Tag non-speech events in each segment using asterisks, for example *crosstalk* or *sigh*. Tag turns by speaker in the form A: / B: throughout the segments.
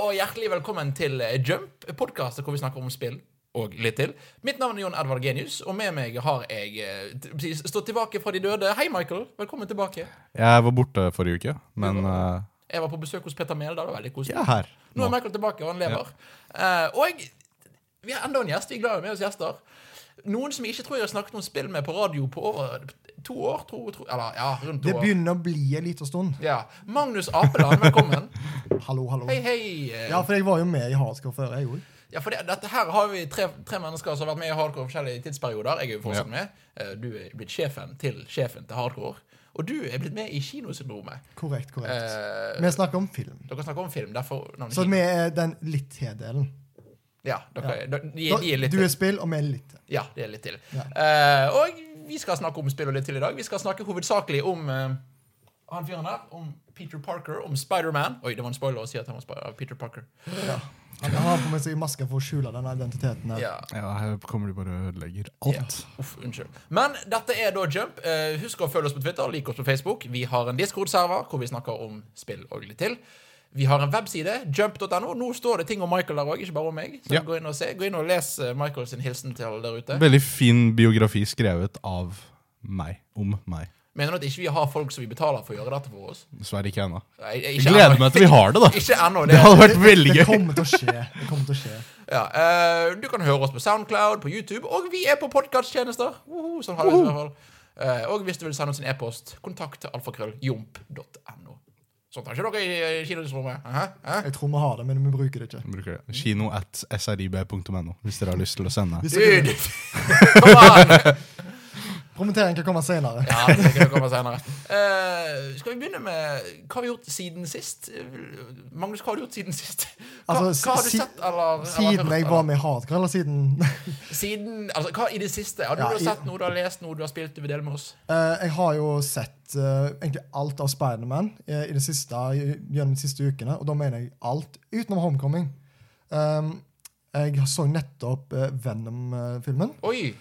A: og hjertelig velkommen til Jump, podkastet hvor vi snakker om spill og litt til. Mitt navn er Jon Edvard Genius, og med meg har jeg eh, t- stått tilbake fra de døde. Hei, Michael. Velkommen tilbake.
B: Jeg var borte forrige uke, men eh,
A: Jeg var på besøk hos Peter Mæhle. Det var veldig koselig.
B: jeg er her
A: Nå er
B: nå.
A: Michael tilbake, og han lever. Eh, og vi har enda en gjest. Vi er glad i å ha med oss gjester. Noen som jeg ikke tror jeg har snakket om spill med på radio på over to år. Tro, tro, eller ja, rundt to
C: Det
A: år.
C: begynner å bli en liten stund.
A: Ja. Magnus Apeland, velkommen.
C: Hallo, hallo.
A: Hei, hei. Eh,
C: Ja, for jeg var jo med i Hardcore før, jeg òg.
A: Ja, for det, dette her har vi tre, tre mennesker som har vært med i hardcore i forskjellige tidsperioder. Jeg er jo fortsatt med. Eh, Du er blitt sjefen til sjefen til hardcore. Og du er blitt med i Kinosyndromet.
C: Korrekt, korrekt.
A: Eh,
C: Vi snakker om film.
A: dere snakker om film, derfor navnet
C: Så
A: kino.
C: vi er den litt til-delen.
A: Ja, dere, De, de, de er litt
C: Du er spill, og vi er litt til.
A: Ja, det er litt til.
C: Ja.
A: Eh, og vi skal snakke om spill og litt til i dag. Vi skal snakke hovedsakelig om eh, han fyren der. Om Peter Parker, om Spiderman. Oi, det var en spoiler å si at han var Spi- av Peter Parker.
C: Ja. Han har på med seg maske for å skjule den identiteten. her.
A: Ja.
B: Ja, her kommer de bare og ødelegger alt.
A: Uff, unnskyld. Men dette er da Jump. Eh, husk å følge oss på Twitter, like oss på Facebook. Vi har en Discord-server hvor vi snakker om spill og litt til. Vi har en webside, jump.no. Nå står det ting om Michael der òg, ikke bare om meg. Så
B: Ja.
A: gå inn og se. Gå inn og les eh, Michael sin hilsen til alle der ute.
B: Veldig fin biografi skrevet av meg. Om meg.
A: Mener du at ikke vi har folk som vi betaler for å gjøre dette for oss?
B: Dessverre ikke ennå.
A: Nei, jeg-
B: Jeg
A: ikke
B: gleder
A: ennå.
B: meg til vi
A: *laughs*
B: har det, da.
A: Ikke ennå.
B: Det
A: Det, altså
B: hadde vært veldig
C: Det
B: gøy.
C: kommer til å skje. Det kommer til å skje.
A: ja, eh, du kan høre oss på Soundcloud, på YouTube, og vi er på podkasttjenester. Woho, Sånn har vi det i hvert fall. Eh, og hvis du vil sende oss en e-post, kontakt til alfakrølljomp.no. Sånt har ikke dere i, i kinodisrommet? Hæ? Hæ?
C: Jeg tror vi har det, men vi bruker det ikke.
B: Bruker det. Kino at srib.no hvis dere har lyst til å sende.
C: Hvis dere-
A: Dude! Kom an!
C: Promotering kan komme senere.
A: Ja, det kan komme senere. Eh, skal vi begynne med hva har vi gjort siden sist? Eh, Magnus, hva har du gjort siden sist? Hva,
C: Altså,
A: hva har du
C: si-
A: sett eller, eller
C: Siden
A: hørt,
C: jeg
A: eller?
C: var med i Hardcore, eller siden
A: Siden, altså, hva i det siste? Har du,
C: Ja,
A: du har
C: i-
A: sett noe, du har lest noe, du har spilt, du vil dele med oss?
C: Eh, jeg har jo sett eh, egentlig alt av Spiderman uh, i det siste, gjennom de siste ukene, og da mener jeg alt utenom Homecoming. Um, jeg så nettopp eh, Venom-filmen.
A: Oi!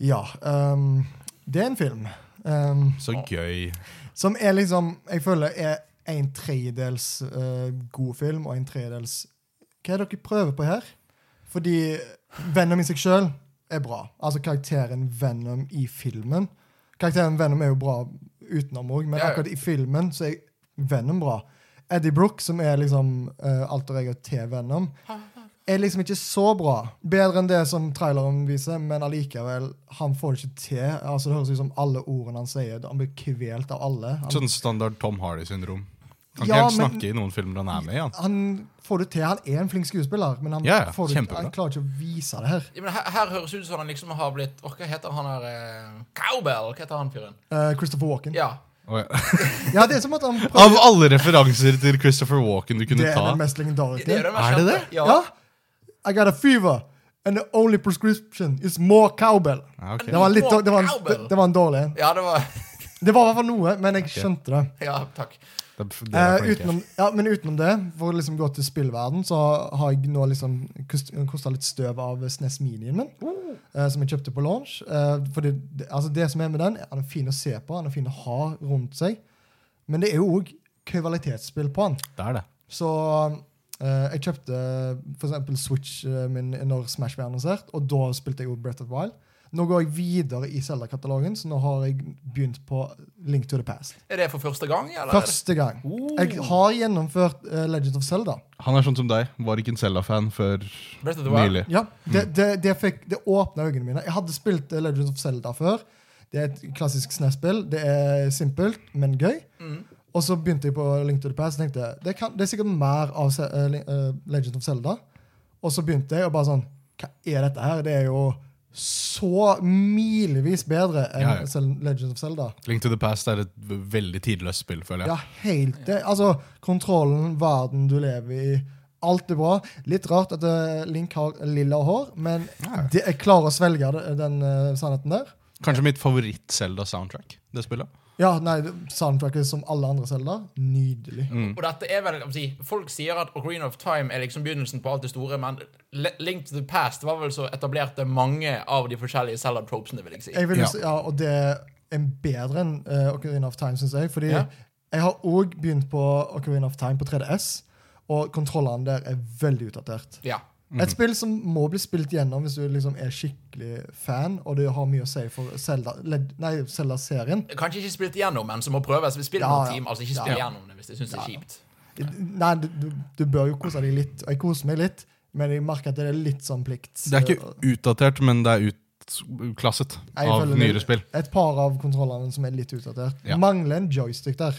C: Ja. Um, det er en film um,
B: Så gøy.
C: som er liksom Jeg føler er en tredjedels eh, god film og en tredjedels Hva er det dere prøver på her? Fordi Venom i seg sjøl er bra. Altså karakteren Venom i filmen. Karakteren Venom er jo bra utenom òg, men
A: Ja, ja.
C: akkurat i filmen så er Venom bra. Eddie Brooke, som er liksom uh, alter ego til Venom, er liksom ikke så bra. Bedre enn det som traileren viser, men allikevel, han får det ikke til. Altså Det høres ut som alle ordene han sier, han blir kvelt av alle. Han
B: Sånn standard Tom Hardy-syndrom. Kan ikke
C: Ja,
B: helt
C: men-
B: snakke i noen filmer han er med i. Han.
C: han får det til. Han er en flink skuespiller, men han,
B: Ja, ja,
C: får det,
B: kjempebra.
C: han klarer ikke å vise det her.
A: Ja, men her, her høres ut som han liksom har blitt Åh, Hva heter han her? eh, Cowbell? Hva heter han fyren?
C: Eh, Christopher Walken.
A: Ja.
C: Ja.
B: Å, ja.
C: det er som at han
B: Av
C: prøver
B: alle referanser til Christopher Walken du
C: Det
B: kunne
C: er
B: Ah, ta.
C: den mest legendariske.
A: Det er, jo den mest
B: Er det
A: kjente.
B: det?
A: Ja.
C: ja. I got a fever, and the only prescription is more cowbell.
B: Ja, Ah, ok.
C: Det var, en litt,
A: More
C: det, var en, det,
A: cowbell?
C: det var en dårlig en.
A: ja, det var *laughs*
C: Det var i hvert fall noe, men jeg skjønte det.
A: Ja, takk.
B: Det er- det er
C: Eh,
B: flinke.
C: utenom, ja, men utenom det, for å liksom gå til spillverden, så har jeg nå liksom kosta litt støv av SNES Minien min,
B: Oh.
C: eh, som jeg kjøpte på launch. Eh, for det, det- altså det som er med den, er han er fin å se på, han er fin å ha rundt seg. Men det er jo òg kvalitetsspill på han.
B: Det er det.
C: Så eh, jeg kjøpte f.eks. Switch eh, min når Smash ble annonsert, og da spilte jeg jo Breath of the Wild. Nå går jeg videre i Zelda-katalogen, så nå har jeg begynt på Link to the Past.
A: Er det for første gang, eller?
C: Første gang. Jeg har gjennomført eh, Legend of Zelda.
B: Han er sånn som deg. Var ikke en Zelda-fan før
A: Breath of the Wild.
B: nylig.
C: Ja, det, det, det, fikk, det åpna øynene mine. Jeg hadde spilt eh, Legend of Zelda før. Det er et klassisk SNES-spill. Det er simpelt, men gøy. Og så begynte jeg på Link to the Past og tenkte jeg, det, kan, det er sikkert mer av Se- eh, Lin- eh, Legend of Zelda. Og så begynte jeg og bare sånn Hva er dette her? Det er jo så milevis bedre enn
B: Ja, ja.
C: Zel- Legend of Zelda.
B: Link to the Past er et v- veldig tidløst spill, føler jeg.
C: Ja, helt det. Altså, kontrollen, verden du lever i, alt er bra. Litt rart at eh, Link har lilla hår, men det, jeg klarer å svelge det, den eh, sannheten der.
B: Kanskje mitt favoritt-Selda-soundtrack. det spillet.
C: Ja, nei, soundtracket som alle andre Zelda, nydelig.
A: Og dette er vel, jeg må si, Folk sier at Ocarina of Time er liksom begynnelsen på alt det store, men Le- Link to the Past var vel så etablerte mange av de forskjellige salad tropesene, vil jeg si.
C: Jeg vil,
B: Ja.
C: jo si- ja, og det er en bedre enn eh, Ocarina of Time, syns jeg. Fordi
A: Ja.
C: jeg har òg begynt på Ocarina of Time på 3DS. Og kontrollene der er veldig utdatert.
A: Ja.
B: Mhm.
C: Et spill som må bli spilt gjennom hvis du liksom er skikkelig fan, og det har mye å si for Zelda- led- nei, Zelda-serien.
A: Kanskje ikke spilt gjennom, men som må prøves. Vi spiller
C: Ja,
A: noen
C: ja.
A: timer, altså ikke spill
C: Ja.
A: gjennom det hvis jeg syns det er kjipt.
C: Nei, du, du, du bør jo kose deg litt. Og jeg koser meg litt, men jeg merker at det er litt sånn plikt.
B: Det er ikke utdatert, men det er utklasset
C: Jeg
B: av
C: føler det-
B: nyere spill.
C: Et par av kontrollene som er litt utdatert.
B: Ja.
C: Mangler en joystick der.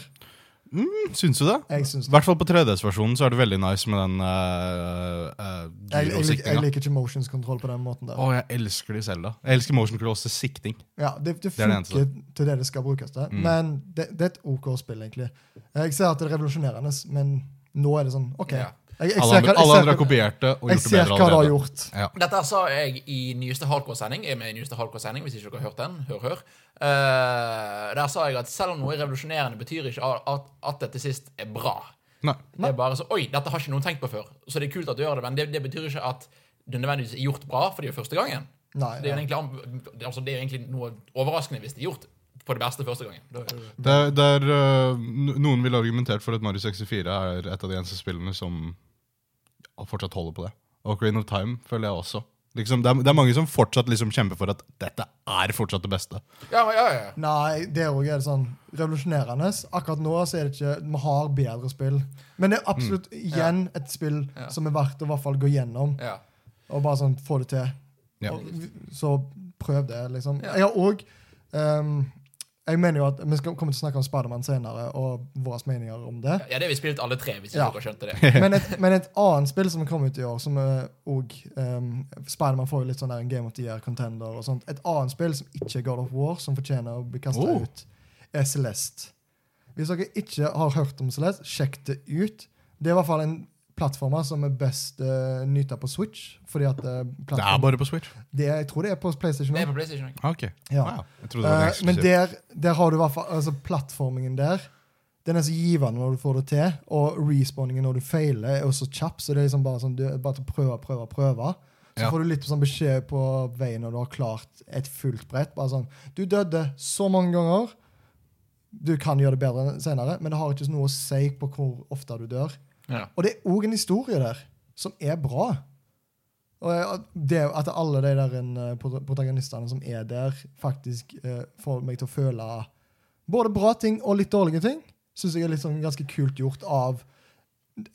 B: Syns du det?
C: Jeg
B: I
C: syns det.
B: hvert fall på 3DS-versjonen så er det veldig nice med den eh, uh,
C: Jeg, jeg, lik- jeg
B: gyrosiktinga.
C: liker ikke motionskontroll på den måten der.
B: Å, jeg elsker det i Zelda. Jeg elsker motion cross til sikting.
C: Ja, det, det
B: Det Mm. er det
C: funker til det det skal brukes til, men det, det er et OK spill, egentlig. Jeg ser at det er revolusjonerende, men nå er det sånn OK.
A: Ja.
C: Jeg, jeg
B: Alle
C: ser hva-
B: andre,
C: jeg
B: alle andre
C: ser
B: har
C: hva-
B: kopiert det og
C: Jeg
B: gjort det
C: ser
B: bedre
C: hva det har
B: allerede.
C: gjort.
B: Ja.
A: Dette her sa jeg i nyeste Hardcore-sending. Jeg er med i nyeste Hardcore-sending, hvis ikke dere har hørt den. Hør, hør. Eh, der sa jeg at selv om noe er revolusjonerende, betyr ikke at, at det til sist er bra.
B: Nei.
A: Det er bare så, Oi, dette har ikke noen tenkt på før. Så det er kult at du gjør det, men det, det betyr ikke at det nødvendigvis er gjort bra, for det er jo første gangen.
C: Nei,
A: Det er
C: ja.
A: jo egentlig, an- det- altså, det er jo egentlig noe overraskende hvis det er gjort på det beste første gangen. Da er det-
B: Det er, det er, øh, no- noen ville argumentert for at Mario 64 er et av de eneste spillene som fortsatt holder på det. Og Green of Time føler jeg også. Liksom, det, er, det er mange som fortsatt liksom kjemper for at dette er fortsatt det beste.
A: Ja, ja, ja.
C: Nei, det òg er det sånn revolusjonerende. Akkurat nå så er det ikke Vi har bedre spill. Men det er absolutt
B: Mm.
C: igjen et spill
A: Ja.
C: som er verdt å i hvert fall gå gjennom.
A: ja.
C: Og bare sånn få det til.
B: Ja.
C: Og, vi- så prøv det, liksom.
A: Ja.
C: Jeg har òg Jeg mener jo at Vi skal komme til å snakke om Spiderman senere, og våre meninger om det.
A: Ja, det har vi spilt alle tre, hvis ikke
C: Ja.
A: dere skjønte det.
C: *laughs*
B: *laughs*
C: Men et, men et annet spill som kom ut i år, som eh, òg um, Spiderman får jo litt sånn der en Game of the Year contender og sånt. Et annet spill som ikke er God of War, som fortjener å bli kasta
B: Oh.
C: ut, er Celeste. Hvis dere ikke har hørt om Celeste, sjekk det ut. Det er i hvert fall en plattformer som er best uh, nyta på Switch. Fordi at eh,
B: Det er
C: plattform,
B: bare på Switch.
C: det er, Jeg tror det er på PlayStation.
A: Det er
C: nå.
A: på PlayStation. ikke?
B: Ah, Ok.
C: Ja.
B: Wow. Jeg trodde det var
C: Eh,
B: en
C: men
B: eksklusiv.
C: der, der har du i hvert fall altså, Plattformingen der Den er så givende når du får det til, og respawningen når du feiler, er også kjapp. Så det er liksom bare sånn, du, bare til å prøve, prøve, prøve. Så
B: Ja.
C: får du litt sånn beskjed på veien når du har klart et fullt brett. Bare sånn Du døde så mange ganger. Du kan gjøre det bedre senere, men det har ikke noe å si på hvor ofte du dør.
A: Ja.
C: Og det er òg en historie der som er bra. Og jeg- at det At alle de der eh, prota- protagonistene som er der, faktisk eh, får meg til å føle både bra ting og litt dårlige ting, syns jeg er litt sånn ganske kult gjort av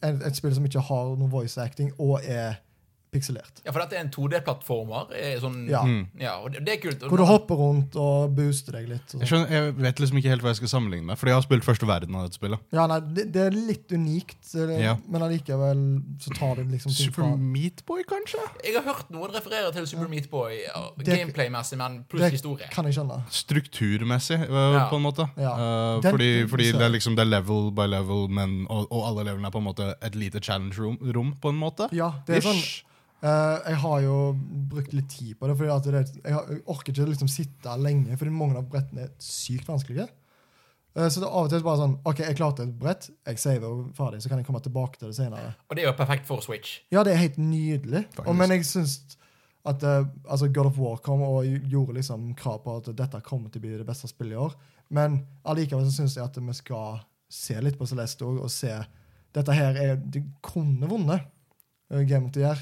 C: et, et spill som ikke har noe voice acting og er pikselert.
A: Ja, for dette er en 2D-plattformer. eh, Sånn,
C: Ja.
A: ja.
B: Mm.
A: og det, det er kult. Og
C: Hvor du
A: nå-
C: hopper rundt og booster deg litt. Og
B: Jeg,
C: sånn.
B: skjønner, jeg vet liksom ikke helt hva jeg skal sammenligne med, fordi jeg har spilt første verden av dette spillet.
C: ja, nei, det, det er litt unikt, eh,
B: Ja.
C: men allikevel så tar det liksom ting
B: Super
C: fra
B: Meatboy, kanskje?
A: Jeg har hørt noen referere til Super Meat Boy ja,
C: Det-
A: gameplay-messig, men pluss
C: Det
A: historie.
C: kan jeg skjønne.
B: Strukturmessig, øh,
A: Ja.
B: på en måte.
C: Ja.
B: Øh,
C: Den-
B: fordi
C: den-
B: fordi det, er liksom, det er level by level, men, og, og alle levelene er på en måte et lite challenge-rom, rom, på en måte.
C: Ja, det er sånn
B: Ish.
C: Eh, jeg har jo brukt litt tid på det, fordi at det, jeg, har, jeg orker ikke liksom sitte lenge, fordi mange av brettene er sykt vanskelige. Eh, så det er av og til bare sånn OK, jeg klarte et brett, jeg saver og ferdig, så kan jeg komme tilbake til det senere.
A: Og det er jo perfekt for Switch.
C: Ja, det er helt nydelig.
B: Faktisk.
C: Og, men jeg syns at eh, altså God of War kom og gjorde liksom krav på at dette kommer til å bli det beste spillet i år. Men allikevel så syns jeg at vi skal se litt på Celeste òg, og se Dette her er De kunne vunnet eh, Game of the Year.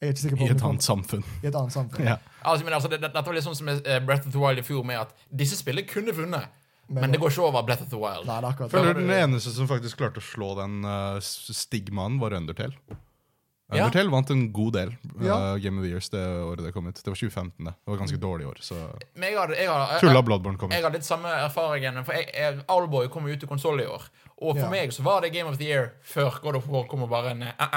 C: Jeg er ikke sikker
B: I
C: på om de
B: et
C: kommer-
B: annet samfunn. *laughs*
C: i et annet samfunn.
B: Ja.
A: Altså, men altså, det, det- dette var litt sånn som med eh, Breath of the Wild i fjor, med at disse spillene kunne vunnet, men, det går ikke over Breath of the Wild.
C: Nei, det er akkurat det.
B: Føler du den eneste som faktisk klarte å slå den øh, s- stigmaen, var Undertale?
A: Ja.
B: Undertale vant en god del øh,
C: Ja. Mm.
B: Game of the Years det året det kom ut. Det var 2015. Det, det var ganske dårlig år, så
A: Men jeg har, jeg har, jeg,
B: Tulla
A: jeg,
B: Bloodborne kom ut.
A: har litt samme erfaringen, for jeg, jeg, Owlboy kom jo ut til konsoll i år. Og for
C: Ja.
A: meg så var det Game of the Year før God of War kom og bare en eh, eh,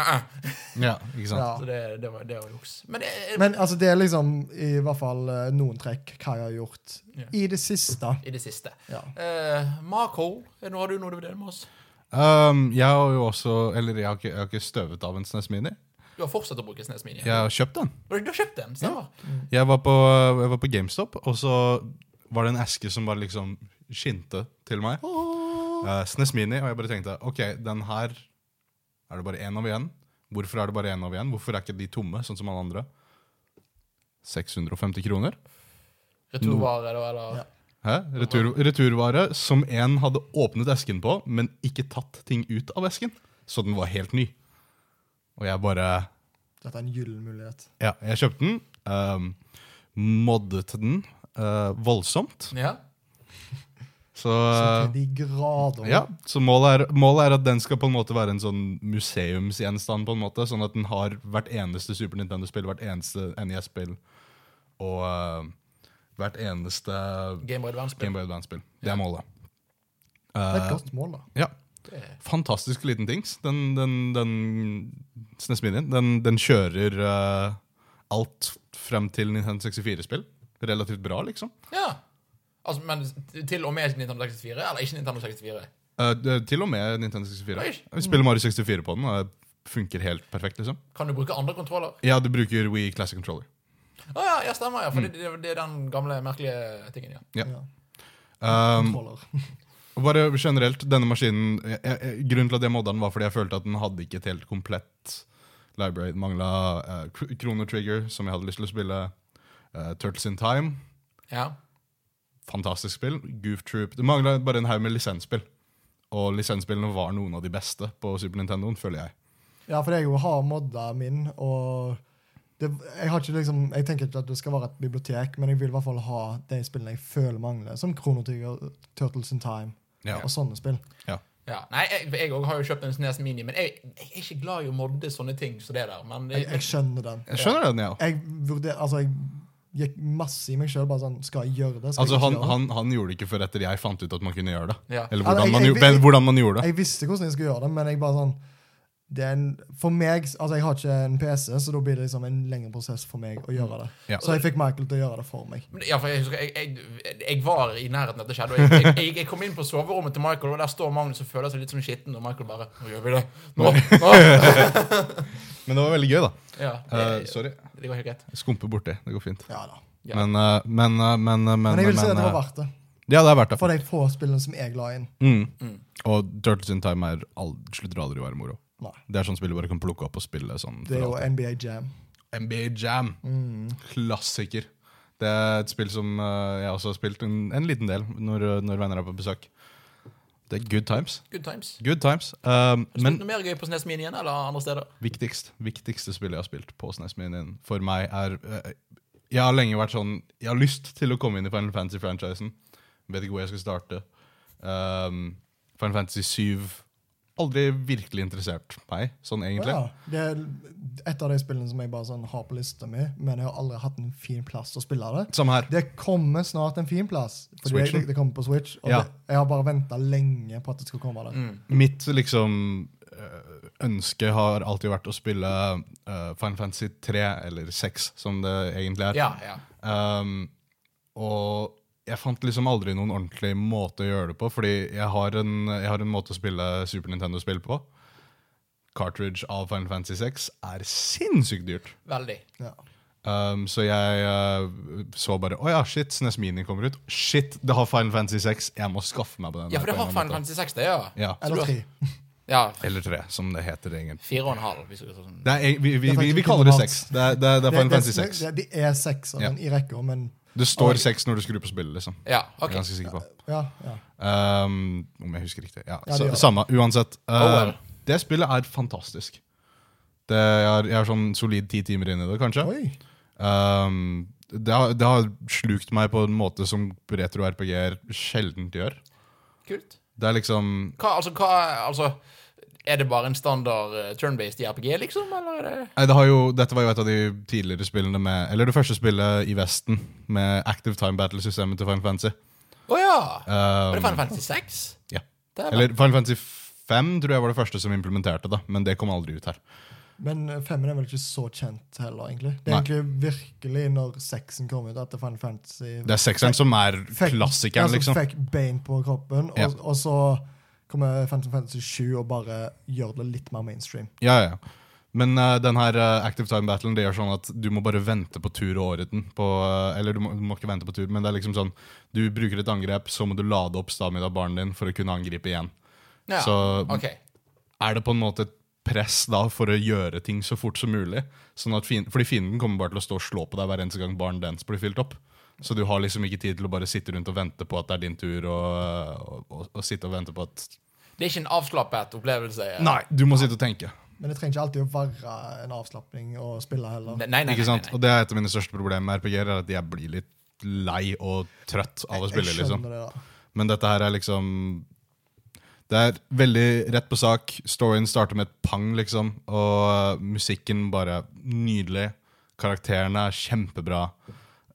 A: eh, eh.
B: Ja, ikke sant?
C: Ja.
A: Så det, det, var, det var juks. Men, det,
C: Men altså, det er liksom i hvert fall eh, noen trekk Kai har gjort
A: Ja.
C: i det siste.
A: i det siste.
C: Ja.
A: Eh, Marco, nå har du noe du vil dele med oss.
B: Um, jeg har jo også Eller jeg har ikke, jeg har ikke støvet av en SNES Mini.
A: Du har fortsatt å bruke SNES Mini.
B: Jeg har kjøpt den.
A: Du, du har kjøpt den, stemmer?
B: Jeg var, på, jeg var på GameStop, og så var det en eske som bare liksom skinte til meg. Uh, SNES Mini, og jeg bare tenkte OK, den her er det bare én av igjen. Hvorfor er det bare én av igjen? Hvorfor er ikke de tomme, sånn som alle andre? 650 kroner.
A: Returvare, da, eller?
C: Ja.
B: Hæ? Retur, returvare som en hadde åpnet esken på, men ikke tatt ting ut av esken. så den var helt ny. Og jeg bare
C: Dette er en gyllen mulighet.
B: Ja, jeg kjøpte den. ehm, moddet den eh, voldsomt.
A: Ja.
B: Så
C: Så til de grader.
B: Eh, ja, så målet er, målet er at den skal på en måte være en sånn museumsgjenstand, på en måte, sånn at den har hvert eneste Super Nintendo-spill, hvert eneste NES-spill og eh, hvert eneste
A: Game Boy Advance-spill.
B: Game Boy Advance-spill. Det er målet.
C: Det er et godt mål, da.
B: Ja. Fantastisk liten tings. Den, den, den SNES Minien, den, den kjører eh, alt frem til Nintendo 64-spill. Relativt bra, liksom.
A: Ja. Altså, men til og med Nintendo 64, eller ikke Nintendo 64?
B: Eh, det- til og med Nintendo 64. Vi spiller Mario 64 på den, og det funker helt perfekt, liksom.
A: Kan du bruke andre kontroller?
B: Ja, du bruker Wii Classic Controller.
A: Å ja, ja, stemmer, ja. For det, det, det er den gamle, merkelige tingen, ja.
B: Ja.
C: Ja.
B: Um,
C: Måler.
B: og bare generelt, denne maskinen jeg, jeg, Grunnen til at jeg modda den, var fordi jeg følte at den hadde ikke et helt komplett library. Den mangla uh, Krono Trigger, som jeg hadde lyst til å spille. eh, Turtles in Time,
A: ja.
B: fantastisk spill. Goof Troop. Det mangla bare en haug med lisensspill. Og lisensspillene var noen av de beste på Super Nintendoen, føler jeg.
C: Ja, for jeg jo har modda min, og det, jeg, har ikke liksom, jeg tenker ikke at det skal være et bibliotek, men jeg vil i hvert fall ha de spillene jeg føler mangler, som Chrono Trigger, Turtles in Time
B: Ja.
C: og sånne spill.
B: Ja.
A: ja. Nei, jeg jeg òg har jo kjøpt en Snes Mini, men jeg, jeg er ikke glad i å modde sånne ting som det der. Men det,
C: Jeg, jeg skjønner den.
B: Jeg skjønner den, jeg ja.
C: Jeg vurder, altså, jeg gikk masse i meg sjøl. Bare sånn Skal jeg gjøre det? Skal
B: Altså,
C: jeg ikke
B: han,
C: gjøre det?
B: han, han gjorde det ikke før etter jeg fant ut at man kunne gjøre det.
A: Ja.
B: Eller
C: Altså,
B: hvordan
C: jeg-
B: man,
C: jeg-
B: gjo- men hvordan man gjorde det.
C: Jeg visste hvordan jeg skulle gjøre det, men jeg bare sånn det er en, For meg, altså Jeg har ikke en PC, så da blir det liksom en lengre prosess for meg å gjøre det.
B: Mm. Ja.
C: Så jeg fikk Michael til å gjøre det for meg.
A: Men Ja, for jeg, husker, jeg, jeg, jeg var i nærheten av dette skjedde. Og jeg, jeg, jeg, jeg kom inn på soverommet til Michael, og der står Magnus og føler seg litt som skitten. Og Michael bare Nå gjør vi det! Nå! nå.
B: Men det var veldig gøy, da.
A: Ja, det,
B: Eh, sorry.
A: det går helt greit.
B: Jeg Skumper borti. Det går fint.
C: Ja da.
A: Ja.
B: Men, eh, men, eh, men, eh, men,
C: Men jeg vil si
B: men,
C: at det var
B: eh,
C: verdt det.
B: Ja, det er verdt det.
C: For de få spillene som jeg la inn.
B: Mm. Og Turtles in Time er all, slutter aldri å være moro.
C: Nei.
B: Det er sånn spill du bare kan plukke opp og spille sånn.
C: Det Mm. er jo
B: for alltid.
C: NBA Jam.
B: NBA Jam. Klassiker. Det er et spill som eh, jeg også har spilt en, en liten del når, når venner er på besøk. Det er good times.
A: Good times.
B: Good times. Um,
A: Men,
B: men
A: noe mer gøy på Snes Mini igjen, eller andre steder?
B: viktigst, viktigste spillet jeg har spilt på SNES-minien for meg, er eh, Jeg har lenge vært sånn Jeg har lyst til å komme inn i Final Fantasy-franchisen. Vet ikke hvor jeg skal starte. Um, Final Fantasy 7 aldri virkelig interessert meg, sånn egentlig.
C: Ja, det er et av de spillene som jeg bare sånn har på lista mi, men jeg har aldri hatt en fin plass å spille det.
B: Samme her.
C: Det kommer snart en fin plass, fordi
B: Switchen?
C: det, det kommer på Switch. Og
B: Ja. Mm.
C: det, jeg har bare venta lenge på at det skulle komme der.
B: Mitt liksom øh, ønske har alltid vært å spille øh, Final Fantasy 3, eller 6, som det egentlig er.
A: Ja, ja.
B: Um, og jeg fant liksom aldri noen ordentlig måte å gjøre det på, fordi jeg har en, jeg har en måte å spille Super Nintendo-spill på. Cartridge av Final Fantasy 6 er sinnssykt dyrt.
A: Veldig.
C: Ja.
B: Um, så jeg øh, så bare Å ja, shit, SNES Mini kommer ut. Shit, det har Final Fantasy 6. Jeg må skaffe meg på den.
A: Ja,
B: her
A: for det
B: på en
A: har
B: eller
A: Final
B: annen måte.
A: Fantasy 6, det, ja.
B: Ja.
A: du-
C: Eller tre.
A: ja.
B: Eller 3, som det heter egentlig.
A: Fire og en halv. Hvis du skal sånn.
B: Det er, eg- vi, vi,
C: Det er
B: vi, vi
C: faktisk
B: kaller det
C: ikke
B: sex. Det er, det er, det er
C: Det,
B: Final
C: det,
B: Fantasy
C: det,
B: 6.
C: det, det er seks av
B: Ja.
C: den i rekka, men
B: Det står sex når du skrur på spillet. liksom
A: Ja,
B: Jeg
A: OK.
B: er ganske sikker på
C: ja, ja.
B: um, Om jeg husker riktig. Ja,
C: Ja, det
B: så,
C: gjør det.
B: Samme, uansett. Uh,
A: Oh, well.
B: Det spillet er fantastisk. Det, jeg, har, jeg har sånn solid ti timer inn i det, kanskje.
C: Oi.
B: Um, det, har, det har slukt meg på en måte som retro-RPG-er sjeldent gjør.
A: Kult.
B: Det er liksom
A: Hva, altså, hva, altså Er det bare en standard eh, turn-based i RPG, liksom? Eller er det
B: Nei, det har jo, dette var jo et av de tidligere spillene med Eller det første spillet i Vesten med Active Time Battle-systemet til Final Fantasy.
A: Å ja!
B: Um,
A: Var det Final Fantasy 6?
B: Ja.
A: Det er
B: Eller Final Fantasy 5 tror jeg var det første som implementerte det, men det kom aldri ut her.
C: Men eh, femmen er vel ikke så kjent heller, egentlig. Det er
B: Nei.
C: egentlig virkelig når seksen kom ut, at det Final Fantasy
B: Det er sekseren som er
C: fikk,
B: klassikeren,
C: altså,
B: liksom.
C: fikk bein på kroppen, og,
B: Ja.
C: og så kommer Phantom Fantasy 7 og bare gjør det litt mer mainstream.
B: Ja, ja, ja. Men eh, den her eh, Active Time Battlen det gjør sånn at du må bare vente på tur og åreten. På, eh, eller du må, du må ikke vente på tur, men det er liksom sånn du bruker et angrep, så må du lade opp stamina-baren din for å kunne angripe igjen.
A: Ja.
B: Så-
A: OK.
B: Er det på en måte et press da for å gjøre ting så fort som mulig? Sånn at fienden, fordi fienden kommer bare til å stå og slå på deg hver eneste gang baren dens blir fylt opp. Så du har liksom ikke tid til å bare sitte rundt og vente på at det er din tur, og, og, og, og sitte og vente på at
A: Det er ikke en avslappet opplevelse. eh.
B: Nei, du må sitte og tenke.
C: Men det trenger ikke alltid å være en avslapning å spille heller.
A: Nei, nei, nei,
B: Ikke
A: nei,
B: sant?
A: nei.
B: Og det er et av mine største problemer med RPG-er, er at jeg blir litt lei og trøtt av å spille.
C: Jeg
B: liksom.
C: skjønner det, da.
B: Men dette her er liksom Det er veldig rett på sak. Storyen starter med et pang, liksom. Og musikken bare nydelig. Karakterene er kjempebra.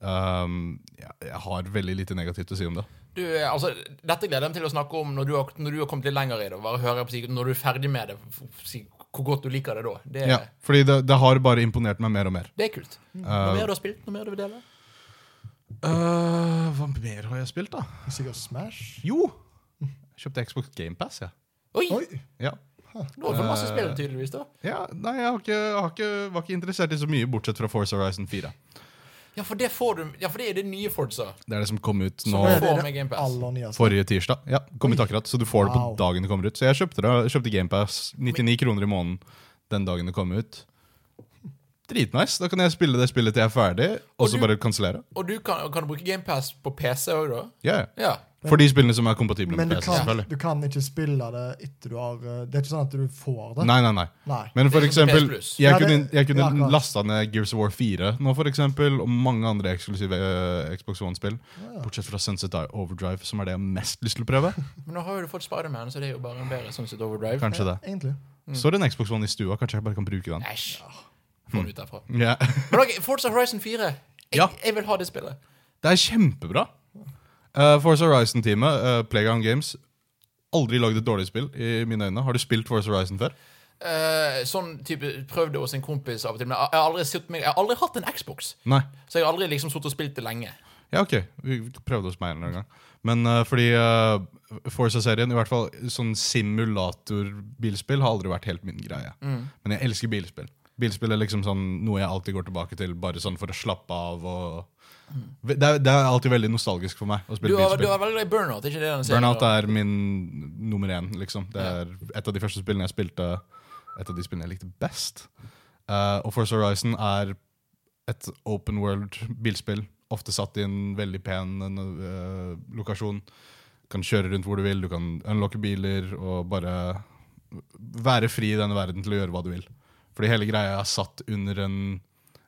B: Um, jeg, jeg har veldig lite negativt å si om det.
A: Du, eh, altså, dette gleder jeg meg til å snakke om når du har, når du har kommet litt lenger i det. og Bare høre på, si- når du er ferdig med det, f- f- si, hvor godt du liker det da. Det,
B: Ja, fordi det, det har bare imponert meg mer og mer.
A: det er kult.
B: Eh,
A: Noe mer du har spilt? Noe mer du vil dele?
B: Uh, hva mer har jeg spilt, da?
C: Sikkert Smash.
B: Jo! Jeg kjøpte Xbox GamePass, jeg.
A: Oi!
C: Oi!
B: Ja.
A: Nå har vi fått masse
B: Eh.
A: spill, tydeligvis. da.
B: Ja, nei, jeg, har ikke, jeg har ikke, var ikke interessert i så mye, bortsett fra Force Horizon 4.
A: Ja, for det får du Ja, for det er det nye Forza.
B: Det er det som kom ut nå
A: Nå
C: Ja, det
A: får
C: er
A: vi
C: det
A: Game Pass.
C: aller nyeste.
B: forrige tirsdag. Ja, kom ut akkurat, Så du får det på
C: Wow.
B: dagen det kommer ut. Så jeg kjøpte, det, kjøpte GamePass 99 kroner i måneden den dagen det kom ut. Dritnice. Da kan jeg spille det spillet til jeg er ferdig, og
A: du-
B: så bare kansellere.
A: Og du kan, kan du bruke GamePass på PC òg, da?
B: Ja, ja.
A: Ja.
B: For de spillene som er kompatible
C: Men
B: med
C: du
B: PC.
C: kan,
B: selvfølgelig.
C: du kan ikke spille det etter du har eh, Det er ikke sånn at du får det.
B: Nei, nei, nei.
C: Nei.
B: Men for
A: Det er som
B: eksempel,
A: PS Plus.
B: jeg
C: Ja, det-
B: kunne, jeg
C: ja,
B: kunne
C: akkurat.
B: lasta ned Gears of War 4 nå, for eksempel, og mange andre eksklusive eh, Xbox One-spill. Bortsett fra Sunset Overdrive, som er det jeg har mest lyst til å prøve.
A: Men nå har jo du fått Spiderman, så det er jo bare en bedre sånn sett overdrive.
B: Kanskje det.
C: Egentlig.
A: Mm.
B: Står en Xbox One i stua, kanskje jeg bare kan bruke den.
A: Æsj. Få den ut derfra.
B: Ja. *laughs*
A: Men ok, Forza Horizon 4. Jeg,
B: Hmm. Ja.
A: jeg vil ha det spillet.
B: Det er kjempebra. Uh, Force Horizon-teamet, eh, Playground Games, aldri lagd et dårlig spill i mine øyne. Har du spilt Force Horizon før?
A: Eh, sånn type prøvde hos en kompis av og til, men jeg jeg har aldri, sett meg, jeg har aldri hatt en Xbox.
B: Nei.
A: Så jeg har aldri liksom sittet og spilt det lenge.
B: Ja, ok. Vi prøvde hos meg en eller annen gang. Men eh, fordi eh, Forza-serien, i hvert fall sånn simulator-bilspill, har aldri vært helt min greie.
A: Mm.
B: Men jeg elsker bilspill. Bilspill er liksom sånn noe jeg alltid går tilbake til bare sånn for å slappe av. og... Det, er, det er alltid veldig nostalgisk for meg
A: Mm.
B: å
A: Du
B: spille
A: har, du
B: bilspill.
A: har veldig glad i burnout, ikke det den serien?
B: Burnout er min nummer én. liksom. Det er et av de første spillene jeg spilte Et av de spillene jeg likte best. Eh, og Force Horizon er et open world bilspill. Ofte satt i en veldig pen eh, lokasjon. Kan kjøre rundt hvor du vil, du kan unlocke biler og bare være fri i denne verden til å gjøre hva du vil. Fordi hele greia er satt under en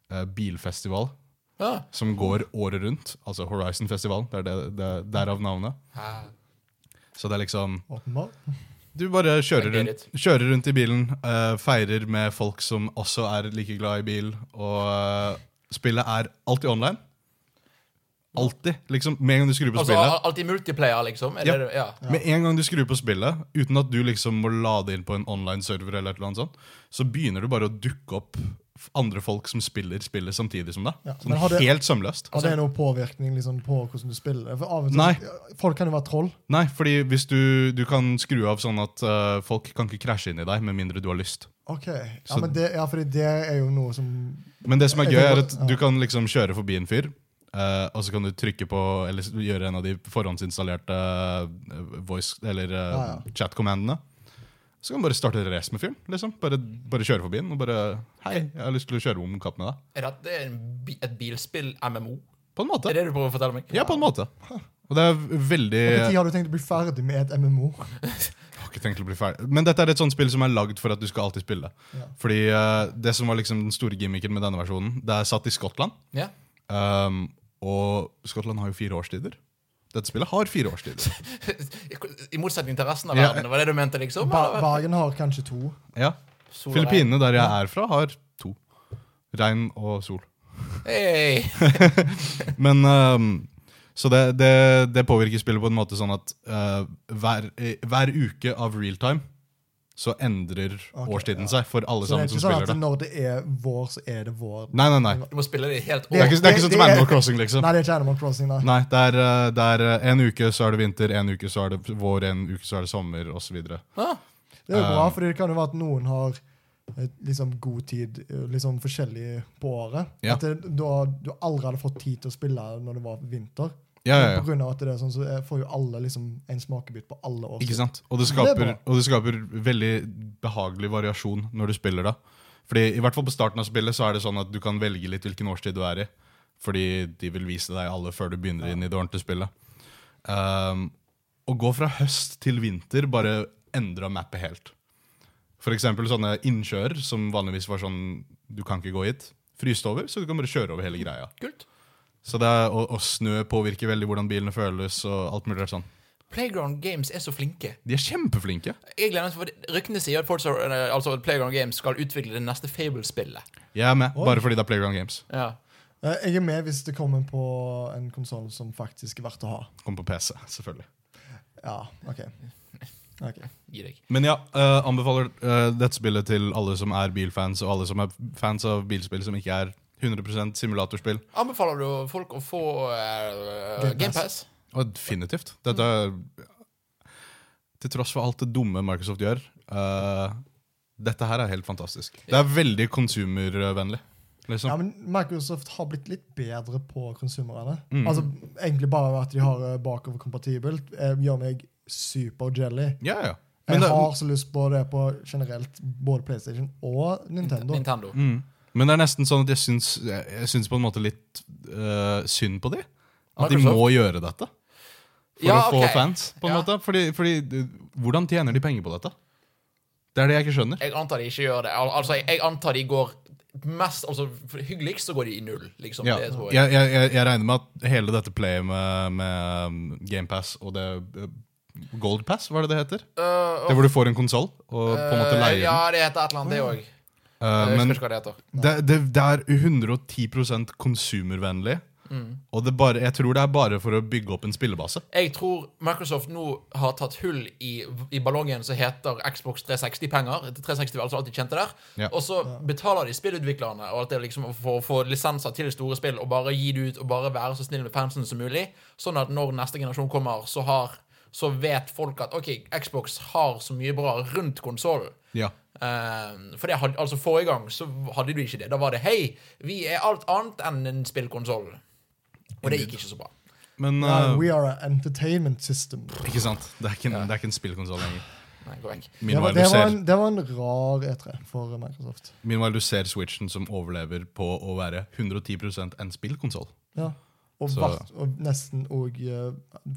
B: eh, bilfestival
A: Ja.
B: som går året rundt. Altså Horizon-festivalen. Det er det, det, derav navnet. Så det er liksom
C: Åpenbart.
B: du bare
A: I
B: kjører
A: get
B: rundt, kjører rundt i bilen, eh, feirer med folk som også er like glad i bil, og eh, spillet er alltid online. Alltid. Liksom, med en gang du skrur på
A: Altså
B: spillet.
A: al- alltid multiplayer, liksom? Er
B: Ja.
A: det det, ja.
B: Med en gang du skrur på spillet, uten at du liksom må lade inn på en online server, eller et eller annet sånt, så begynner du bare å dukke opp f- andre folk som spiller spillet samtidig som deg.
C: Ja,
B: Sånn
C: men har det-
B: helt sømløst.
A: Altså-
C: Har det noen påvirkning liksom, på hvordan du spiller? For av og til,
B: Nei.
C: Folk kan jo være troll.
B: Nei, fordi hvis du, du kan skru av sånn at eh, folk kan ikke krasje inn i deg, med mindre du har lyst.
C: Ok, ja,
B: Så-
C: men det, ja, fordi det er jo noe som
B: Men det som er
C: Jeg
B: gøy, er
C: tenker
B: at
C: på- ja.
B: du kan liksom kjøre forbi en fyr, eh, og så kan du trykke på Eller s- gjøre en av de forhåndsinstallerte eh, voice Eller eh,
C: Ja, ja.
B: chat-kommandene. Så kan du bare starte en race med fyren. liksom bare, bare kjøre forbi den og bare Hei, jeg har lyst til å kjøre om kapp med deg.
A: Er dette en, bi- et bilspill-MMO?
B: På en måte.
A: Er det det du prøver å fortelle meg?
B: Ja, på en måte. Og det er veldig
C: Når
B: Jeg
C: har du tenkt å bli ferdig med et MMO?
B: har ikke tenkt å bli ferdig. Men dette er et sånt spill som er lagd for at du skal alltid spille.
C: Ja.
B: Fordi eh, det som var liksom den store gimmicken med denne versjonen, det er satt i Skottland.
A: Ja. *laughs*
B: Um, og Skottland har jo fire årstider. Dette spillet har fire årstider.
C: *laughs*
A: I motsetning til resten av
B: Ja.
A: verden, var det det du mente, liksom?
C: Ba
A: eller?
C: Bergen har kanskje to.
B: Ja.
A: Sol og regn.
B: Filippinene, der jeg er fra, har to. Regn og sol.
A: Hey.
B: Men um, Så det, det, det påvirker spillet på en måte sånn at uh, hver, eh, hver uke av realtime så endrer
C: Ok,
B: årstiden
C: ja.
B: seg for alle
C: Så
B: sammen
C: det er
B: som
C: ikke sånn
B: spiller
C: at
B: det.
C: når det er vår, så er det vår.
B: Nei, nei, nei.
A: Du må spille det i helt
B: Det er
A: år.
B: ikke, det er
C: Det-
B: ikke sånn
C: det
B: som
C: er-
B: Animal Crossing, liksom.
C: Nei, det er ikke Animal Crossing, nei.
B: Nei, det er, eh, det er eh, en uke så er det vinter, en uke så er det vår, en uke så er det sommer, osv.
A: Ah,
C: Det er jo
B: Eh.
C: bra, for det kan jo være at noen har eh, liksom god tid eh, liksom forskjellig på året.
B: Ja.
C: At det, da, du aldri hadde fått tid til å spille når det var vinter.
B: Ja, ja, ja.
C: Men På grunn av at det er sånn, så eh, får jo alle liksom en smakebit på alle år.
B: Ikke sant? Og det,
C: Men det er
B: skaper, og det skaper veldig behagelig variasjon når du spiller da. Fordi i hvert fall på starten av spillet så er det sånn at du kan velge litt hvilken årstid du er i. Fordi de vil vise deg alle før du Ehm, begynner inn i det ordentlige spillet. Um, å gå fra høst til vinter bare endra mappet helt. For eksempel sånne innsjøer som vanligvis var sånn Du kan ikke gå hit. Fryste over, så du kan bare kjøre over hele greia.
A: Kult.
B: Så det er, og, og snø påvirker veldig hvordan bilene føles. og alt mulig rart sånn.
A: Playground Games er så flinke.
B: De er kjempeflinke.
A: Jeg gleder meg for Ryktene sier at Forza, eh, altså at Playground Games skal utvikle det neste Fable-spillet.
B: Jeg er med, bare fordi det er Playground Games.
A: Ja.
C: Eh, Jeg er med hvis det kommer på en konsoll som faktisk er verdt å ha.
B: Kom på PC, selvfølgelig.
C: Ja, OK. Ok.
A: Gi deg.
B: Men ja, eh, anbefaler eh, dette spillet til alle som er bilfans, og alle som er fans av bilspill som ikke er 100 simulatorspill.
A: Anbefaler du folk å få uh,
C: Game
A: GamePass?
B: Og definitivt. Dette er Til tross for alt det dumme Microsoft gjør, eh, dette her er helt fantastisk. Det er veldig consumervennlig.
C: Ja,
B: Liksom.
C: men Microsoft har blitt litt bedre på konsumerne.
B: Mm.
C: Altså, egentlig bare at de har eh, bakoverkompatibelt, eh, gjør meg super jelly.
B: Ja, ja. Men
C: Jeg
B: det,
C: har så lyst på det på generelt, både PlayStation og Nintendo.
A: Nintendo.
B: mm, men det er nesten sånn at jeg syns, jeg, jeg syns på en måte litt eh, synd på de. At de
A: Microsoft?
B: må gjøre dette for
A: Ja,
B: å få
A: ok.
B: fans. på en
A: Ja.
B: måte. Fordi, fordi eh, hvordan tjener de penger på dette? Det er det jeg ikke skjønner.
A: Jeg antar de ikke gjør det. Al altså, jeg, jeg antar de går mest Altså, for- hyggeligst så går de i null, liksom.
B: Ja.
A: Det tror jeg.
B: Jeg, jeg, jeg, jeg regner med at hele dette playet med, med GamePass og det eh, Gold Pass, hva er det det heter?
A: Øh,
B: Det hvor du får en konsoll og på en måte
A: øh,
B: leier den.
A: Ja, det heter et eller annet, det òg.
B: Eh,
A: jeg
B: men
A: husker ikke hva det heter.
B: det, det, det er 110 konsumervennlig.
A: Mm.
B: Og det bare, jeg tror det er bare for å bygge opp en spillebase.
A: Jeg tror Microsoft nå har tatt hull i, i ballongen som heter Xbox 360-penger. 360 var altså alt de tjente der.
B: Ja.
A: Og så betaler de spillutviklerne og alt det liksom for å få lisenser til store spill og bare gi det ut og bare være så snill med fansen som mulig. Sånn at når neste generasjon kommer, så, har, så vet folk at OK, Xbox har så mye bra rundt konsollen.
B: Ja.
A: Eh, for det hadde, altså Forrige gang så hadde du ikke det. Da var det 'hei, vi er alt annet enn en spillkonsoll'. Og det gikk ikke så bra.
B: Men
C: Ja,
B: eh,
C: Uh, we are an entertainment system.
B: ikke sant? Det er ikke en, det er ikke en spillkonsoll lenger.
A: Nei, gå vekk.
C: Det var,
B: Meanwhile,
C: det,
B: du
C: var
B: ser,
C: en, det var en rar E3 for Microsoft.
B: meanwhile, du ser Switchen som overlever på å være 110 en spillkonsoll.
C: Ja. Og,
B: Så-
C: vart, og nesten og, eh,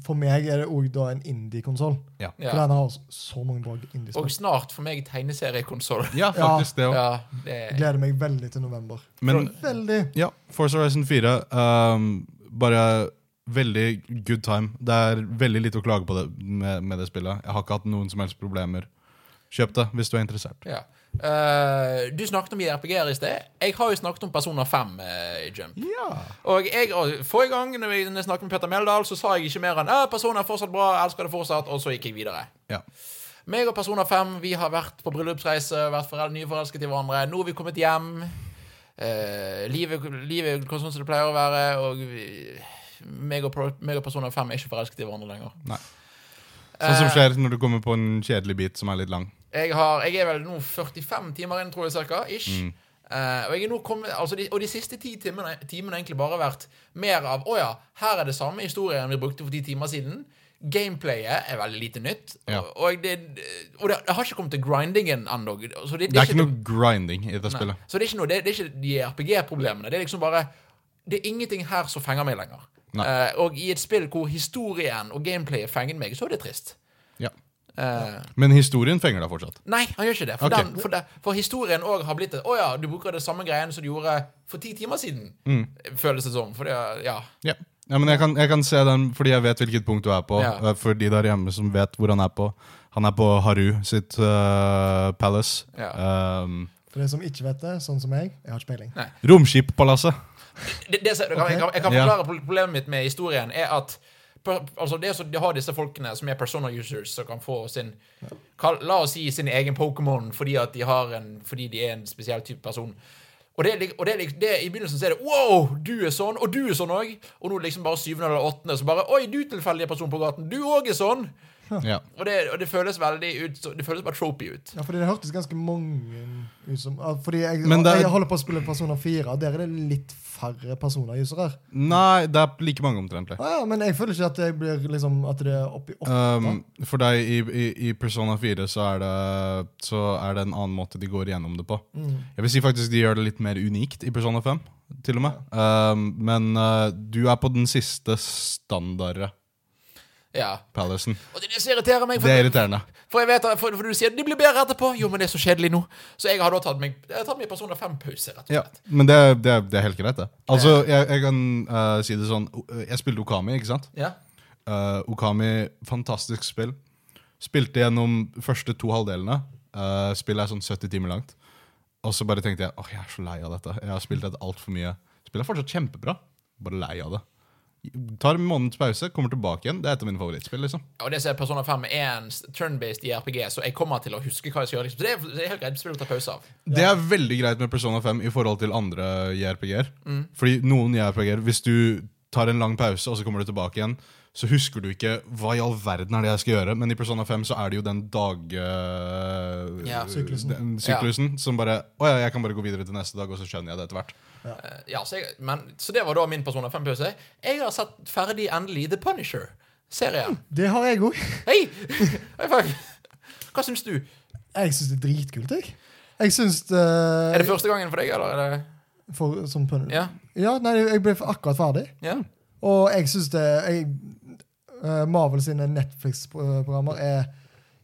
C: For meg er det òg da en indie-konsoll.
B: Ja.
A: Ja.
C: For den har så mange bra
A: Og
C: indie-spill.
A: snart for meg tegneseriekonsoll.
B: ja, faktisk det òg.
A: Ja, det er
C: Gleder meg veldig til november.
B: Men
C: Veldig.
B: Ja, Force Horizon 4 ehm, Bare veldig good time Det er veldig lite å klage på det, med, med det spillet Jeg har ikke hatt noen som helst problemer Kjøp det hvis du er interessert
A: ja. Eh, du snakket om JRPG-er i sted. Jeg har jo snakket om Persona 5 eh, i Jump.
B: Ja
A: Og jeg, og forrige gang når vi- når jeg snakket med Petter Meldal, så sa jeg ikke mer enn «Ah, 'Persona er fortsatt bra, jeg elsker det fortsatt', og så gikk jeg videre.
B: Ja,
A: Meg og Persona 5 vi har vært på bryllupsreise, vært forel nyforelsket i hverandre. Nå har vi kommet hjem. Eh, livet, livet går sånn som det pleier å være. Og vi, meg, og, Pro- meg og Persona 5 er ikke forelsket i hverandre lenger.
B: nei Sånn som skjer når du kommer på en kjedelig bit som er litt lang
A: Jeg, har, jeg er vel nå 45 timer inn, tror jeg, cirka, ish.
B: Mm.
A: Eh, og, jeg er nå kommet, altså de, og de siste ti timene timene har egentlig bare vært mer av Å ja, her er det samme historien vi brukte for ti timer siden. Gameplayet er veldig lite nytt.
B: Ja.
A: Og, og, det, og det, det har ikke kommet til grindingen ennå. så det- det
B: Det
A: er
B: er ikke noe grinding i det spillet
A: Så det er ikke, noe, det, det er ikke de RPG-problemene. Det er liksom bare Det er ingenting her som fenger meg lenger.
B: Nei.
A: Eh, og i et spill hvor historien og gameplayet fenger meg, så er det trist.
B: ja.
A: Eh,
B: Men historien fenger deg fortsatt
A: Nei, han gjør ikke det. For,
B: Ok.
A: den, for, det, for historien òg har blitt et Å ja, du bruker det samme greiene som du gjorde for ti timer siden.
B: Mm.
A: Føles det som. For det, er- ja.
B: Ja, ja men jeg kan, jeg kan se den fordi jeg vet hvilket punkt du er på.
A: Ja.
B: eh, For de der hjemme som vet hvor han er på. Han er på Haru sitt eh, palace.
A: Ja.
B: Um,
C: For de som ikke vet det, sånn som meg, jeg har ikke peiling.
B: Romskippalasset.
A: Det, det, som- jeg, kan, jeg, kan, jeg kan
B: Ja.
A: forklare problemet mitt med historien, er at per, altså det som de har disse folkene som er persona users, som kan få sin kall- La oss si sin egen Pokémon fordi, at de har en, fordi de er en spesiell type person. Og, det, er lik- og det, er lik- det, er- I begynnelsen så er det Wow, du er sånn, og du er sånn òg. Og nå er det liksom bare syvende eller åttende, så bare Oi, du tilfeldige person på gaten, du òg er sånn.
B: Ja.
A: Og det, og det føles veldig ut så- Det føles bare tropy ut.
C: Ja, fordi det hørtes ganske mange ut som ja, Fordi jeg,
B: Men det er-
C: jeg holder på å spille Persona 4, og der er det litt færre personer-usere.
B: Nei, det er like mange omtrentlig.
C: Ah, ja, men jeg føler ikke at jeg blir liksom At det er oppi åtte.
B: Um, for deg i, i, i Persona 4 så er, det, så er det en annen måte de går gjennom det på.
A: Mm.
B: Jeg vil si faktisk de gjør det litt mer unikt i Persona 5, til Ehm, og med. Um, men eh, du er på den siste standardet.
A: Ja.
B: Palacen.
A: Og det er det som irriterer meg.
B: Det er
A: For,
B: irriterende.
A: for jeg vet at- for, for du sier de blir bedre etterpå. Jo, men det er så kjedelig nå. Så jeg har da tatt meg Jeg har tatt meg personer fem-pause, rett og
B: Ja,
A: slett.
B: men det, er- det, er- det er helt greit, det. Altså, jeg, jeg kan eh, si det sånn o- Jeg spilte Okami, ikke sant?
A: Ja.
B: Eh, Okami, fantastisk spill. Spilte gjennom de første to halvdelene. Eh, spillet er sånn 70 timer langt. Og så bare tenkte jeg åh, jeg er så lei av dette. Jeg har spilt dette altfor mye. Spillet er fortsatt kjempebra, bare lei av det. Tar en måneds pause, kommer tilbake igjen. Det er et av mine favorittspill. liksom
A: Ja, Og det som er Persona 5 er en turn-based i RPG, så jeg kommer til å huske hva jeg skal gjøre. Liksom. Så det er, det er helt greit spill å ta pause av.
B: Det er veldig greit med Persona 5 i forhold til andre JRPG-er.
A: Mm.
B: Fordi noen JRPG-er, hvis du tar en lang pause og så kommer du tilbake igjen, så husker du ikke hva i all verden er det jeg skal gjøre. Men i Persona 5 så er det jo den dag... øh,
A: Ja.
C: Syklusen.
B: Den syklusen som bare Å ja, jeg kan bare gå videre til neste dag, og så skjønner jeg det etter hvert.
A: Eh, Ja, så, jeg, men, så det var da min Persona 5-pause. Jeg har sett ferdig endelig The Punisher-serien.
C: Det har jeg òg.
A: Hei! *laughs* High five! Hva syns du?
C: Jeg syns det er dritkult, jeg. Jeg syns
A: Er det
C: uh,
A: første gangen for deg, eller? Er det,
C: for, Som pun...
A: ja?
C: Ja, nei, jeg ble akkurat ferdig.
A: ja?
C: Og jeg syns det jeg, eh, Marvel sine Netflix-programmer er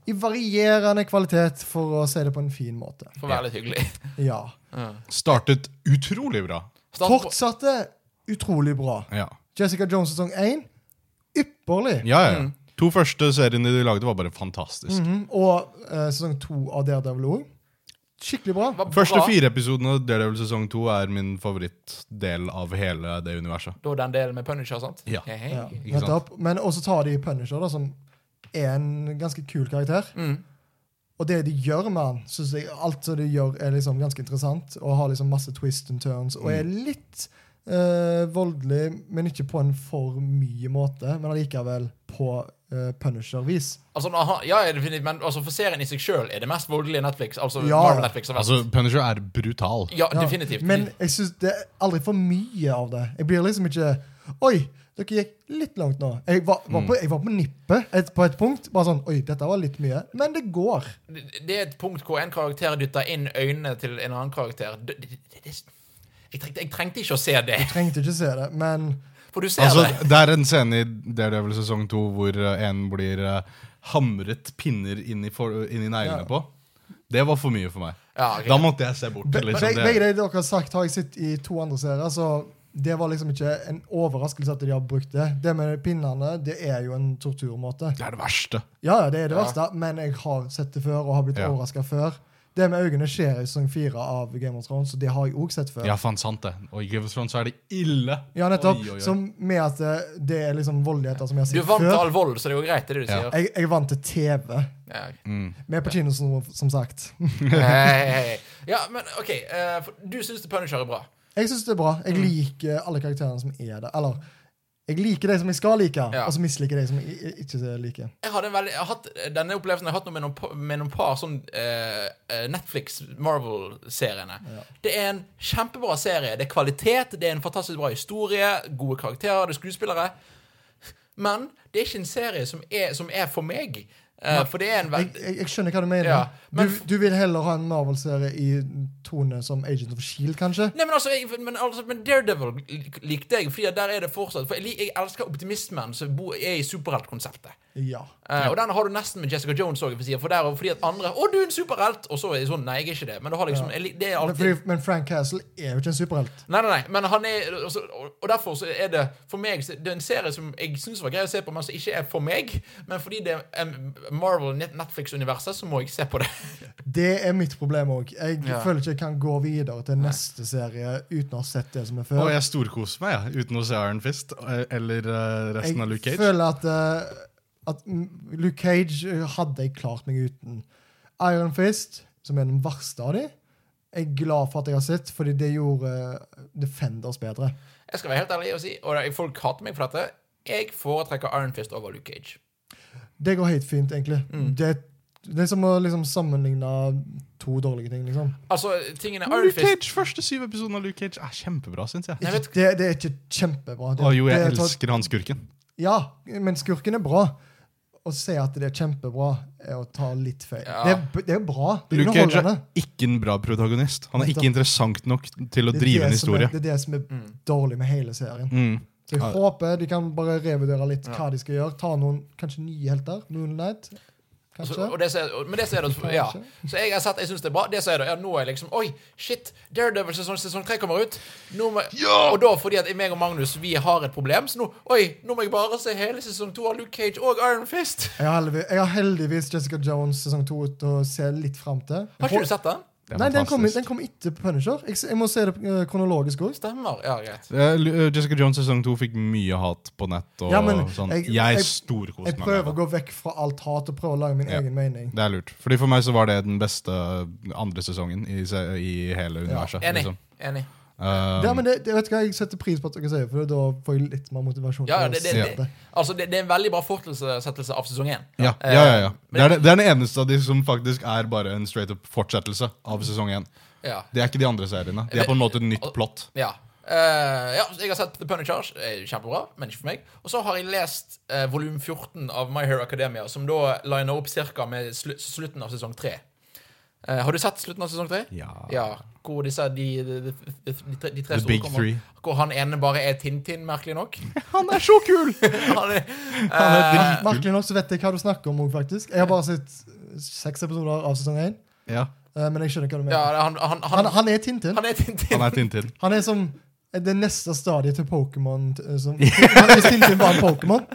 C: i varierende kvalitet, for å si det på en fin måte.
A: For å være litt hyggelig.
C: Ja.
B: Startet utrolig bra.
A: Start på-
C: Fortsatte utrolig bra.
B: Ja,
C: Jessica Jones sesong 1 ypperlig.
B: ja, ja. ja.
A: Mm.
B: To første seriene de lagde, var bare fantastisk.
C: Mhm, Og eh, sesong 2 av Daredevil òg. Skikkelig bra.
A: var
B: Første
A: bra.
B: fire episodene av Daredevil sesong to er min favorittdel av hele det universet.
A: Da den delen med Punisher, sant?
B: Ja.
A: Hei, hei.
C: Ja,
B: Ikke sant?
C: nettopp. Men også tar de Punisher, da, som er en ganske kul karakter.
A: Mm.
C: Og det de gjør med han, synes jeg alt som de gjør, er liksom ganske interessant. Og har liksom masse twist and turns. Og er
B: Mm.
C: litt eh, voldelig, men ikke på en for mye måte. Men allikevel på eh, Punisher-vis.
A: Altså, når han- ja, definitivt, men altså, for serien i seg sjøl er det mest voldelige Netflix. Altså
C: Ja.
A: Marvel Netflix. har vært.
B: Altså, Punisher er brutal.
A: ja,
C: Ja,
A: definitivt.
C: Men jeg syns det er aldri for mye av det. Jeg blir liksom ikke Oi, dere gikk litt langt nå. Jeg var, var,
B: Mm.
C: på, jeg var på nippet et, på et punkt. Bare sånn Oi, dette var litt mye. Men det går.
A: det det er et punkt hvor en karakter dytter inn øynene til en annen karakter. Det, det, det, det, jeg, trengte, jeg trengte ikke å se det,
C: Trengte ikke se det, men
A: for du ser
B: Altså,
A: det.
B: det er en scene i Daredevil sesong to hvor eh, en blir eh, hamret pinner inn i, for, inn i neglene
C: Ja.
B: på. Det var for mye for meg.
A: Ja, ok.
B: Da måtte jeg se bort.
C: be,
B: Liksom.
C: be, begge
B: Det,
C: de dere har sagt, har jeg sett i to andre serier, så det var liksom ikke en overraskelse at de har brukt det. Det med pinnene, det er jo en torturmåte.
B: det er det verste.
C: Ja, ja, det er det
A: Ja.
C: verste, men jeg har sett det før og har blitt
B: Ja.
C: overraska før. Det med øynene skjer i sesong fire av Game of Thrones, så det har jeg òg sett før.
B: Ja, faen sant det. Og i Game of Thrones er det ille.
C: Ja, nettopp.
B: Oi, oi, oi.
C: Som med at det, det er liksom voldeligheter som jeg har
A: Du er
C: sett
A: vant til
C: før.
A: all vold, så det er jo greit, det er det du
B: Ja.
A: sier.
C: Jeg, jeg er vant til TV.
A: Ja, ok.
C: Vi er på kino, som, som sagt. *laughs*
A: Hei, hei, hei. ja men OK. eh, for du syns The Punisher er bra.
C: Jeg syns det er bra.
B: Mm.
C: Jeg liker alle karakterene som er der. Eller jeg liker de som jeg skal like,
A: Ja.
C: og så misliker jeg de som jeg i- ikke liker.
A: Jeg hadde en veldig, jeg har hatt, denne opplevelsen jeg har hatt nå med noen, pa- med noen par sånn eh, eh, Netflix Marvel-seriene. Det er en kjempebra serie. Det er kvalitet, det er en fantastisk bra historie, gode karakterer, det er skuespillere. Men det er ikke en serie som er, som er for meg. Eh, for det er en
C: Jeg,
A: veldig
C: jeg, jeg skjønner hva du mener.
A: Ja, men-
C: du, du vil heller ha en Marvel-serie i tone som Agent of Shield, E kanskje?
A: Nei, men altså, jeg, men, altså, men Daredevil lik- likte jeg, fordi at der er det fortsatt For jeg, lik- jeg elsker optimismen som bo- er i superheltkonseptet.
C: Ja.
A: Eh, Og den har du nesten med Jessica Jones òg, for, si, for der og fordi at andre 'Å, du er en superhelt!' Og så er det sånn Nei, jeg er ikke det. Men du har liksom jeg lik- Det er
C: Men,
A: alltid
C: fordi, men Frank Castle er jo ikke en superhelt.
A: Nei, nei, nei, men han er altså, og- Og derfor så er det for meg så- Det er en serie som jeg syns var grei å se på, men som ikke er for meg. Men fordi det er em, Marvel Net- Netflix-universet, så må jeg se på det. *laughs*
C: Det er mitt problem òg. Jeg
A: Ja.
C: føler ikke jeg kan gå videre til neste serie uten å ha sett det som er før.
B: Og jeg storkoser meg jeg, uten å se Iron Fist eh, eller eh, resten av Luke
C: Jeg
B: Cage.
C: føler at, eh, at mm, Luke Cage eh, hadde jeg klart meg uten. Iron Fist, som er den verste av de, er jeg glad for at jeg har sett, fordi det gjorde eh, Defenders bedre.
A: Jeg skal være helt ærlig og si, og det- folk hater meg for dette, jeg foretrekker Iron Fist over Luke Cage.
C: Det går helt fint, egentlig.
A: Mm.
C: Det, det er som å liksom sammenligne to dårlige ting, liksom.
A: Altså, tingene Iron
B: Luke
A: Fist
B: Cage, Første syv episoden av Luke Cage er kjempebra, syns jeg.
A: Nei, vet-
C: Det, det er ikke kjempebra. Det,
B: Å jo, jeg
C: det er-
B: elsker han skurken.
C: Ja, men skurken er bra. Å si at det er kjempebra, er å ta litt feil.
A: Ja.
C: Det, er, det er bra. Det er
B: Luke Cage er
C: underholdende.
B: ikke en bra protagonist. Han er ikke
C: Nettopp.
B: interessant nok til å
C: Det er
B: drive en
C: det som er-
B: historie.
A: Mm.
C: Det er det som er dårlig med hele serien.
B: Mm.
C: Så jeg
B: Ja.
C: håper de kan bare revurdere litt hva de skal gjøre. Ta noen kanskje nye helter. Moonlight,
A: Så,
C: kanskje.
A: Altså, og det som er, og- men det som er det, ja. Så jeg har sett, jeg syns det er bra. Det som er det, ja, nå er jeg liksom Oi, shit! Daredevil sesong, sesong 3 kommer ut. Nå må, Og da fordi at meg og Magnus Vi har et problem, så nå Oi, nå må jeg bare se hele sesong 2 av Luke Cage og Iron Fist!
C: Jeg har, heldigvis, jeg har heldigvis Jessica Jones sesong to ut å se litt fram til.
A: Har ikke du sett den?
B: Det er
C: Nei, den kom,
B: fantastisk.
C: den kom etter Punisher. Jeg, jeg må se det eh, kronologisk òg.
A: Stemmer. Ja, greit.
B: Eh, Lu- eh, Jessica Jones sesong to fikk mye hat på nett. Og
C: Ja, men
B: sånn.
C: jeg-
B: Jeg,
C: jeg-
B: storkoste
C: Jeg
B: meg.
C: prøver å
B: med det.
C: gå vekk fra alt hat og prøver å lage min
B: Ja.
C: egen mening.
B: Det er lurt. Fordi For meg så var det den beste andre sesongen i, se- i hele universet.
A: Enig.
B: liksom.
A: Enig.
B: Eh,
C: Ja, men det, det, vet du hva, Jeg setter pris på at dere sier det, for da får jeg litt mer motivasjon.
A: Ja,
C: til å
A: det, det,
C: se
A: det, altså, det, det er en veldig bra fortsettelse av sesong Eh, 1.
B: ja, ja, ja, ja. Det, er, det- det er den eneste av de som faktisk er bare en straight up fortsettelse av sesong én.
A: ja.
B: Det er ikke de andre seriene. De er på en måte et nytt plott.
A: Ja. Eh, ja, så jeg har sett The Punisher. eh, Kjempebra, men ikke for meg. Og så har jeg lest uh, volum 14 av My Hero Academia, som da liner opp cirka med slu slutten av sesong 3. Eh, har du sett slutten av sesong 3?
B: Ja.
A: hvor disse, de, de, de, de, de, tre- de tre
B: The
A: store
B: big
A: kommer.
B: three.
A: Hvor han ene bare er Tintin, merkelig
B: *laughs*
A: nok.
B: Han er så kul!
A: han er, eh,
B: Han er
C: det. Merkelig nok så Eh, vet jeg hva du snakker om òg, faktisk. Jeg har bare sett eh, seks episoder av sesong én,
B: *laughs* Ja,
C: eh, men jeg skjønner hva du
A: ja,
C: mener.
A: han, han,
C: Han,
A: han,
C: han er Tintin.
A: han er Tintin.
B: han er Tintin.
C: Han er som eh, det neste stadiet til Pokémon. t- som-
B: *laughs*
C: Han er- Tintin var en Pokémon.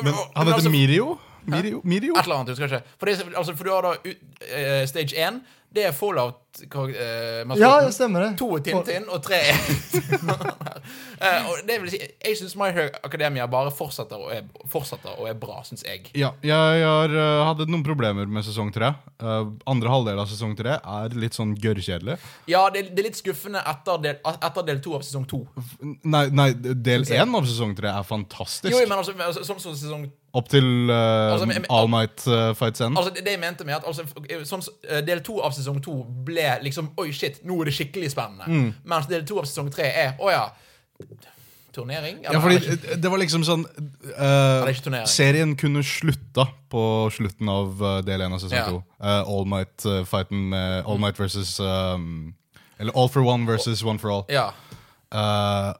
B: Men han heter
A: altså-
B: Mirio? Mirio? Mirio?
A: Et eller annet, husker jeg ikke. For, det, er- altså, for du har da ut- eh, stage 1. Det er eh, Fallout-maskoten.
C: Ja, ja, stemmer det.
A: To er Tintin, og tre er *laughs* Eh, og det vil si, Jeg syns My Hero Academia bare fortsetter og er, fortsetter og er bra, syns jeg.
B: Ja, jeg har, eh, hadde noen problemer med sesong tre. Eh, andre halvdel av sesong tre er litt sånn gørrkjedelig.
A: Ja, det, det er litt skuffende etter del, etter del to av sesong to.
B: F- Nei, nei, del én av sesong tre er fantastisk.
A: Jo, men altså, men altså, sånn som sesong
B: Opp til eh,
A: Altså, men- men-
B: All eh, Night-fight-scenen.
A: Altså, det, det jeg mente med at altså, f- sånn, s- eh, Del to av sesong to ble liksom Oi, shit, nå er det skikkelig spennende.
B: Mm.
A: Mens del to av sesong tre er Å ja. Turnering?
B: ja,
A: Eller-
B: fordi
A: eller-
B: eh, det var liksom sånn eh,
A: er ikke turnering.
B: Serien kunne slutta på slutten av eh, del én av sesong
A: Ja.
B: to. Eh, All Might-fighten med All Might versus um, Eller All for one versus One for all.
A: ja.
B: Eh,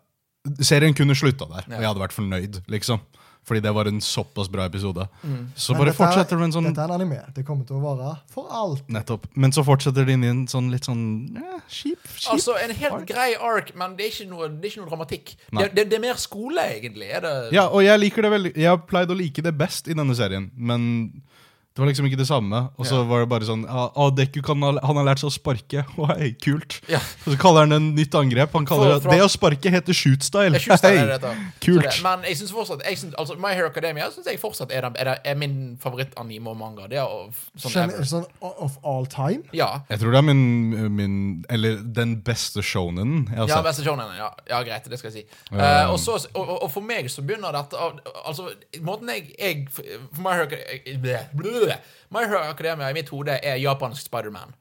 B: serien kunne slutta der, og jeg hadde vært fornøyd, liksom. Fordi det var en såpass bra episode.
A: Mm.
B: Så
C: Men
B: bare
C: dette er-
B: fortsetter med en sånn
C: Dette er en anime. Det kommer til å vare for alt.
B: Nettopp. Men så fortsetter de inn i en sånn litt sånn eh, kjip, kjip
A: Altså, en helt grei ark, men det er ikke noe, det er ikke noe dramatikk.
B: Nei.
A: Det, det, det er mer skole, egentlig. Er det,
B: Ja, og jeg liker det veldig Jeg har pleid å like det best i denne serien, men det var liksom ikke det samme. Og så var det bare sånn ah, ah, Deku kan ha, Han har lært seg å sparke. *laughs* Oi, kult.
A: Ja.
B: Og så kaller han det en nytt angrep. Han kaller
A: For- for-
B: det Det å sparke heter shootstyle.
A: Det er ikke større,
B: Hei,
A: det heter. Så
B: Kult.
A: Det, men jeg synes fortsatt jeg synes, altså, My Hero Academia synes jeg fortsatt er, den, er, den- er min favoritt-anime og manga. Det er av, sånn
C: Sånn,
A: ever.
C: sånn of all time.
A: Ja.
B: Jeg tror det er min, min Eller den beste shonen jeg har
A: Ja,
B: sett.
A: beste shonen, ja. ja, greit, det skal jeg si. Eh,
B: Ja.
A: og, så, og, og for meg så begynner dette av- Altså, måten jeg, jeg for My Hero, Acad- eh, bleh, bleh. My Hero Academia i mitt hode er japansk Spiderman.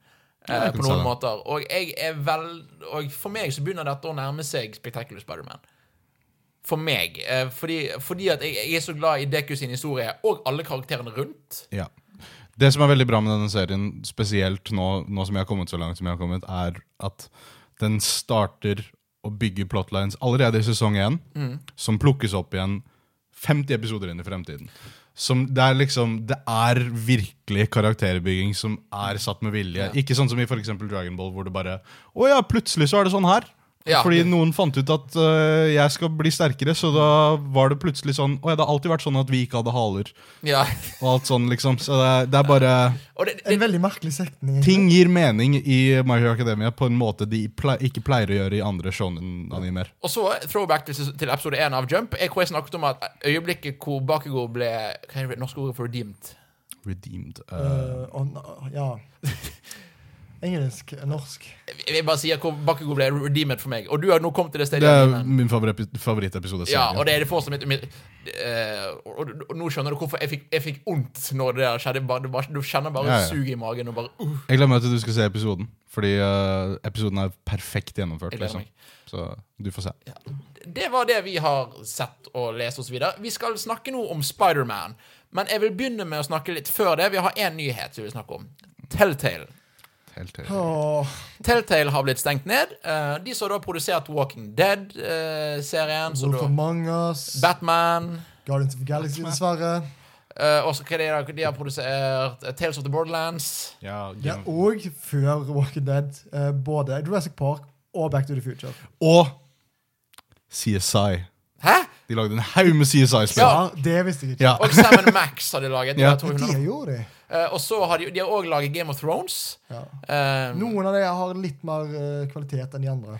A: Uh, på
B: jeg kan se
A: noen
B: det.
A: måter. Og jeg er vel Og for meg så begynner dette å nærme seg Spectacular Spiderman. For meg. eh, fordi fordi at jeg, jeg er så glad i Deku sin historie, og alle karakterene rundt.
B: Ja. Det som er veldig bra med denne serien, spesielt nå, nå som jeg har kommet så langt, som jeg har kommet, er at den starter å bygge plotlines allerede i sesong én, som plukkes opp igjen 50 episoder inn i fremtiden. Som det, er liksom, det er virkelig karakterbygging som er satt med vilje. Ikke sånn som i for eksempel Dragon Ball, hvor det bare Å ja, plutselig så er det sånn her.
A: Ja.
B: Fordi noen fant ut at øh, jeg skal bli sterkere, så da var det plutselig sånn Å ja, det har alltid vært sånn at vi ikke hadde haler
A: Ja.
B: og alt sånn, liksom. Så det er, det er bare
A: Og det,
C: En
A: det,
C: veldig merkelig setning. egentlig.
B: Ting gir mening i My Hero Academia på en måte de ple ikke pleier å gjøre i andre shonen-animer.
A: og så throwback til, ses- til episode 1 av Jump, eh, hvor jeg snakket om at øyeblikket hvor Bakugo ble Hva er det norske ordet for redeemed?
B: Redeemed.
C: Eh,
B: Uh,
C: og na- ja. Engelsk, norsk.
A: Jeg bare sier hvor Bakugo ble redeemed for meg. Og du har nå kommet til det stedet.
B: det er
A: Jimmy.
B: min favoritt- favorittepisode. i
A: ja,
B: serien.
A: og det er det fortsatt mitt, mitt eh, og, og, og nå skjønner du hvorfor jeg fikk, jeg fikk ondt når det der skjedde. Bare, det bare, du kjenner bare
B: Ja, ja.
A: suget i magen og bare uh,
B: Jeg glemmer at du skal se episoden, fordi eh, episoden er perfekt gjennomført.
A: Jeg gleder
B: Liksom.
A: meg.
B: Så du får se.
A: Det var det vi har sett og lest oss videre. Vi skal snakke nå om Spiderman, men jeg vil begynne med å snakke litt før det. Vi har én nyhet vi vil snakke om. Telltale.
B: Telltale.
C: Åh,
A: Telltale har blitt stengt ned. Eh, de som da har produsert Walking Dead-serien, så
C: Wolf
A: da
C: Among Us,
A: Batman
C: Guardians of the Galaxy, dessverre.
A: eh, Og så hva er det da? de har produsert eh, Tales of the Borderlands.
B: Ja,
C: Ja,
B: Game of-
C: og før Walking Dead, eh, både Jurassic Park og Back to the Future.
B: Og CSI.
A: Hæ?!
B: De lagde en haug med CSI-spill.
A: Ja.
C: Ja, det visste jeg ikke.
B: Ja.
A: Og Sam Max har de laget.
B: Ja.
A: Ja.
C: Det gjorde de.
A: og så har de, de har også laget Game of Thrones.
C: Ja.
A: Eh,
C: Noen av de har litt mer eh, kvalitet enn de andre.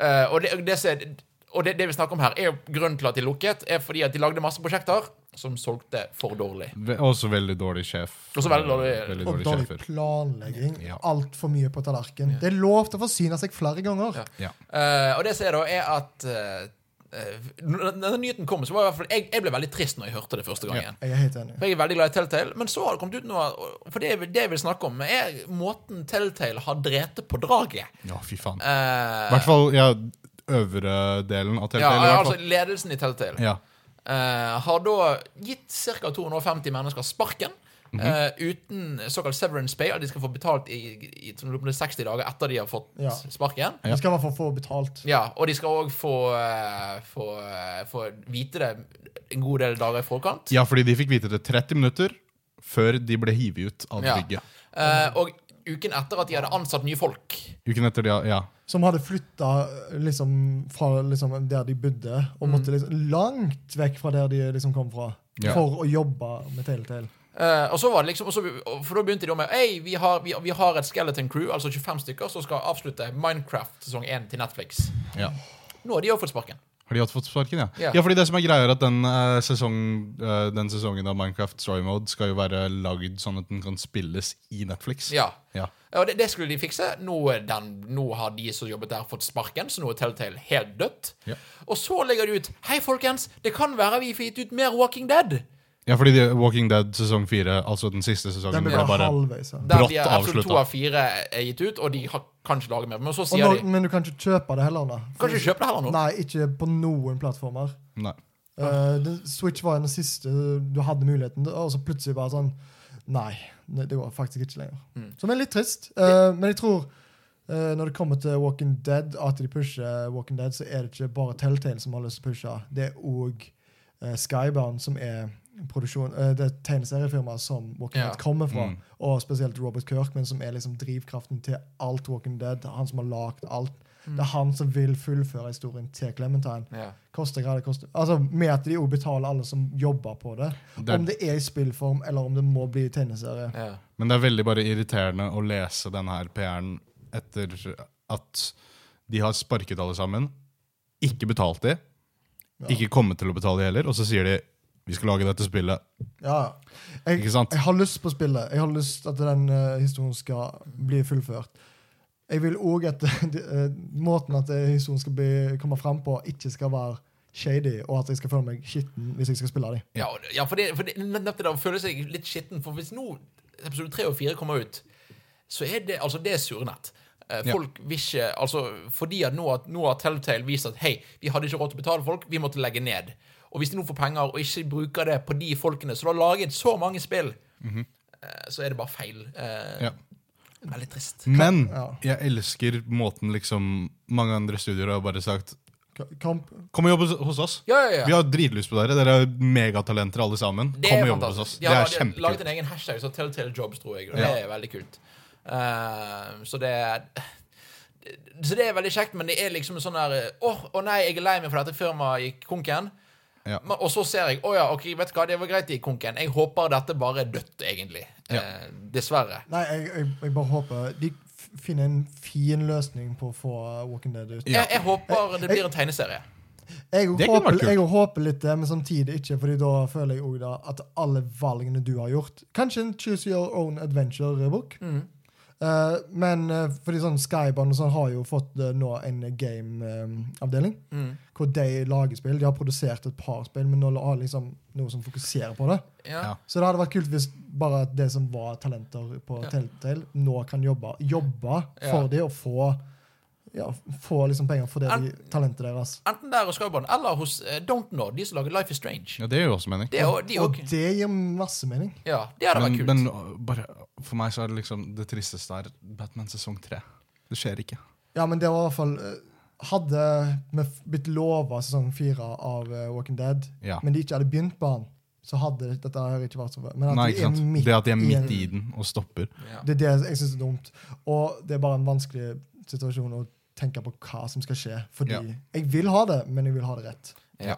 A: Eh, og det, det, som er- og det, det vi snakker om her, er jo grunnen til at de lukket, er fordi at de lagde masse prosjekter som solgte for dårlig.
B: Ve- Også veldig dårlig sjef.
A: Også veldig dårlig-
B: Veldig
C: Og
B: dårlig
C: dårlig
B: sjefer.
C: planlegging.
B: Ja.
C: Altfor mye på tallerken. Det er lov til å forsyne seg flere ganger.
A: Ja.
B: Ja.
A: Eh, og det som er da, er at eh, eh, når denne nyheten kom, så var i hvert fall jeg, jeg ble veldig trist når jeg hørte det første gangen.
C: Jeg er helt enig.
A: For jeg er veldig glad i Telltale, men så har det kommet ut noe og- For det, det jeg vil snakke om, er måten Telltale har drept på draget.
B: ja, fy faen. I
A: Eh,
B: hvert fall ja, øvre delen av
A: ja,
B: Telltale. i hvert
A: altså
B: fall.
A: ledelsen i Telltale.
B: ja.
A: eh, har da gitt ca. 250 mennesker sparken.
B: Mhm.
A: eh, uten såkalt severance pay, at de skal få betalt i, i, i som det er 60 dager etter de har fått
C: Ja.
A: sparken.
B: Ja.
C: Det skal i hvert fall få betalt.
A: Ja, Og de skal òg få, eh, få, eh, få vite det en god del dager i forkant.
B: ja, fordi de fikk vite det 30 minutter før de ble hivet ut av
A: Ja.
B: bygget. Mhm.
A: Eh, og uken etter at de hadde ansatt nye folk.
B: Uken etter, ja. ja.
C: Som hadde flytta liksom, fra liksom, der de bodde, og måtte liksom, langt vekk fra der de liksom, kom fra,
B: Mm. Ja.
C: for å jobbe med Telltale.
A: Eh, og så var det liksom og så, For da begynte de med Ei, vi har, vi, vi har et skeleton crew, altså 25 stykker, som skal avslutte Minecraft sesong 1 til Netflix.
B: ja.
A: Nå har de òg fått sparken.
B: Har de hatt fått sparken, ja?
A: Ja.
B: Ja, fordi det som er greia er at den, eh, sesong, eh, den sesongen av Minecraft Story Mode skal jo være lagd sånn at den kan spilles i Netflix.
A: Ja
B: Ja.
A: Ja, Og det, det skulle de fikse. Nå, er den, nå har de som jobbet der, fått sparken, så nå er Telltale helt dødt.
B: Ja.
A: Og så legger de ut Hei, folkens, det kan være vi får gitt ut mer Walking Dead.
B: Ja, fordi de- Walking Dead sesong fire, altså den siste sesongen,
C: Den ble
B: ble
C: bare,
B: bare
C: halvveis. Ja.
A: Der
B: Brått
A: de er absolutt
B: avsluttet.
A: to av fire er gitt ut, og de har, kan ikke lage mer. Men så
C: Og
A: sier
C: nå,
A: de
C: men du kan ikke kjøpe det heller. Da.
A: Kan ikke kjøpe det heller nå.
C: Nei, ikke på noen plattformer.
B: Nei.
C: Eh, den- Switch var den siste du hadde muligheten til, og så plutselig bare sånn Nei, ne- det går faktisk ikke lenger.
A: Mm.
C: Som er litt trist. eh, men jeg tror eh, når det kommer til Walking Dead, at de pusher Walking Dead, så er det ikke bare Telltale som har lyst til å pushe. Det er òg Skybound, som er produksjon, eh, det tegneseriefirmaet som Walking
A: Ja.
C: Dead kommer fra. Og spesielt Robert Kirkman, som er liksom drivkraften til alt Walking Dead. Han som har lagd alt. Det er han som vil fullføre historien til Clementine.
A: Mm. ja.
C: Koster hva det koster. Altså, Med at de jo betaler alle som jobber på det.
B: Det-
C: Om det er i spillform, eller om det må bli tegneserie.
A: Ja.
B: Men det er veldig bare irriterende å lese den her PR-en etter at de har sparket alle sammen, ikke betalt de, ikke kommet til å betale de heller, og så sier de vi skal lage dette spillet.
C: Ja. Jeg,
B: Ikke sant?
C: jeg har lyst på spillet. Jeg har lyst at den eh, historien skal bli fullført. Jeg vil òg at *laughs* eh, måten at eh, historien skal bli, komme fram på, ikke skal være shady, og at jeg skal føle meg skitten hvis jeg skal spille dem.
A: Ja, og- ja, for det, for det, nettopp det der å føle seg litt skitten. For hvis nå episode tre og fire kommer ut, så er det altså det er surnett. Eh,
B: Ja.
A: Folk vil ikke altså, Fordi at nå, at nå har Telltale vist at hei, vi hadde ikke råd til å betale folk, vi måtte legge ned. Og hvis de nå får penger og ikke bruker det på de folkene som har laget så mange spill, eh, så er det bare feil. Eh,
B: Mhm. Ja. Mm.
A: Veldig trist.
B: Men
C: ja.
B: jeg elsker måten liksom mange andre studier har bare sagt
C: K- Kamp
B: Kom og jobb hos- hos oss!
A: Ja, ja, ja.
B: Vi har dritlyst på dere. Dere er megatalenter alle sammen.
A: Det
B: Kom
A: er
B: og jobb hos
A: fantastisk.
B: oss.
A: De
B: det
A: har
B: er
A: laget- laget en
B: kjempekult.
A: egen hashtag, så Telltale Jobs, tror jeg. Og
B: Ja.
A: Det er veldig kult. Eh, så det er Så det er veldig kjekt, men det er liksom sånn der eh, Åh, å nei, jeg er lei meg for dette firmaet gikk konken.
B: Ja.
A: Men, og så ser jeg Å ja, ok, vet du hva, det var greit det gikk konken. Jeg håper dette bare er dødt, egentlig.
B: Ja.
A: Eh, dessverre.
C: Nei, jeg, jeg, jeg bare håper de f- finner en fin løsning på å få Walking Dead ut.
A: Jeg, jeg håper det blir en tegneserie.
C: Jeg
B: Det kunne
C: håper,
B: vært kult.
C: jeg håper litt det, men samtidig ikke, Fordi da føler jeg også da at alle valgene du har gjort Kanskje en Choose Your Own Adventure-bok.
B: Mm.
C: men eh, fordi sånn Skybound og sånn har jo fått eh, nå en game-avdeling.
B: Mm.
C: Hvor de lager spill. De har produsert et par spill, men nå har de liksom noe som fokuserer på det.
A: Ja.
B: Ja.
C: Så det hadde vært kult hvis bare at det som var talenter på Telltale, nå kan jobbe, jobbe
A: Ja.
C: for det og få ja, få liksom penger for det
A: En-
C: de, talentet deres.
A: Enten der hos Skybound eller hos eh, Don't Know, de som lager Life is Strange.
B: Ja, det gjør jo også mening.
A: Det er jo, de er
C: Og
A: jo-
C: det gir masse mening.
A: ja, det hadde
B: Men,
A: vært kult.
B: men uh, bare, for meg så er det liksom det tristeste er Batman sesong tre. Det skjer ikke.
C: Ja, men det var i hvert fall eh, Hadde vi f- blitt lova sesong fire av eh, Walking Dead,
B: Ja.
C: men de ikke hadde begynt på den, så hadde dette her ikke vært så bra. Men at
B: Nei,
C: de
B: ikke sant?
C: er midt
B: Det at de er
C: en-
B: midt i den og stopper.
A: Ja.
C: Det er det jeg syns er dumt. Og det er bare en vanskelig situasjon å tenke på hva som skal skje. Fordi
B: Ja.
C: jeg vil ha det, men jeg vil ha det rett.
A: Ja.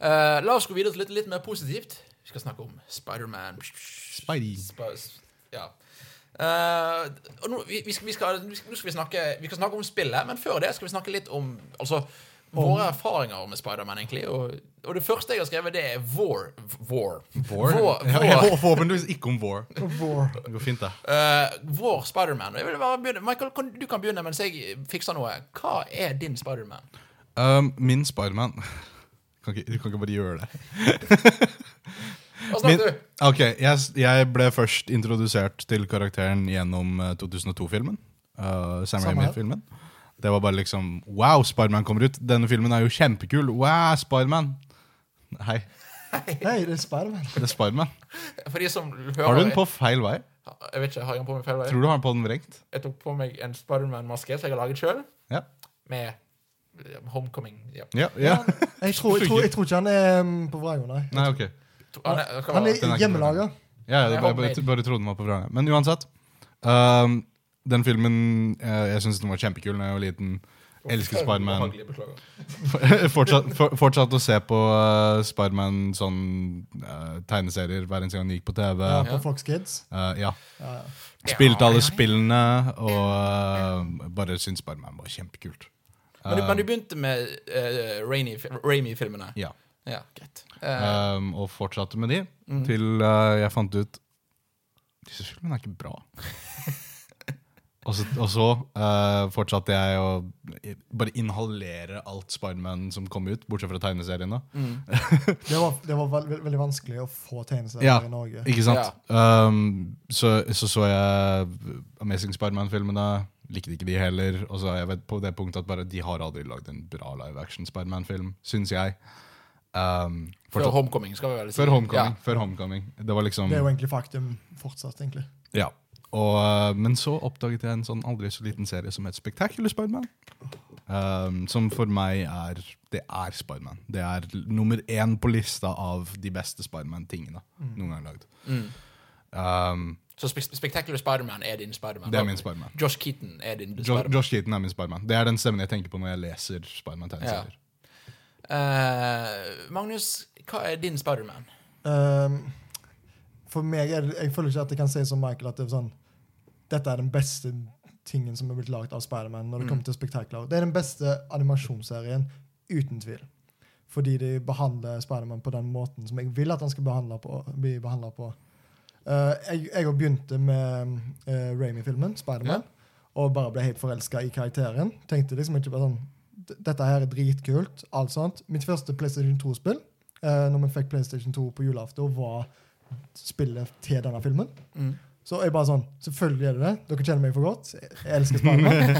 A: Eh, la oss gå videre til litt, litt mer positivt. Vi skal snakke om Spiderman.
B: Spidey.
A: Sp- Ja. Eh, og nå, vi, vi skal, vi skal, vi skal, nå skal vi, snakke, vi skal snakke om spillet, men før det skal vi snakke litt om altså, våre erfaringer med Spiderman. egentlig, Og, og det første jeg har skrevet, det er Vår. Vår, vår, vår,
B: *laughs* Ja, ja, og forhåpentligvis ikke om Vår.
C: Vår.
B: Det går fint, det.
A: eh, vår Spiderman. Og jeg vil bare begynne- Michael, kan, du kan begynne mens jeg fikser noe. Hva er din Spiderman?
B: Um, min Spiderman kan ikke, Du kan ikke bare gjøre det.
A: Hva
B: Min,
A: snakker du?
B: ok, jeg, jeg ble først introdusert til karakteren gjennom eh, 2002-filmen. eh, Sam
C: Samme her.
B: Raimi-filmen. Det var bare liksom Wow, Spiderman kommer ut! Denne filmen er jo kjempekul! Wow, Spiderman! Hei,
C: Hei, det er Spiderman.
B: det er Spiderman.
A: For de som hører
B: Har du den på feil vei?
A: Jeg vet ikke, har jeg den på meg feil vei?
B: Tror du har den på den vrengt?
A: jeg tok på meg en Spiderman-maske som jeg har laget sjøl,
B: Ja.
A: med eh, Homecoming. Ja.
B: ja, ja.
C: Jeg tror, jeg, tror, jeg tror ikke han er um, på vrang, nei.
B: Nei, ok.
A: To- Han er, hva var
C: Han
A: det?
B: Den er
C: er
B: ikke
C: hjemmelaga.
B: Ja, ja
A: Jeg
B: det bare,
A: håper
B: bare,
A: det.
B: bare trodde den var på vranga. Men uansett. ehm, den filmen eh, Jeg syns den var kjempekul da jeg var liten. *laughs* Elsker Spiderman. Um,
A: Ubehagelig, beklager.
B: Fortsatt, for, fortsatt å se på uh, Spiderman sånn eh, tegneserier hver eneste gang den gikk på TV.
C: Ja,
B: Ja.
C: eh, på Fox Kids.
B: ja.
C: Ja, ja.
B: Spilte
A: Ja,
B: alle
A: ja, ja.
B: spillene og eh, bare syntes Spiderman var kjempekult.
A: Men du, men du begynte med eh, Raimi- Raimi-filmene?
B: Ja.
A: Ja, greit. Eh,
B: Ehm, og fortsatte med de
A: Mm.
B: til eh, jeg fant ut Disse filmene er ikke
A: *laughs*
B: bra. og så, og så eh, fortsatte jeg å bare inhalere alt Spiderman som kom ut, bortsett fra tegneseriene.
A: mm,
C: Det var, det var veld, veld, veldig vanskelig å få tegneserier
B: Ja.
C: i Norge.
B: Ikke sant? Ehm, så, så så jeg Amazing Spiderman-filmene. Likte ikke de heller. Og så er jeg vet- på det punktet at bare de har aldri lagd en bra live action Spiderman-film, syns jeg. Ehm,
A: før
B: fortsatt-
A: Homecoming, skal vi vel si.
B: før Homecoming.
A: Ja.
B: Før homecoming. Det var liksom
C: Det er jo egentlig faktum fortsatt, egentlig.
B: Ja. Og, øh, men så oppdaget jeg en sånn aldri så liten serie som het Spectacular Spiderman. Um, som for meg er Det er Spiderman. Det er l- nummer én på lista av de beste Spiderman-tingene
C: Mm.
B: noen gang lagd. Um,
A: Så Spe Spectacular Spiderman er din Spiderman?
B: det er min Spiderman.
A: Josh Keaton er din
B: Jo-
A: Spiderman?
B: Josh Keaton er min Spiderman. Det er den stemmen jeg tenker på når jeg leser Spiderman-tegneserier.
A: Eh, Magnus, hva er din Spiderman?
C: Ehm, for meg er det, Jeg føler ikke at jeg kan si som Michael at det er sånn dette er den beste tingen som er blitt laget av Spiderman. når Det kommer til Spectacular. Det er den beste animasjonsserien, uten tvil. Fordi de behandler Spiderman på den måten som jeg vil at han skal behandle på, bli behandla på. Eh, jeg jeg begynte med uh, Ramy-filmen, Spiderman, og bare ble helt forelska i karakteren. Tenkte liksom ikke bare sånn "D- Dette her er dritkult. alt sånt. Mitt første PlayStation 2-spill, uh, når vi fikk PlayStation 2 på julaften, var spillet til denne filmen.
B: Mm.
C: Så jeg bare sånn, selvfølgelig er det det. Dere kjenner meg for godt. Jeg elsker Spiderman.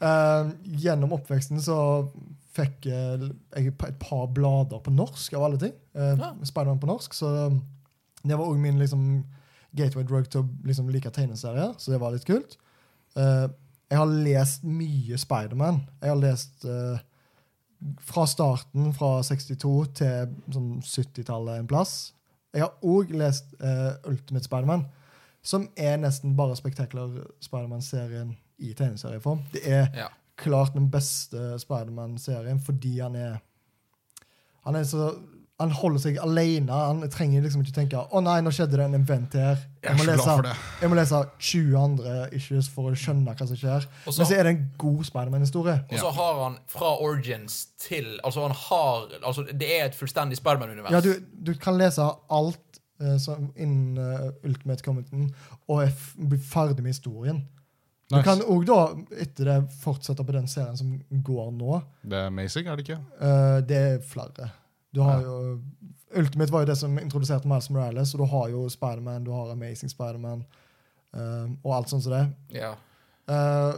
C: uh, gjennom oppveksten så fikk eh, jeg et par blader på norsk, av alle ting. Uh,
A: Ja.
C: Spiderman på norsk. Så um, det var òg min liksom, gateway drug til å liksom, like tegneserier, så det var litt kult. Eh, jeg har lest mye Spiderman. Jeg har lest eh, fra starten, fra 62 til sånn 70-tallet en plass. Jeg har òg lest eh, Ultimate Spiderman, som er nesten bare Spectacular Spiderman-serien i tegneserieform. Det er
A: Ja.
C: klart den beste Spiderman-serien fordi han er Han er så han holder seg alene. Han trenger liksom ikke tenke 'Å nei, nå skjedde det en event her'.
B: Jeg er så glad for det.
C: jeg må lese 20 andre issues for å skjønne hva som skjer.
A: Og så-
C: Men så er det en god Spiderman-historie.
A: Og så har han fra Origins til Altså, han har altså, Det er et fullstendig Spiderman-univers.
C: Ja, du, du kan lese alt eh, som innen eh, Ultimate Comington og er f- bli ferdig med historien. Du
B: Nice.
C: kan òg da, etter det, fortsette på den serien som går nå.
B: Det er amazing, er det ikke?
C: Eh, det er flere. Du har
B: Ja.
C: jo Ultimate var jo det som introduserte Miles Morales, og du har jo Spiderman, du har Amazing Spiderman eh, og alt sånt som det.
A: Ja.
C: Eh,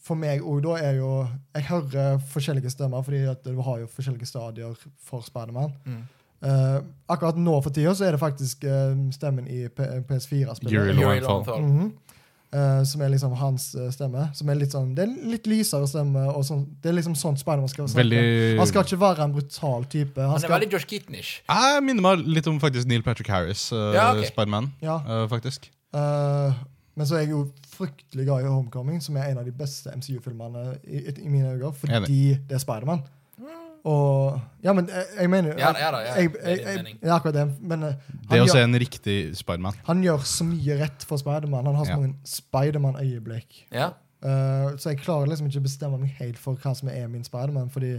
C: for meg òg, da, er jo Jeg hører forskjellige stemmer, fordi at du har jo forskjellige stadier for Spiderman.
A: Mm.
C: Eh, akkurat nå for tida så er det faktisk eh, stemmen i PS4-spillet.
B: Yuri
A: Yuri
B: Lowenthal.
A: Lowenthal.
C: Mhm. Eh, som er liksom hans eh, stemme. Som er litt sånn, det er en litt lysere stemme. Og sånn, det er liksom sånn Spiderman skal snakke.
B: Veldig-
C: Han skal ikke være en brutal type. Han
A: Han er
C: skal,
A: veldig Josh Keaton-ish.
B: Jeg minner meg litt om faktisk Neil Patrick Harris, uh,
A: Ja, ok.
B: Spiderman.
C: Ja.
B: eh, faktisk.
C: eh, men så er jeg jo fryktelig glad i Homecoming, som er en av de beste MCU-filmene i, i, i mine øyne, fordi det er Spiderman. Og Ja, men jeg, jeg mener jo
A: Mm. Ja da, ja da, ja.
C: jeg,
A: Det er
C: jeg,
A: din
C: jeg,
A: mening.
C: Det er akkurat det. Men eh,
B: Det
C: han,
B: å se
C: gjør,
B: en riktig Spiderman.
C: han gjør så mye rett for Spiderman. Han har så
B: Ja.
C: mange Spiderman-øyeblikk.
A: Ja.
C: Eh, så jeg klarer liksom ikke å bestemme meg helt for hva som er min Spiderman. Fordi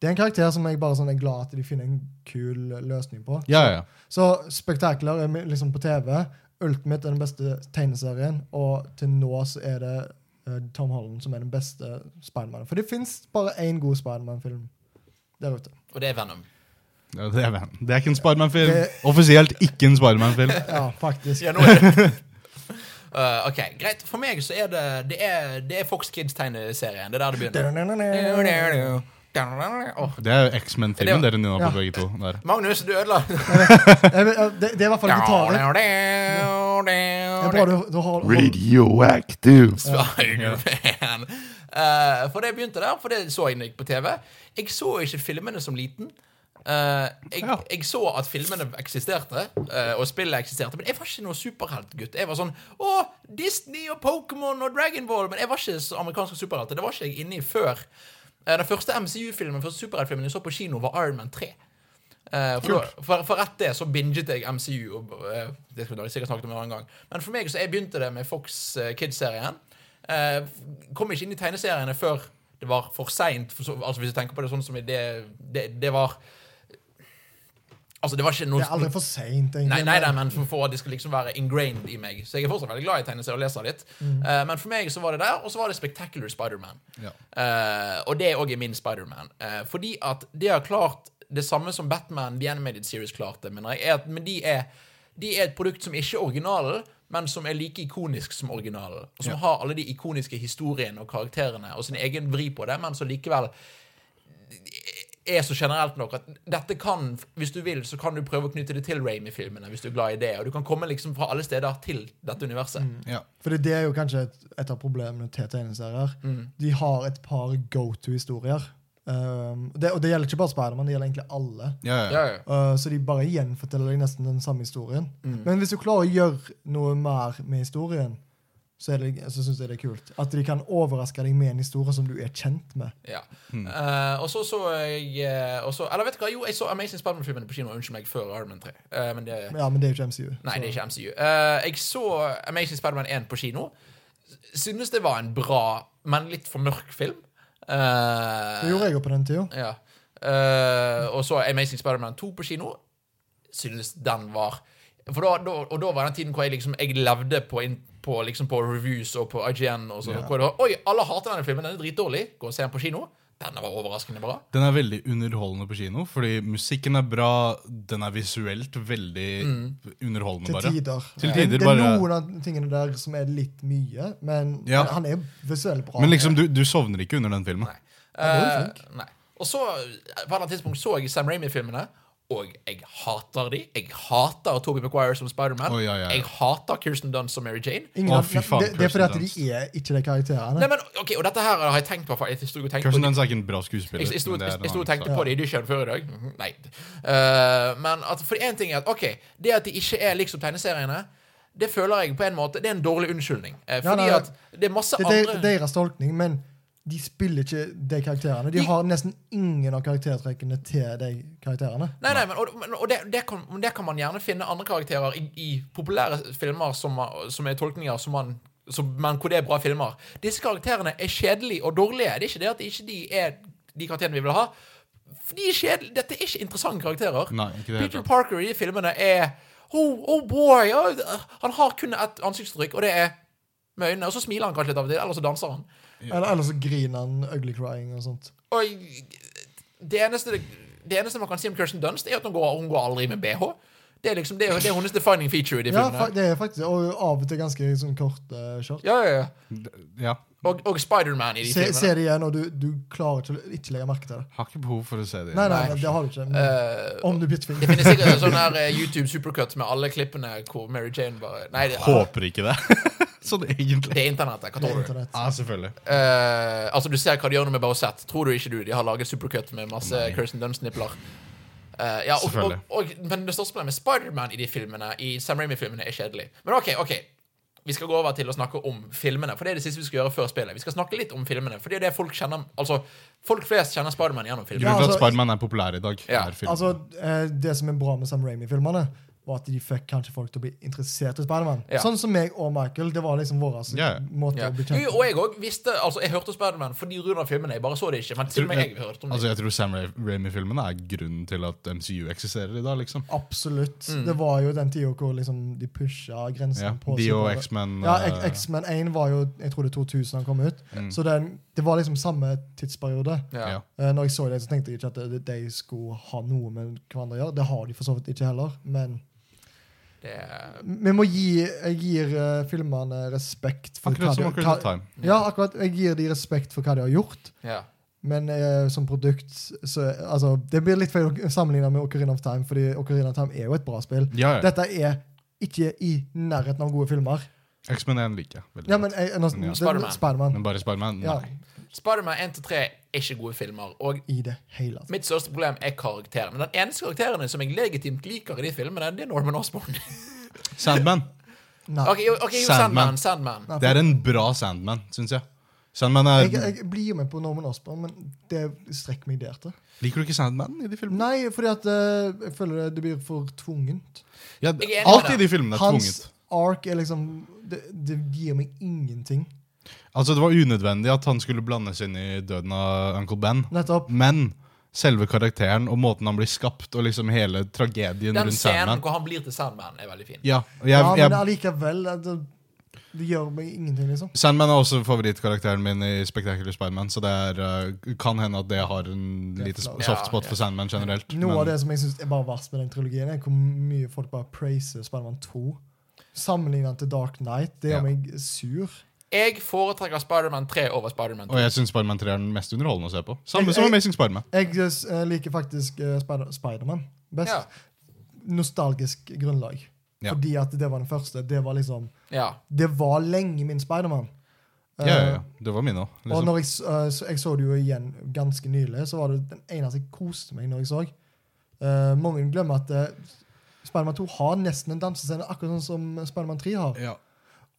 C: det er en karakter som jeg bare sånn er glad at de finner en kul løsning på.
B: Ja, ja, ja.
C: Så Spectacular er mi- liksom på TV. Ultimate er den beste tegneserien. Og til nå så er det eh, Tom Holland som er den beste Spidermanen. For det fins bare én god Spiderman-film der ute.
A: Og det er Venom.
B: Ja, Det er, det er ikke en Spiderman-film.
C: Det-
B: Offisielt ikke en Spiderman-film.
C: Ja, faktisk.
A: Ja, nå er det.
C: *laughs*
A: Eh, *laughs* ok, greit. For meg så er det Det er, det er Fox Kids-tegneserien. Det er der det begynner.
C: Jeg
A: Åh.
B: Det er jo X-Men-filmen
A: Det
B: dere nynna på
C: Ja.
B: begge to. Der.
A: Magnus, du ødela
C: vet- *laughs* ja, Det, det er i hvert
A: *laughs*
C: fall gitarer. Det er bra du, du har
D: Radioactive.
A: Spider-Man. Eh, for det begynte der, for det så jeg ikke på TV. Jeg så ikke filmene som liten. Eh, jeg,
B: Ja.
A: jeg så at filmene eksisterte, eh, og spillet eksisterte, men jeg var ikke noen superheltgutt. Jeg var sånn Å, Disney og Pokémon og Dragon Ball Men jeg var ikke så amerikansk superhelt. Det var ikke jeg inne i før. Eh, den første MCU-filmen første superheltfilmen jeg så på kino, var Iron Man 3. Eh, for, for, for rett det så binget jeg MCU. Og, eh, det skulle vi sikkert snakket om en annen gang Men for meg så jeg begynte det med Fox eh, Kids-serien. Eh, kom ikke inn i tegneseriene før det var for seint. For så- altså, hvis jeg tenker på det sånn som i det, det, det var Altså, det var ikke noe
C: Det er aldri for seint, egentlig.
A: Nei, nei, nei, men for, for at de skal liksom være ingrained i meg. Så jeg er fortsatt veldig glad i tegneserier og leser litt.
C: Mm.
A: Eh, men for meg så var det der, og så var det Spectacular Spiderman.
B: Ja.
A: Eh, og det er òg min Spiderman. Uh, fordi at de har klart det samme som Batman The Animated Series klarte, mener jeg. Er at, men de er, de er et produkt som ikke er originalen, men som er like ikonisk som originalen. Og som har alle de ikoniske historiene og karakterene og sin egen vri på det, men som likevel er så generelt nok at dette kan, hvis du vil, så kan du prøve å knytte det til Raimi-filmene, hvis du er glad i det. Og du kan komme liksom fra alle steder til dette universet.
B: Ja.
C: Fordi det er jo kanskje et, et av problemene til tegneserier.
A: Mm.
C: De har et par go to-historier. Um, det, og det gjelder ikke bare Spiderman, det gjelder egentlig alle.
B: Ja, ja.
A: Ja, ja.
C: Uh, så de bare gjenforteller deg nesten den samme historien.
A: Mm.
C: Men hvis du klarer å gjøre noe mer med historien, så, er det- så syns jeg det er kult. At de kan overraske deg med en historie som du er kjent med.
A: Ja.
C: Hmm.
A: Eh, og så så jeg eh, og så, Eller vet du hva, jo, jeg så Amazing Spiderman-filmene på kino unnskyld meg, før Iron Man 3. Eh, men det,
C: Ja, Men det er jo ikke
A: nei,
C: MCU. så-
A: det er ikke MCU. Eh, jeg så Amazing Spiderman 1 på kino. Synes det var en bra, men litt for mørk film. Eh,
C: Det gjorde jeg jo på den tida.
A: ja. Eh, og så Amazing Spider-Man 2 på kino. Synes den var For da, da, Og da var den tiden hvor jeg liksom Jeg levde på, inn- på, liksom på reviews og på IGN. Og så, hvor det var, Oi, alle hater denne filmen, den er dritdårlig. Gå og se den på kino. Den var overraskende bra.
B: Den er veldig underholdende på kino, fordi musikken er bra. Den er visuelt veldig underholdende,
C: Til
B: bare.
C: tider.
B: Til
C: Det-
B: tider
C: det er
B: bare-
C: noen av tingene der som er litt mye, men
B: Ja.
C: han er visuelt bra.
B: Men liksom, du, du sovner ikke under den filmen.
C: var jo
A: Eh, nei. Og så på et eller annet tidspunkt så jeg Sam Raimi-filmene, og jeg hater de. Jeg hater Toby Maguire som Spider-Man.
B: Å, ja, ja, ja.
A: Jeg hater Kirsten Dunst som Mary Jane.
C: Ingen
B: Å,
C: av,
B: fy faen,
C: det, det er fordi at
B: Kirsten
C: de er ikke de karakterene.
A: Nei, men, ok, og dette her har jeg tenkt på. for Jeg sto og tenkte på
B: Kirsten Dunst er ikke en bra skuespiller.
A: Jeg, jeg, sto,
B: men det er
A: jeg,
B: en
A: jeg sto og
B: annen
A: tenkte
B: sak.
A: på det i dusjen før i dag. Mhm, Nei. Eh, men at, for én ting er at ok, det at de ikke er liksom tegneseriene, det føler jeg på en måte Det er en dårlig unnskyldning. Eh,
C: Ja,
A: fordi
C: nei,
A: at det er masse
C: det er
A: andre
C: der- deres tolkning, men de spiller ikke de karakterene. De
A: De-
C: har nesten ingen av karaktertrekkene til de karakterene.
A: Nei, nei, men, og, men, og det, det, kan, men det kan man gjerne finne andre karakterer i, i populære filmer som, som er tolkninger, som man, som, men hvor det er bra filmer. Disse karakterene er kjedelige og dårlige. Det er ikke det at de ikke de er de karakterene vi vil ha. For de er kjedelige. Dette er ikke interessante karakterer.
B: Nei, ikke det hele
A: Peter
B: tatt.
A: Parker i de filmene er Oh, oh boy! oh, han har kun ett ansiktsuttrykk, og det er med øynene. Og så smiler han kanskje litt av og til, eller så danser han.
C: Eller, eller så griner han ugly crying og sånt.
A: Og det eneste, det eneste man kan si om Kirsten Dunst, er at hun går, hun går aldri med BH. Det er liksom det, er- det er hennes defining feature i de
C: Ja, fa
A: filmene.
C: det er faktisk Og av og til ganske sånn korte short.
A: Ja, ja, ja.
B: Ja.
A: Og, og Spiderman i de
C: Se,
A: filmene.
C: se det igjen, og du, du klarer ikke å ikke legge merke til det.
B: Har ikke behov for å se det.
C: Nei, nei,
A: Nei.
C: men det har du ikke. Men,
A: Eh,
C: om du bytter
A: det
C: film.
A: finnes sikkert en sånn her eh, YouTube supercut med alle klippene hvor Mary Jane bare Nei, det,
B: Håper ikke det. *laughs* sånn egentlig.
A: det Ah, er internettet. Hva
C: på
A: tror du?
C: internett.
B: Ja, selvfølgelig.
A: Eh, altså, du ser hva de gjør nå med Bowsett. Tror du ikke du, de har laget supercut med masse Kirsten Dunst-nipler? Eh, ja, og, og,
B: Selvfølgelig.
A: og, men det største problemet med Spiderman i de filmene I Sam Raimi-filmene er kjedelig. Men OK, ok vi skal gå over til å snakke om filmene. For det er det siste vi skal gjøre før spillet. Vi skal snakke litt om filmene For det er det folk kjenner Altså, folk flest kjenner Spiderman gjennom filmen.
B: Grunnen til at
C: altså,
B: Spiderman er populær i dag,
A: Ja,
B: er film.
C: Altså, eh, Det som er bra med Sam Raimi-filmerne, var at de fikk kanskje folk til å bli interessert i Spiderman.
A: Ja.
C: Sånn som meg og Michael. Det var liksom vår altså,
B: Ja, ja.
C: måte
A: Ja.
C: å bli
A: Jo, jo,
C: kjent
A: og jeg òg visste Altså, jeg hørte Spiderman fordi Runa filmene. Jeg bare så det ikke. Men til og med jeg hørte om det.
B: altså, jeg tror Sam Ra- Raimi-filmene er grunnen til at MCU eksisterer i dag, liksom.
C: Absolutt.
A: Mm.
C: Det var jo den tida hvor liksom, de pusha grensen
B: Ja,
C: på
B: de og
C: superhelt-
B: X-Men
C: Ja,
B: eh, Mm.
C: X- X-Men 1 var jo jeg tror det er 2000 han kom ut. Så den, det var liksom samme tidsperiode.
A: Ja.
B: ja.
C: Eh, Når jeg så det, så tenkte jeg ikke at det- de skulle ha noe med hverandre å gjøre. Det har de for så vidt ikke heller, men
A: Det er-
C: vi må gi Jeg gir eh, filmene respekt for
B: Akkurat som
C: hva de
B: Ocarina of
C: hva-
B: Time.
C: Ja, akkurat. Jeg gir de respekt for hva de har gjort,
A: ja.
C: men eh, som produkt så Altså, det blir litt feil å sammenligne med Ocarina of Time, fordi Ocarina of Time er jo et bra spill.
B: Ja, ja.
C: Dette er ikke i nærheten av gode filmer.
B: X-Men 1 liker jeg veldig
C: Ja, men jeg, nå,
B: Ja.
C: det-
A: Spider-Man.
B: godt.
C: Spider-Man.
B: Men bare Spiderman?
C: Ja,
B: Nei.
A: Spiderman 1 til 3 er ikke gode filmer. Og
C: I det hele tatt.
A: Mitt største problem er karakterene. Den eneste karakteren som jeg legitimt liker i de filmene, det er Norman
B: *laughs*
A: Osborn.
C: *laughs*
B: Sandman.
C: Nei.
A: ok, jo, ok, jo, Sandman.
B: Sandman.
A: Sandman.
C: Nei,
B: Det er en bra Sandman, syns jeg. Sandman er
C: Jeg, jeg blir jo med på Norman Osborn, men det strekker meg der til.
B: Liker du ikke Sandman i de filmene?
C: Nei, fordi at eh, jeg føler det, det blir for tvungent.
A: er
B: Ja,
A: enig med
B: alt i
A: deg.
B: de filmene er
C: Hans
B: tvunget.
C: ark er liksom det, det gir meg ingenting.
B: Altså, Det var unødvendig at han skulle blandes inn i døden av Uncle Ben.
C: Nettopp.
B: Men selve karakteren og måten han blir skapt, og liksom hele tragedien
A: Den
B: rundt
A: scenen
B: Sandman
A: hvor han blir til Sandman, er veldig fin.
B: Ja, og
C: Ja,
B: jeg,
C: men
B: jeg,
C: allikevel eh, det, det, det gjør meg ingenting, liksom.
B: Sandman er også favorittkarakteren min i Spectacular Spiderman, så det er, uh, kan hende at det har en
C: Det er
B: lite
C: flott.
B: soft spot
A: Ja,
B: for Sandman generelt.
C: Noe av
B: men-
C: det som jeg synes er bare verst med den trilogien, er hvor mye folk bare praiser Spiderman 2. Sammenlignet til Dark Knight. Det
B: Ja.
C: gjør meg sur.
A: Jeg foretrekker Spiderman 3 over Spiderman 2.
B: Og jeg syns Spiderman 3 er den mest underholdende å se på. Samme som
C: Jeg- jeg-
B: Amazing Spiderman.
C: Jeg eh, liker faktisk eh, Spider Spiderman best.
A: Ja.
C: Nostalgisk grunnlag.
B: Ja.
C: Fordi at det var den første. Det var liksom
A: Ja.
C: Det var lenge min Spiderman.
B: Ja,
C: Eh,
B: ja, ja. Det var min òg.
C: Og
B: Liksom.
C: når jeg, s- eh, så, jeg så det jo igjen ganske nylig, så var det den eneste jeg koste meg når jeg så. Eh, mange glemmer at uh, Spiderman 2 har nesten en dansescene, akkurat sånn som Spiderman 3 har.
B: Ja,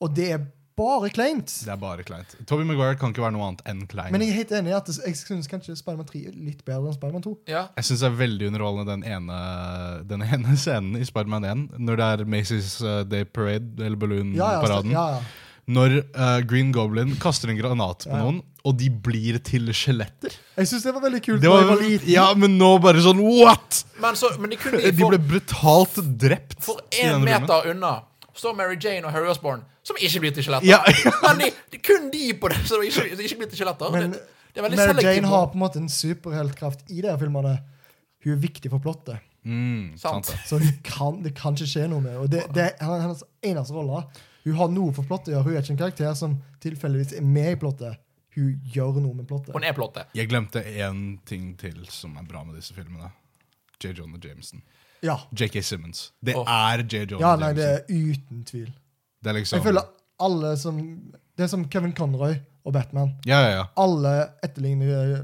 C: Og det er bare kleint!
B: det er bare kleint. Toby Maguire kan ikke være noe annet enn klein.
C: Men
B: jeg
C: jeg er helt enig i at jeg syns kanskje Spiderman 3 er litt bedre enn Spiderman 2.
A: ja.
B: syns det er veldig underholdende den ene, den ene *laughs* scenen i Spiderman 1, når det er Macy's uh, Day Parade, eller
C: Ja, ja,
B: Balloon-paraden.
C: ja, ja.
B: Når uh, Green Goblin kaster en granat på
C: Ja.
B: noen, og de blir til skjeletter.
C: Jeg syns det var veldig kult
B: Det
C: da
B: var,
C: jeg var liten.
B: ja, men nå bare sånn What?!
A: Men, så, men de kunne
B: *laughs* De
A: de for,
B: ble brutalt drept.
A: for
B: i
A: én
B: denne filmen.
A: meter unna står Mary Jane og Harry Osborn, som ikke blir til skjeletter.
B: Ja, ja.
A: Men de, de, kun de på det som ikke, som ikke blir til skjeletter.
C: Men
A: det, det er veldig
C: Mary
A: selektivt.
C: Jane har på en måte en superheltkraft i de her filmene. Hun er viktig for plottet,
B: Mm,
A: Sant.
B: sant det.
C: så hun kan, det kan ikke skje noe med henne. Og det, det er hennes eneste rolle. Hun har noe for plottet å gjøre. Hun er ikke en karakter som tilfeldigvis er med i plottet. Hun gjør noe med plottet.
A: Hun er plottet.
B: *laughs* Jeg glemte én ting til som er bra med disse filmene. J. Jonah Jameson.
C: Ja,
B: J.K. Simmons. Det
A: Åh.
B: er J. Jonah
C: ja nei, det
B: Jameson.
C: er uten tvil.
B: Det er liksom
C: Jeg føler alle som Det er som Kevin Conroy og Batman.
B: Ja, ja, ja.
C: Alle etterligner eh,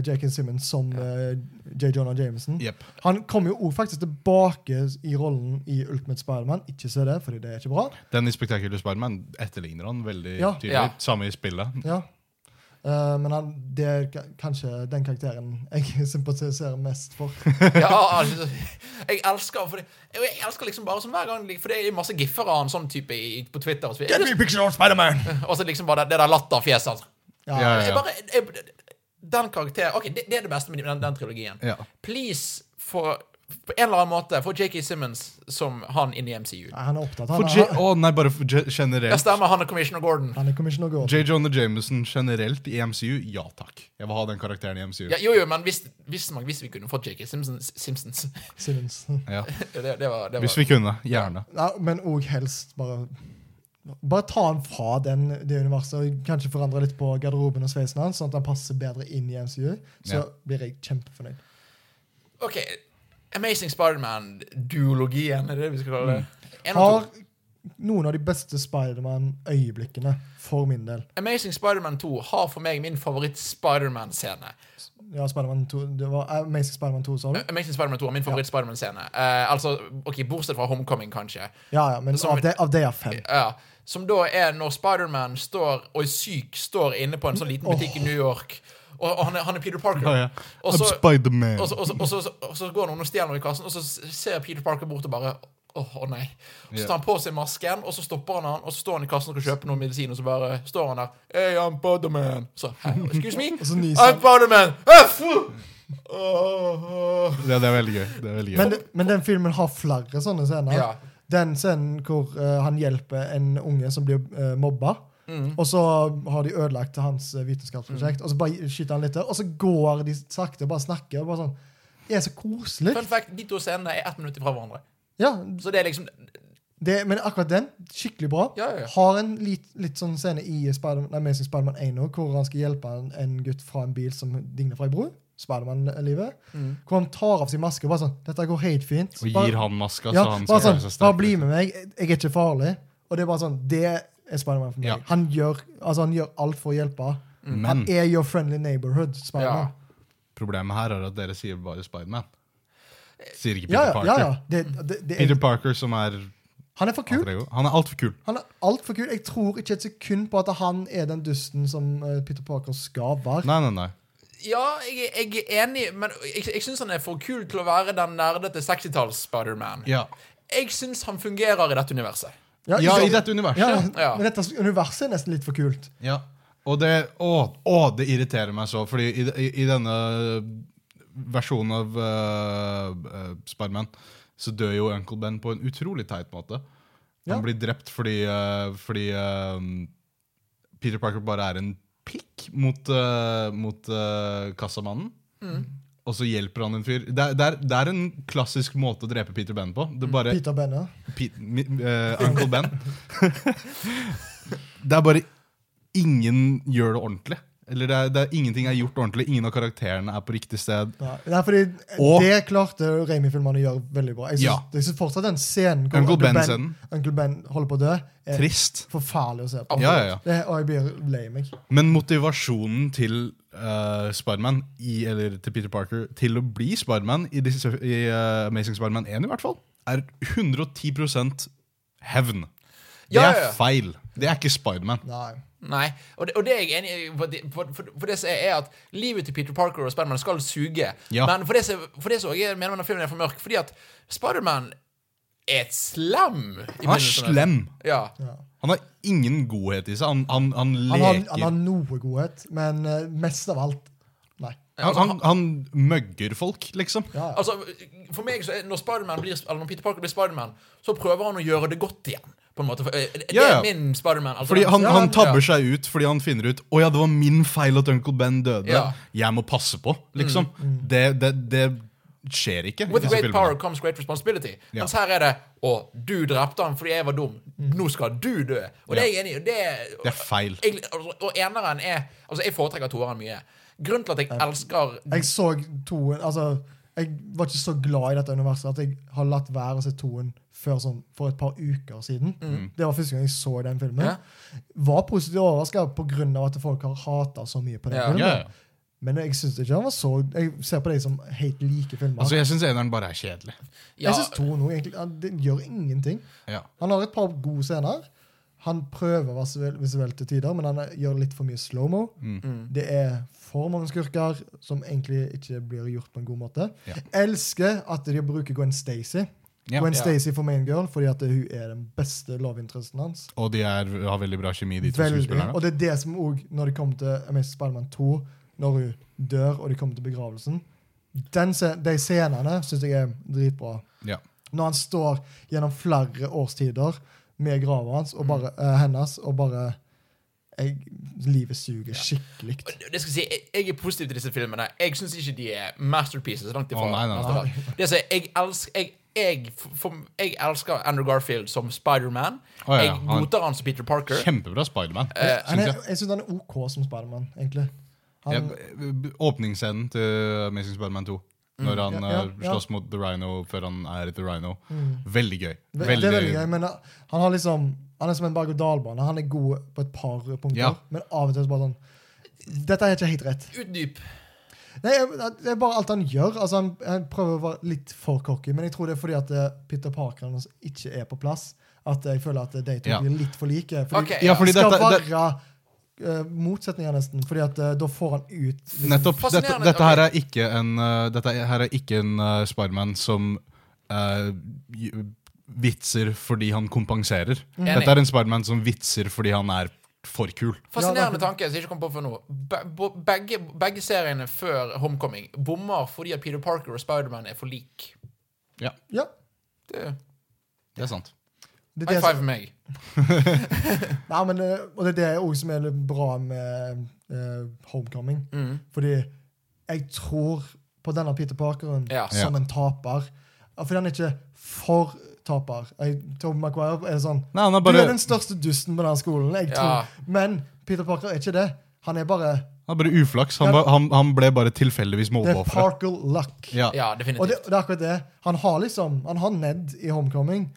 C: J.K. Simmons som eh, J. Jonah Jameson.
B: Jepp.
C: Han kom jo også faktisk tilbake i rollen i Ultimate Spiderman. Ikke se det, fordi det er ikke bra.
B: Den i Spectacular Spiderman etterligner han veldig
C: Ja.
B: tydelig.
A: Ja.
B: Samme i spillet.
C: Ja. Eh, men han, det er ka- kanskje den karakteren jeg *laughs* sympatiserer mest for.
A: *laughs* Ja, altså, jeg elsker fordi, Jeg elsker liksom bare sånn hver gang For det er masse giffer av en sånn type i, på Twitter. Og så, og så liksom bare det, det der latterfjeset hans.
C: Ja.
B: Ja,
A: Jeg
B: ja,
A: bare- jeg- Den karakteren OK, det, det er det beste med den, den trilogien.
B: ja. ja.
A: Please, for på en eller annen måte få J.K. Simmons som han inn i MCU.
C: Nei, han er opptatt. Han,
B: For J
C: er,
B: Å nei, bare for J
A: Ja,
B: generelt.
A: stemmer. Han er Commissioner Gordon.
C: han er commissioner Gordon.
B: J. Jonah Jameson generelt i MCU, ja takk. Jeg vil ha den karakteren i MCU.
A: Ja, jo, jo, men hvis, hvis, man, hvis vi kunne fått J.K. Simpsons, Simpsons. *laughs*
C: Simmons. *laughs*
B: Ja.
A: Det, det var, det var.
B: Hvis vi kunne. Gjerne.
C: Nei, men òg helst bare Bare ta han fra den, det universet og kanskje forandre litt på garderoben og sveisen hans, sånn at han passer bedre inn i MCU. Så
B: Ja.
C: blir jeg kjempefornøyd.
A: OK. Amazing Spiderman-duologien, er det vi skal kalle det?
B: Mm.
A: En og
C: Har
A: to.
C: noen av de beste Spiderman-øyeblikkene, for min del.
A: Amazing Spiderman 2 har for meg min favoritt-Spiderman-scene.
C: Ja, Spiderman 2, det var Amazing Spiderman 2, sa du?
A: Amazing Spiderman 2 er min favoritt-Spiderman-scene. Eh, altså, ok, Bortsett fra Homecoming, kanskje.
C: Ja, ja, men
A: Som-
C: av det, av det er fem.
A: Ja, som da er når Spiderman står og er syk, står inne på en sånn liten butikk i New York. Og, og han, er, han er Peter Parker.
B: Ja, ja.
A: Og
B: I'm
A: så-
B: Spider-Man.
A: og, så, og, så, og, så, og så går noen og stjeler noe i kassen, og så ser Peter Parker bort og bare Åh, å nei. Så tar han på seg masken, og så stopper han han, og så står han i kassen og skal kjøpe noe medisin, og så bare står han der. Hey, I'm Spiderman. Så «Hæ, excuse
C: *laughs*
A: me?
C: så nyser
A: I'm
C: han.
A: Spiderman. Hæ, fu- Åh, åh.
B: Ja, det er veldig gøy. Det er veldig gøy.
C: Men, det- men den filmen har flere sånne scener.
A: Ja.
C: Den scenen hvor eh, han hjelper en unge som blir eh, mobba.
A: Mm.
C: Og så har de ødelagt hans eh, vitenskapsprosjekt, og så bare skyter han litt til. Og så går de sakte og bare snakker. Og bare sånn, det er så koselig.
A: Fun fact, de to scenene er ett minutt fra hverandre.
C: Ja,
A: Så det er liksom
C: det, Men akkurat den, skikkelig bra.
A: Ja, ja, ja.
C: Har en litt, litt sånn scene i Spider Amazing Spiderman 1 nå, hvor han skal hjelpe en, en gutt fra en bil som digner fra ei bro. Spiderman-livet.
A: Mm.
C: Hvor han tar av seg maske og bare sånn Dette går helt fint.
B: Og
C: Bare-
B: gir han maska,
C: Ja,
B: så Altså, han skal føle
C: bare sånn,
B: seg sterk.
C: bare
B: liksom.
C: bli med meg, jeg jeg er ikke farlig. Og det er bare sånn, det er Spiderman for meg.
B: Ja. Mm.
C: Han, gjør, altså, han gjør alt for å hjelpe. Han
B: Men
C: er your friendly neighborhood, Spiderman.
B: problemet her er at dere sier bare Spider-Man. Sier ikke Peter
C: Ja, ja,
B: Parker.
C: ja. ja. Det, det, det er,
B: Peter Parker som er
C: han er for kul.
B: alter ego. Han er altfor kul.
C: Han er altfor kul. Jeg tror ikke et sekund på at han er den dusten som eh, Peter Parker skal være.
B: Nei, nei, nei.
A: Ja, jeg, jeg er enig, men jeg, jeg syns han er for kul til å være den nerdete 60-talls-Spiderman.
B: Ja,
A: Jeg syns han fungerer i dette universet.
B: ja
C: ikke-
B: i dette
C: Ja,
B: universet.
A: Ja.
C: Men dette universet er nesten litt for kult.
B: Ja. Og det å, å, det irriterer meg så, fordi i, i, i denne versjonen av uh, Spiderman så dør jo Uncle Ben på en utrolig teit måte. Han
C: Ja.
B: blir drept fordi, eh, fordi eh, Peter Parker bare er en pikk mot, eh, mot eh, kassamannen. Og så hjelper han en fyr. Det er, det, er, det er en klassisk måte å drepe Peter Ben på. Det er bare
C: Peter Benner.
B: Pete, mi, eh, Uncle Ben. *laughs* det er bare ingen gjør det ordentlig. Eller det er, det er Ingenting er gjort ordentlig. Ingen av karakterene er på riktig sted.
C: Ja. Nei, fordi
B: Og-
C: det klarte Raimi-filmene å gjøre veldig bra. Jeg syns,
B: Ja.
C: jeg syns fortsatt den scenen
B: Uncle Ben-scenen.
C: Uncle ben holder på å dø, er
B: Trist.
C: forferdelig å se på.
B: Ja, ja, ja.
C: Det, og jeg blir lei meg.
B: Men motivasjonen til eh, Spiderman, i- eller til Peter Parker, til å bli Spiderman i, disse- i eh, Amazing Spiderman 1 i hvert fall, er 110 hevn. Det
A: Ja, ja,
B: er
A: ja.
B: feil. Det er ikke Spiderman.
C: Nei.
A: Nei, og det, og det er jeg enig i. For, det- for, for, for det som er, er at livet til Peter Parker og Spiderman skal suge.
B: Ja.
A: Men for det som for det som jeg mener man at filmen er for mørk, fordi at Spiderman er et slam. i
B: Han er
A: begynnelsen av-
B: slem.
A: Ja.
B: Han har ingen godhet i seg. Han, han, han
C: Han, har,
B: leker.
C: han har noe godhet, men eh, mest av alt Nei.
B: Han, han, han møgger folk, liksom.
C: Ja, ja.
A: Altså, for meg så er når, Spiderman blir, eller når Peter Parker blir Spiderman, så prøver han å gjøre det godt igjen. På en måte. For, eh, det
B: Ja, ja.
A: er min Spiderman. Altså,
B: Fordi
A: den-
B: han,
A: Ja,
B: han tabber
A: ja.
B: seg ut fordi han finner ut Å ja, det var min feil at Uncle Ben døde.
A: Ja. Mm.
B: Jeg må passe på, liksom.
C: Mm.
B: Det, det, det skjer ikke. i
A: With
B: disse
A: great
B: filmene.
A: power comes great responsibility.
B: Ja.
A: Mens her er det Å, du drepte han fordi jeg var dum. Nå skal du dø. Og det er jeg enig i. og Det er,
B: Det er feil.
A: jeg, altså, og eneren er Altså, jeg foretrekker toeren mye. Grunnen til at jeg elsker
C: Jeg så toen Altså, jeg var ikke så glad i dette universet at jeg har latt være å se toen før sånn for et par uker siden.
B: Mm.
C: Det var første gang jeg så den filmen.
A: Mm. Ja.
C: Var positivt overraska pga. at folk har hata så mye på den
A: Ja.
C: filmen.
B: Ja, ja.
C: Men jeg synes ikke han var så Jeg ser på de som helt like filmer.
B: Altså, jeg syns eneren bare er kjedelig.
A: ja,
C: Jeg synes to nå egentlig han- Det gjør ingenting.
B: Ja.
C: Han har et par gode scener. Han prøver å være visuell- visuell til tider, men han er- gjør litt for mye slow-mo.
B: Mm.
C: Det er for mange skurker som egentlig ikke blir gjort på en god måte.
B: Ja.
C: Elsker at de bruker Gwen Stacy.
B: Ja.
C: Gwen
A: Ja.
C: Stacy for Main Girl, fordi at hun er den beste lovinteressen hans.
B: Og de er, har veldig bra kjemi, de to
C: Veldig.
B: skuespillerne.
C: Og det er det som òg, når det kommer til Amazing Spiderman 2, når hun dør og de kommer til begravelsen den, se- de scenene syns jeg er dritbra.
B: Ja.
C: Når han står gjennom flere årstider med grava hans og
B: Mm.
C: bare, eh, hennes og bare jeg, Livet suger skikkelig.
A: Det skal jeg, si, jeg, jeg er positiv til disse filmene. Jeg syns ikke de er masterpieces. Langt ifra.
B: Å, nei, nei, nei.
A: langt ifra. Det som er, jeg, elsker, jeg, jeg, f- for, jeg elsker Andrew Garfield som Spider-Man.
B: Å, ja,
A: jeg
B: han-
A: godtar han som Peter Parker.
B: Kjempebra Spiderman.
A: Eh,
C: Han
B: Uh,
C: er- Jeg syns han er OK som Spiderman, egentlig.
B: ja,
C: Han,
B: b- åpningsscenen til Amazing Spiderman 2. Når
A: Mm.
B: han
C: Ja, ja,
B: eh,
C: ja. Mm.
B: slåss mot The Rhino før han er The Rhino. Veldig gøy.
C: det
B: Veldig,
C: er veldig gøy, men eh, han har liksom Han er som en berg-og-dal-bane. Han er god på et par punkter,
B: Ja.
C: men av og til så bare sånn Dette er ikke helt rett.
A: Utdyp.
C: Nei, jeg- Det er bare alt han gjør. Altså, han, han prøver å være litt for cocky, men jeg tror det er fordi at eh, Peter Parker hans ikke er på plass. At jeg føler at de to
B: Ja.
C: blir litt for like. Fordi
A: Ok,
B: Ja, fordi
C: det skal
B: dette, det,
C: være eh, motsetninger, nesten. Fordi at eh, da får han ut liksom,
B: Nettopp. Dette,
A: Fascinerende,
B: dette her er ikke en, uh, dette her er ikke en uh, Spiderman som uh, gj- vitser fordi han kompenserer. Dette er en Spiderman som vitser fordi han er for kul.
C: Ja,
A: Fascinerende
C: det-
A: tanke som jeg ikke kom på før nå. Be bo- begge, begge seriene før Homecoming bommer fordi at Peter Parker og Spider-Man er for lik.
B: Ja,
C: Ja.
A: Det,
B: det er sant.
C: Det er
A: high
C: det,
A: five for
C: som,
A: meg.
C: nei, men, eh, og det er det også som er litt bra med eh, Homecoming.
A: Mm.
C: Fordi jeg tror på denne Peter Parkeren
A: Ja.
C: som en taper. Ja, Fordi han er ikke for taper. Jeg, Tom McQuire er sånn
B: Nei, han er
C: Du
B: bare,
C: er den største dusten på denne skolen. Jeg
A: Ja.
C: tror. Men Peter Parker er ikke det. Han er bare
B: han er bare uflaks. Han, var- han, han ble bare tilfeldigvis
C: Det er
B: mobbeoffer.
C: Parker luck.
B: Ja.
A: Ja,
C: Og det,
A: definitivt.
C: det er akkurat det. Han har liksom Han har Ned i Homecoming,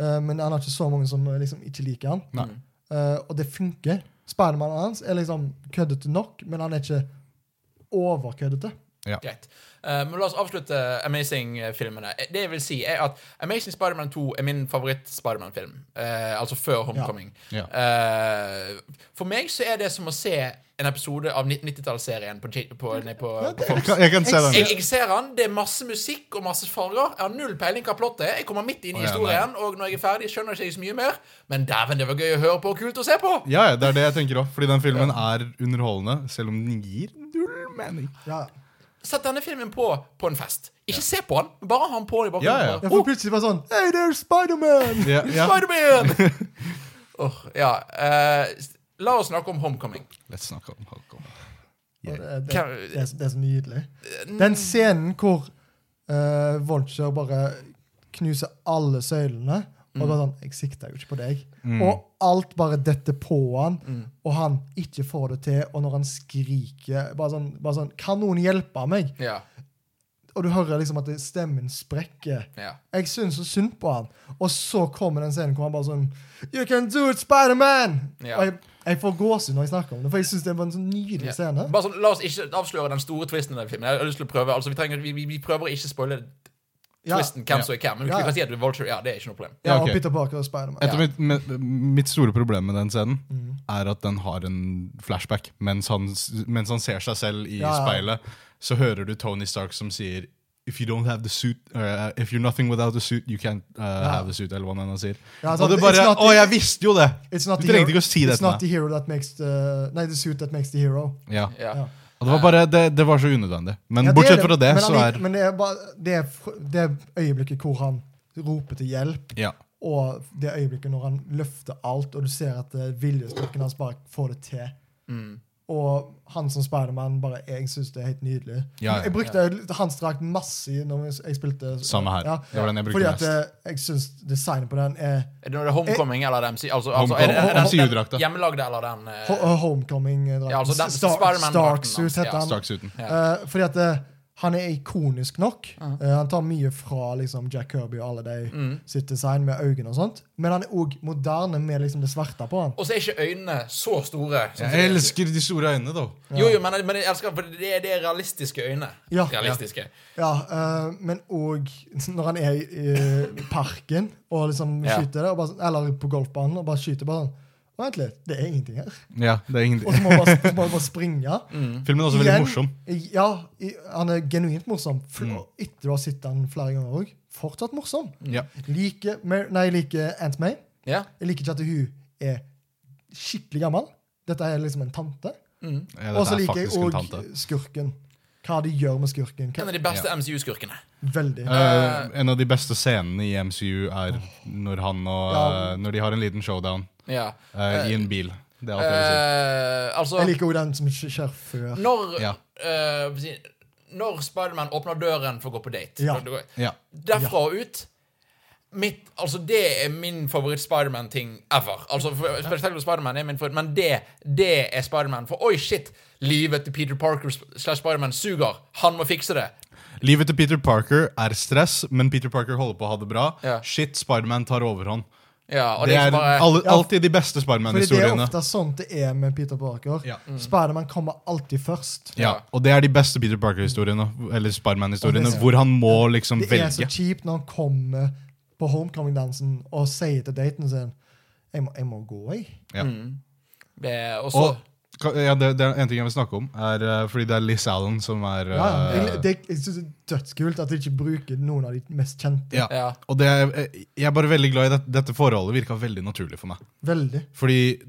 C: eh, men han har ikke så mange som eh, liksom ikke liker han.
B: Nei.
C: Eh, og det funker. Spidermannen hans er liksom køddete nok, men han er ikke overkøddete.
A: Greit. Eh, men la oss avslutte Amazing-filmene. Eh, Det jeg vil si, er at Amazing Spider-Man 2 er min favoritt-Spiderman-film. Eh, altså før Homecoming.
B: Ja.
A: Eh, for meg så er det som å se en episode av 90-tallsserien på, J- på, nei, på, på
B: Jeg kan, jeg kan se
A: jeg,
B: den.
A: jeg ser han, det er masse musikk og masse farger. Jeg har null peiling hva plottet er. Jeg kommer midt inn i
B: Å, ja,
A: historien, og når jeg er ferdig, skjønner ikke jeg så mye mer. Men dæven, det var gøy å høre på og kult å se på!
B: Ja, ja, det er det jeg tenker òg. Fordi den filmen er underholdende, selv om den gir null mening.
C: Ja.
A: Sett denne filmen på på en fest. Ikke se på den, bare ha den på i
B: Ja, ja.
A: bakgrunnen.
C: Jeg
A: Bare,
C: får plutselig bare sånn Hey, there's Spiderman!
B: Ja,
A: «Åh,
B: ja.
A: Spider-Man! Åh, ja. eh, s- la oss snakke om Homecoming.
B: Let's snakke om Hulk.
C: Og Det, det,
A: Kan-
C: det, er, så- det er så nydelig.
A: Eh,
C: Den scenen hvor uh, Vulture bare knuser alle søylene og
A: Mm.
C: bare sånn, Jeg sikta jo ikke på deg. Og alt bare detter på han,
A: Mm.
C: og han ikke får det til. Og når han skriker bare sånn, bare sånn Kan noen hjelpe meg?
A: Ja.
C: Og du hører liksom at det- stemmen sprekker.
A: ja.
C: Jeg syns så synd på han. Og så kommer den scenen hvor han bare sånn You can do it, Spiderman!
A: Ja.
C: Og jeg, jeg får gåsehud når jeg snakker om det, for jeg syns det var en sånn nydelig
A: Ja.
C: scene.
A: Bare sånn, La oss ikke avsløre den store twisten i den filmen. Jeg har lyst til å prøve, altså Vi, trenger, vi, vi, vi prøver å ikke spoile
C: Ja.
A: twisten, hvem som er hvem. Men vi
C: Ja.
A: kan si at Vulture, ja, det er ikke noe problem.
C: Ja,
B: Ja, ok.
C: og Peter Parker og Spiderman.
B: Et av mitt, mitt- mitt store problem med den scenen
C: Mm.
B: er at den har en flashback. Mens han, s- mens han ser seg selv i
C: Ja, ja.
B: speilet, så hører du Tony Stark som sier If you don't have the suit uh, If you're nothing without the suit, you can't uh, have the suit. Eller hva han nå sier.
C: Ja,
B: Og
C: sant,
B: det bare
C: it's not-
B: Å, jeg visste jo det! Du
C: It's not the
B: trengte
C: hero-
B: ikke å si Mm, det
C: It's
B: til
C: not the
B: meg.
C: hero that makes the Nei, the suit that makes the hero.
B: Ja.
A: Ja.
C: Ja.
B: Og det var bare Det, det var så unødvendig. Men
C: Ja, det
B: bortsett
C: er
B: fra det,
C: men
B: så
C: han-
B: er
C: Men det er bare det, er fr- det er øyeblikket hvor han roper til hjelp,
B: Ja.
C: og det øyeblikket når han løfter alt, og du ser at eh, viljestyrken hans bare får det til. Og han som Spiderman bare Jeg syns det er helt nydelig.
B: Ja, ja,
C: jeg brukte hans drakt masse i- når jeg spilte.
B: Samme her. Det var den jeg brukte
C: fordi at
B: mest.
C: eh, jeg syns designet på den er
A: Er det, når det er Homecoming eller dem? si- Altså, altså,
B: Homecoming.
A: er det, er det,
B: Han sier
A: den-
B: udrakta.
A: Hjemmelagde eller den eh,
C: Ho- uh, Homecoming. eh,
A: Ja, altså den-
C: Star-
A: Spider-Man-drakten
C: Stark
A: hans,
C: Suit
A: ja.
C: heter han.
B: Stark-suiten.
C: Eh, fordi at eh, han er ikonisk nok. Eh, han tar mye fra liksom, Jack Kirby og alle de
A: Mm.
C: sitt design med øynene og sånt. Men han er òg moderne med liksom, det svarte på han.
A: Og så er ikke øynene så store. sånn som
B: Jeg elsker de store øynene, da.
A: Jo, jo, men, men jeg elsker for det, er- det er realistiske øyne.
C: Ja.
A: Realistiske.
C: Ja, eh, Men òg *laughs* når han er i eh, parken og liksom
A: Ja.
C: skyter det, og bare, sånn- eller på golfbanen og bare skyter bare sånn «Å, Vent litt, det er ingenting her.
B: Ja, det er
C: Og så
B: ingen...
C: må han bare, så må han bare springe.
A: Mm.
B: Filmen er også veldig
C: Igjen-
B: morsom. Mm.
C: Ja, i, han er genuint morsom. Fl Etter å ha sett han flere ganger òg. Fortsatt morsom.
B: Ja.
C: Like, Mer- nei, jeg liker Aunt May.
A: Ja.
C: Jeg liker ikke at hun er skikkelig gammel. Dette er liksom en tante.
B: Ja,
C: Og
B: dette
C: så
B: er
C: liker jeg
B: faktisk en
C: òg
B: tante.
C: skurken. hva de gjør med skurken.
A: En av
C: Hva,
A: de beste MCU-skurkene.
C: veldig.
B: Eh, en av de beste scenene i MCU er når, han og,
C: Ja.
B: eh, når de har en liten showdown
A: Ja.
B: eh, i en bil. Det er alt jeg vil si.
A: Eh, altså
C: Jeg liker også den som skj- skjer før.
A: Når
B: Ja.
A: eh, hva si- Når Spiderman åpner døren for å gå på date
C: Ja.
B: Ja.
A: Derfra og ut mitt, altså Det er min favoritt-Spiderman-ting ever. Altså, for- Spesielt Spiderman er min favoritt, men det, det er Spiderman. For oi, shit! Livet til Peter Parker slash Spiderman suger. Han må fikse det.
B: Livet til Peter Parker er stress, men Peter Parker holder på å ha det bra.
A: Ja.
B: Shit, Spiderman tar overhånd.
A: Ja, og
B: Det er
A: ikke bare,
B: alle,
C: Ja,
B: alltid de beste
C: Fordi det er
B: Spiderman-historiene.
C: ofte sånn det er med Peter Parker.
B: Ja. Mm.
C: Spiderman kommer alltid først.
B: Ja, og det er de beste Peter Parker-historiene, eller Spiderman-historiene,
C: Og det-
B: hvor han må liksom
C: Det er så
B: velge.
C: kjipt når han kommer på homecoming-dansen og sier til daten sin jeg må, jeg må gå, jeg.
B: Ja.
A: det- og så
B: Og ka- ja, det, det er en ting jeg vil snakke om, er eh, fordi det er Liz Allen som er
C: Ja,
B: eh,
C: jeg, det, jeg synes det er dødskult at de ikke bruker noen av de mest kjente.
B: ja.
A: Ja.
B: Og det er, eh, jeg er bare veldig glad i det, dette forholdet. Virka veldig naturlig for meg.
C: Veldig.
B: Fordi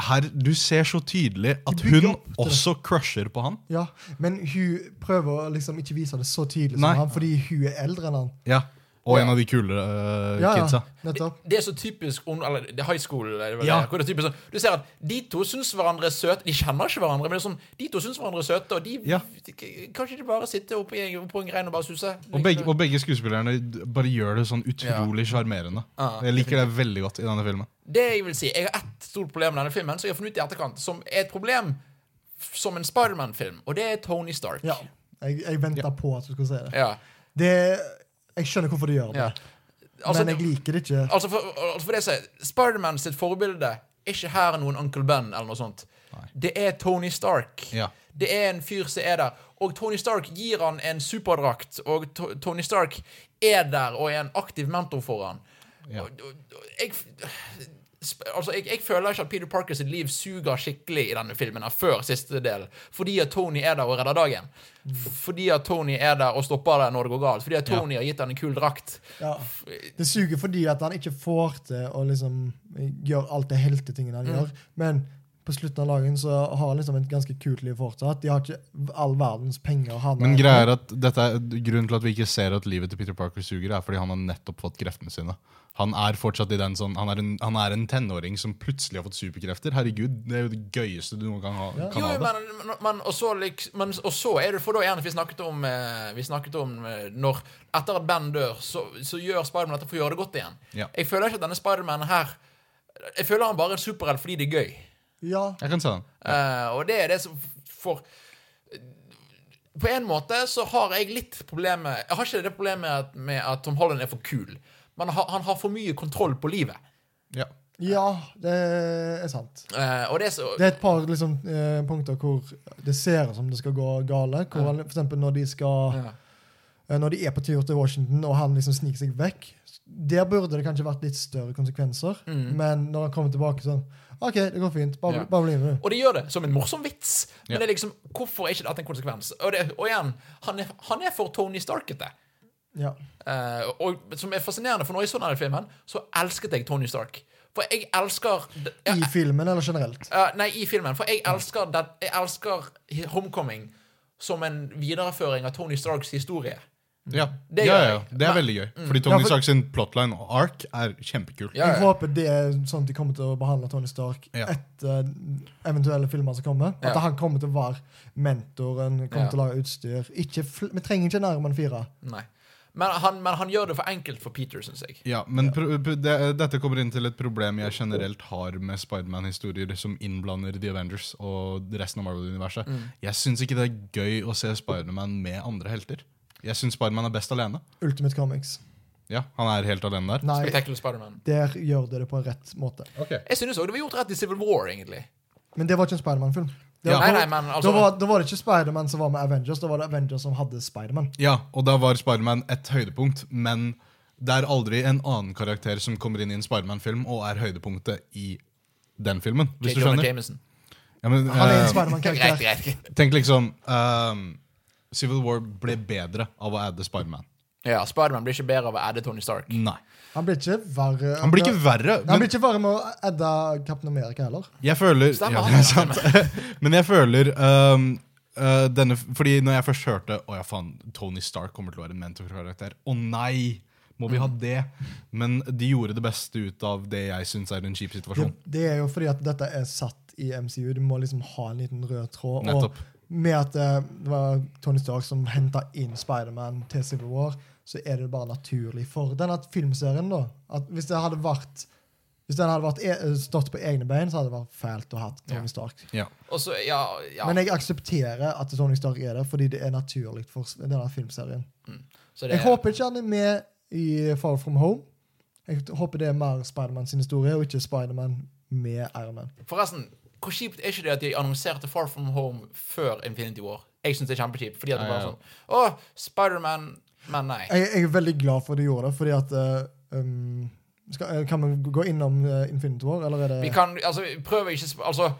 B: her, du ser så tydelig at
C: bygger
B: hun
C: opp til det.
B: også crusher på han.
C: Ja, Men hun prøver å liksom ikke vise det så tydelig
B: Nei.
C: som han, fordi hun er eldre enn han.
B: Ja. Og en
A: Ja.
B: av de kule eh,
C: Ja, ja,
B: kidsa.
C: nettopp.
A: Det er så typisk ung- Eller det er high school er det vel,
B: Ja.
A: det, hvor det er typisk sånn, Du ser at de to syns hverandre er søte. De kjenner ikke hverandre, men det er sånn, de to syns hverandre er søte, og de
B: Ja.
A: k- Kanskje de bare sitter oppe i, på en grein og bare suser. Liksom.
B: Og begge, og begge skuespillerne d- bare gjør det sånn utrolig sjarmerende.
A: Ja.
B: Jeg liker det veldig godt i denne filmen.
A: Det jeg vil si, jeg har ett stort problem med denne filmen, som jeg har funnet ut i etterkant, som er et problem f- som en Spiderman-film, og det er Tony Stark.
C: Ja. Jeg, jeg venta på at du skulle si det.
A: Ja.
C: det. Jeg skjønner hvorfor de gjør det,
A: Ja. Altså,
C: men jeg liker det ikke.
A: Altså for, altså for det jeg sier, Spiderman sitt forbilde er ikke her noen Uncle Ben eller noe sånt. Det er Tony Stark.
B: Ja.
A: Det er en fyr som er der. Og Tony Stark gir han en superdrakt, og to Tony Stark er der og er en aktiv mentor for han.
B: Ja.
A: Og- og- og Jeg, sp- altså jeg, jeg føler ikke at Peter Parker sitt liv suger skikkelig i denne filmen her før siste del, fordi at Tony er der og redder dagen. Fordi at Tony er der og stopper det når det går galt. Fordi at Tony har gitt han en kul drakt.
C: Ja. Det suger fordi at han ikke får til å liksom gjøre alt det heltetingen
A: Mm.
C: han gjør. Men på slutten av dagen så har han liksom et ganske kult liv fortsatt. De har ikke all verdens penger. Han
B: Men greia er at dette er grunnen til at vi ikke ser at livet til Peter Parker suger, er fordi han har nettopp fått kreftene sine. Han er fortsatt i den sånn, han er en, han er en tenåring som plutselig har fått superkrefter. Herregud, det er jo det gøyeste du noen gang ha,
A: Jo,
B: kan ha.
A: jo,
B: det.
A: men, men, men, og så liks- men og så er det for da igjen at vi snakket om, eh, vi snakket om eh, når Etter at Ben dør, så, så gjør Spiderman dette for å gjøre det godt igjen.
B: Ja.
A: Jeg føler ikke at denne Spiderman her Jeg føler han bare er superhelt fordi det er gøy.
C: Ja,
B: Jeg kan se den.
A: Eh, og det er det som f- for På en måte så har jeg litt problemer Jeg har ikke det problemet at, med at Tom Holland er for kul, men han, han har for mye kontroll på livet.
B: Ja.
C: ja, det er sant.
A: Eh, og det er så
C: Det er et par liksom, eh, punkter hvor det ser ut som det skal gå gale. Hvor han, for eksempel når de skal
A: Ja.
C: eh, Når de er på tur til Washington, og han liksom sniker seg vekk. Der burde det kanskje vært litt større konsekvenser. Men når han kommer tilbake sånn OK, det går fint. Bare,
A: Mm. Ja.
C: bare bli med, du.
A: Og de gjør det som en morsom vits. Men
B: Ja.
A: det er liksom, hvorfor er ikke dette en konsekvens? Og, det, og igjen, han er, han er for Tony Starkete.
C: Ja.
A: Eh, og som er fascinerende, for når jeg så denne filmen, så elsket jeg Tony Stark. For jeg elsker
C: I filmen eller generelt?
A: Eh, nei, i filmen. For jeg elsker, det, jeg elsker Homecoming som en videreføring av Tony Starks historie.
B: Ja.
A: Det
B: ja,
A: gjør
B: ja, ja.
A: jeg.
B: Det er
A: Men-
B: veldig gøy. Fordi Tony
C: Ja, for-
B: Stark sin plotline og ark er kjempekul.
A: Ja,
C: Jeg
A: ja.
C: håper det er sånn de kommer til å behandle Tony Stark
B: Ja.
C: etter eventuelle filmer som kommer. At
A: Ja.
C: han kommer til å være mentoren, kommer
A: Ja.
C: til å lage utstyr. Ikke fl vi trenger ikke Nærman 4.
A: Nei. Men, han, men han gjør det for enkelt for Peter, syns jeg.
B: Ja, men pro- pro- det, dette kommer inn til et problem jeg generelt har med Spiderman-historier som innblander The Avengers og resten av Marvel-universet. Jeg syns ikke det er gøy å se Spiderman med andre helter. Jeg syns Spiderman er best alene.
C: Ultimate Comics.
B: Ja, Han er helt alene der.
C: Nei,
A: Spectacular Spiderman.
C: der gjør de det på en rett måte.
A: Jeg synes òg det var gjort rett i Civil War, egentlig.
C: Men det var ikke en Spiderman-film. Det
B: Ja.
C: var-
A: Nei, nei, men altså-
C: da, var, da var det ikke Spiderman som var med Avengers, da var det Avengers som hadde Spiderman.
B: Ja, Og da var Spiderman et høydepunkt, men det er aldri en annen karakter som kommer inn i en Spiderman-film og er høydepunktet i den filmen. Hvis
A: J.
B: du
A: Jonah
B: skjønner.
A: Jameson.
B: Ja, men,
C: Han er en
B: eh,
A: Greit,
C: Spiderman-karakter.
A: greit. greit.
B: tenk liksom ehm, Civil War ble bedre av å adde Spiderman.
A: Ja, Spiderman blir ikke bedre av å adde Tony Stark.
B: Nei.
C: Han blir ikke verre
B: Han blir ikke verre.
C: Han
B: Men
C: blir ikke verre med å edde Captain America heller.
B: jeg føler
A: Stemmer,
B: ja,
A: han
B: *laughs* det er sant. Men jeg føler ehm, eh, denne, fordi når jeg først hørte Å ja, faen, Tony Stark kommer til å være en mentorkarakter. Å nei! Må vi ha
C: Mm.
B: det? Men de gjorde det beste ut av det jeg syns er en kjip
C: Det,
B: situasjon.
C: det er jo fordi at dette er satt i MCU. Du må liksom ha en liten rød tråd.
B: Nettopp.
C: Og med at eh, det var Tony Stark som henta inn Spiderman til Civil War, så er det bare naturlig for denne filmserien. da. At hvis det hadde vært hvis den hadde vært e eh, stått på egne bein, så hadde det vært fælt å ha
A: Ja.
C: Tony Stark.
B: Ja.
A: Og så, ja, ja.
C: Men jeg aksepterer at Tony Stark er der, fordi det er naturlig for s- denne filmserien.
A: så det,
C: Jeg håper ikke han er med i Far From Home. Jeg håper det er mer Spiderman sin historie, og ikke Spiderman med Iron Man.
A: Forresten, hvor kjipt er ikke det at de annonserte Far From Home før Infinity War? Jeg syns det er kjempekjipt. Fordi at det
B: Ja,
A: bare
B: ja.
A: sånn Å, Spiderman Men nei.
C: Jeg, jeg er veldig glad for at de gjorde det, fordi at eh, um, skal, eh, Kan vi gå innom eh, Infinity War, eller er
A: Vi
C: det
A: kan Altså, vi prøver ikke sp- Altså,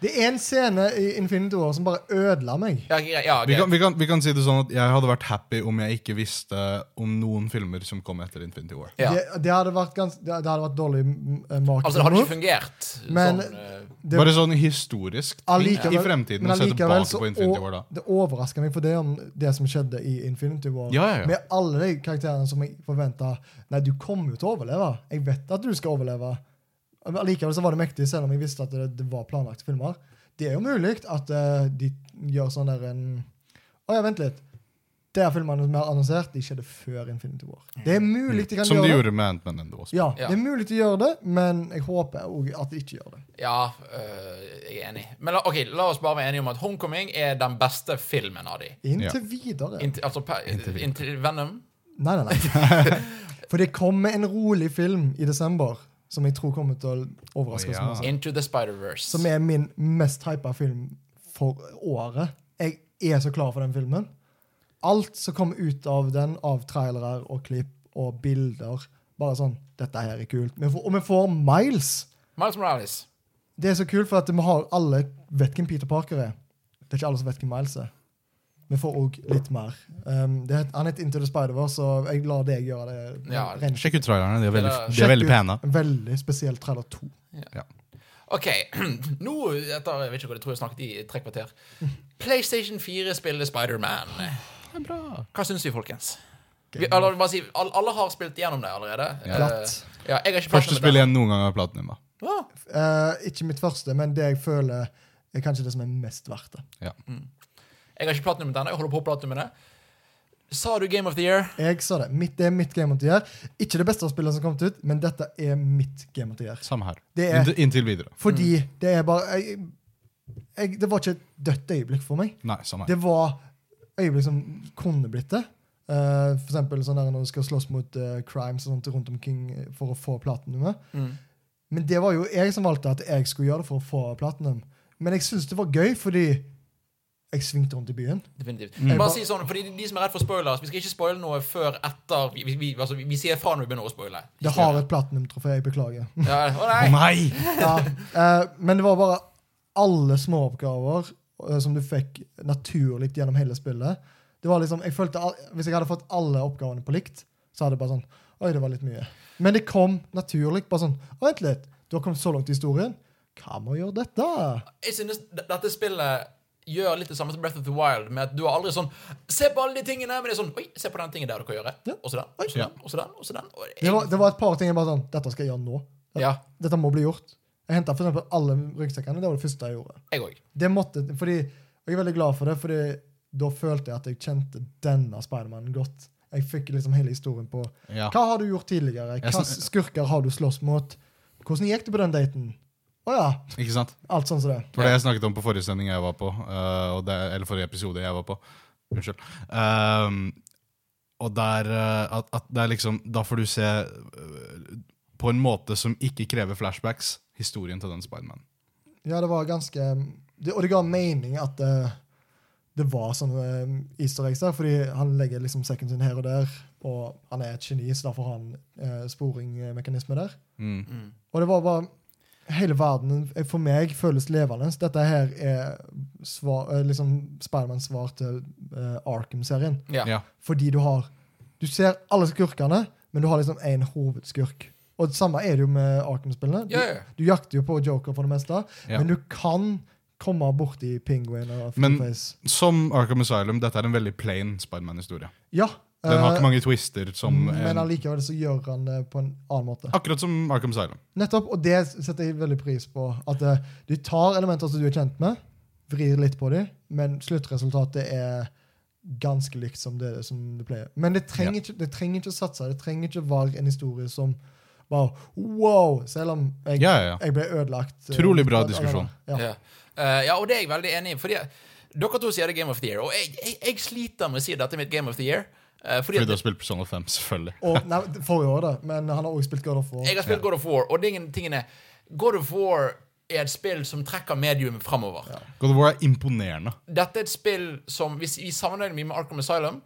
C: Det er en scene i Infinity War som bare ødela meg.
A: ja, greit. Ja,
B: Vi,
A: greit.
B: kan, vi, kan, vi kan si det sånn at Jeg hadde vært happy om jeg ikke visste om noen filmer som kom etter Infinity War.
A: Ja.
C: Det, det, hadde vært gans, det, det hadde vært dårlig eh, marketing.
A: Altså, det hadde ikke fungert.
C: Men-
A: sånn, eh,
C: Det-
B: Bare sånn historisk.
C: Allikevel-
B: I fremtiden
C: men
B: å se
C: allikevel
B: tilbake
C: så
B: på Infinity
C: å-
B: War da.
C: Det overrasker meg, for det om det som skjedde i Infinity War,
B: Ja, ja, ja.
C: med alle de karakterene som jeg forventa Nei, du kommer jo til å overleve. Jeg vet at du skal overleve. Men Allikevel så var det mektig, selv om jeg visste at det, det var planlagte filmer. Det er jo mulig at eh, de gjør sånn der en Å ja, vent litt. Der filmene som er annonsert, de skjedde før Infinity War. Det er mulig de kan
B: Som de
C: gjøre det.
B: gjorde med Ant-Man and the Wasp.
C: Ja,
A: Ja.
C: det er mulig de gjør det, men jeg håper også at de ikke gjør det.
A: Ja, øh, jeg er enig. Men la, ok, la oss bare være enige om at Homecoming er den beste filmen av de.
C: Inntil videre.
A: Inntil, altså, per,
B: Inntil videre.
A: inntil Venom.
C: Nei, nei, nei.
B: *laughs*
C: For det kommer en rolig film i desember som jeg tror kommer til å overraske
B: Å,
C: oss.
B: ja.
C: masse.
A: Into the Spider-Verse.
C: Som er min mest hypa film for året. Jeg er så klar for den filmen. Alt som kom ut av den, av trailere og klipp og bilder Bare sånn Dette her er kult. Vi får, og vi får Miles.
A: Miles Morales.
C: Det er så kult, for at vi har alle vet hvem Peter Parker er. Det er ikke alle som vet hvem Miles er. Vi får òg litt mer. Um, det, het- han heter Into the Spider-Verse, så jeg lar deg gjøre det.
A: Ja,
C: Ren-
B: Sjekk ut trailerne. De er veldig,
A: Eller-
B: de er veldig
C: Sjekk
B: pene.
C: ut en Veldig spesiell trailer 2.
A: OK, *clears throat* nå etter Jeg vet ikke hva jeg tror jeg snakket i tre kvarter. PlayStation 4 spiller Spider-Man. Hva syns vi, folkens? Vi, eller, bare si, alle, alle har spilt gjennom det allerede.
B: Ja.
C: Platt.
A: Eh, ja, jeg har ikke
B: Første
A: platinum
B: spill
A: der.
B: igjen noen gang av Platinum. da.
A: Ah,
C: Eh, ikke mitt første, men det jeg føler er kanskje det som er mest verdt det.
B: Ja.
A: Mm. Jeg har ikke platinum denne. Jeg holder på å platinum med det. Sa du Game of the Year?
C: Jeg sa det. Mitt, det er mitt Game of the Year. Ikke det beste spillet som kom ut, men dette er mitt Game of the Year.
B: Samme her.
C: Det er-
B: Inntil- Inntil videre.
C: Fordi
B: Mm.
C: det er bare jeg, jeg, Det var ikke et dødt øyeblikk for meg.
B: Nei, samme her.
C: Det var øyeblikk som kunne blitt det. Eh, for eksempel sånn der når du skal slåss mot eh, crimes og sånt rundt omkring eh, for å få platinumet. Men det var jo jeg som valgte at jeg skulle gjøre det for å få platinum. Men jeg syns det var gøy, fordi jeg svingte rundt i byen.
A: Definitivt. Bare si sånn, fordi de som er redd for spoilers, vi skal ikke spoile noe før etter Vi, vi, vi, altså, vi, vi sier fra når vi begynner å spoile.
C: Det har et platinumtrofé, jeg beklager.
A: Ja, å nei!
B: Å nei!
C: Ja, eh, men det var bare alle småoppgaver eh, som du fikk naturlig gjennom hele spillet. Det var liksom, jeg følte al Hvis jeg hadde fått alle oppgavene på likt, så hadde det bare sånn Oi, det var litt mye. Men det kom naturlig. Bare sånn «Å, Vent litt, du har kommet så langt i historien. Hva med å gjøre dette?
A: Jeg synes d- dette spillet gjør litt det samme som Breath of the Wild, med at du har aldri sånn Se på alle de tingene, men det er sånn Oi, se på den tingen der du kan gjøre. Og så den, og så
B: Ja.
A: den, og så den. og så den. Og
C: Det var, det var et par ting jeg bare sånn Dette skal jeg gjøre nå. Dette,
A: Ja.
C: dette må bli gjort. Jeg henta f.eks. alle ryggsekkene. Det var det første jeg gjorde.
A: Jeg òg.
C: Det måtte, fordi, og jeg er veldig glad for det, fordi da følte jeg at jeg kjente denne Spidermanen godt. Jeg fikk liksom hele historien på
B: Ja.
C: Hva har du gjort tidligere?
B: Jeg
C: Hva
B: sn-
C: skurker har du slåss mot? Hvordan gikk det på den daten? Å ja.
B: Ikke sant?
C: Alt sånn som det.
B: For det jeg snakket om på forrige sending jeg var på, eh, og det, eller forrige episode jeg var på, unnskyld. Ehm, og der, eh, at, at det er liksom, da får du se eh, på en måte som ikke krever flashbacks, historien til den Spiderman.
C: Ja, det var ganske det, Og det ga mening at eh, det var sånne eh, easter eggs der, fordi han legger liksom sekken sin her og der, og han er et geni, så derfor har han eh, sporingmekanisme der. Og det var bare Hele verden eh, for meg føles levende. Dette her er svar, eh, liksom Spidermans svar til eh, Arkham-serien.
A: Ja.
B: Ja.
C: Fordi du har Du ser alle skurkene, men du har liksom én hovedskurk. Og det samme er det jo med Arkham-spillene. Du,
A: Ja, ja.
C: du jakter jo på Joker for det meste,
B: Ja.
C: men du kan komme borti Penguin og
B: Men-
C: Face.
B: Som Arkham Asylum, dette er en veldig plain Spiderman-historie.
C: Ja.
B: Den har
C: eh,
B: ikke mange twister. som
C: men
B: en,
C: allikevel så gjør han det på en annen måte.
B: Akkurat som Arkham Asylum.
C: Nettopp, og det setter jeg veldig pris på. At eh, du tar elementer som du er kjent med, vrir litt på dem, men sluttresultatet er ganske likt som det, som det pleier. Men det trenger, ikke, det trenger ikke å satse. Det trenger ikke å være en historie som bare wow! Selv om jeg,
B: Ja, ja, ja.
C: jeg ble ødelagt. eh,
B: Utrolig bra
C: av det der.
B: diskusjon.
C: Ja.
A: Ja. Eh, ja, og det er jeg veldig enig i. Fordi Dere to sier det Game of the Year, og jeg, jeg, jeg sliter med å si dette er mitt Game of the Year. eh, fordi
B: Fordi du
A: at
B: har spilt Persona 5, selvfølgelig.
C: Og, nei, forrige år, da. Men han har også spilt God of War.
A: jeg har spilt God of War, og det er ingen tingene God of War er et spill som trekker mediumet framover.
B: God of War er imponerende.
A: Dette er et spill som Hvis vi sammenligner mye med Arkham Asylum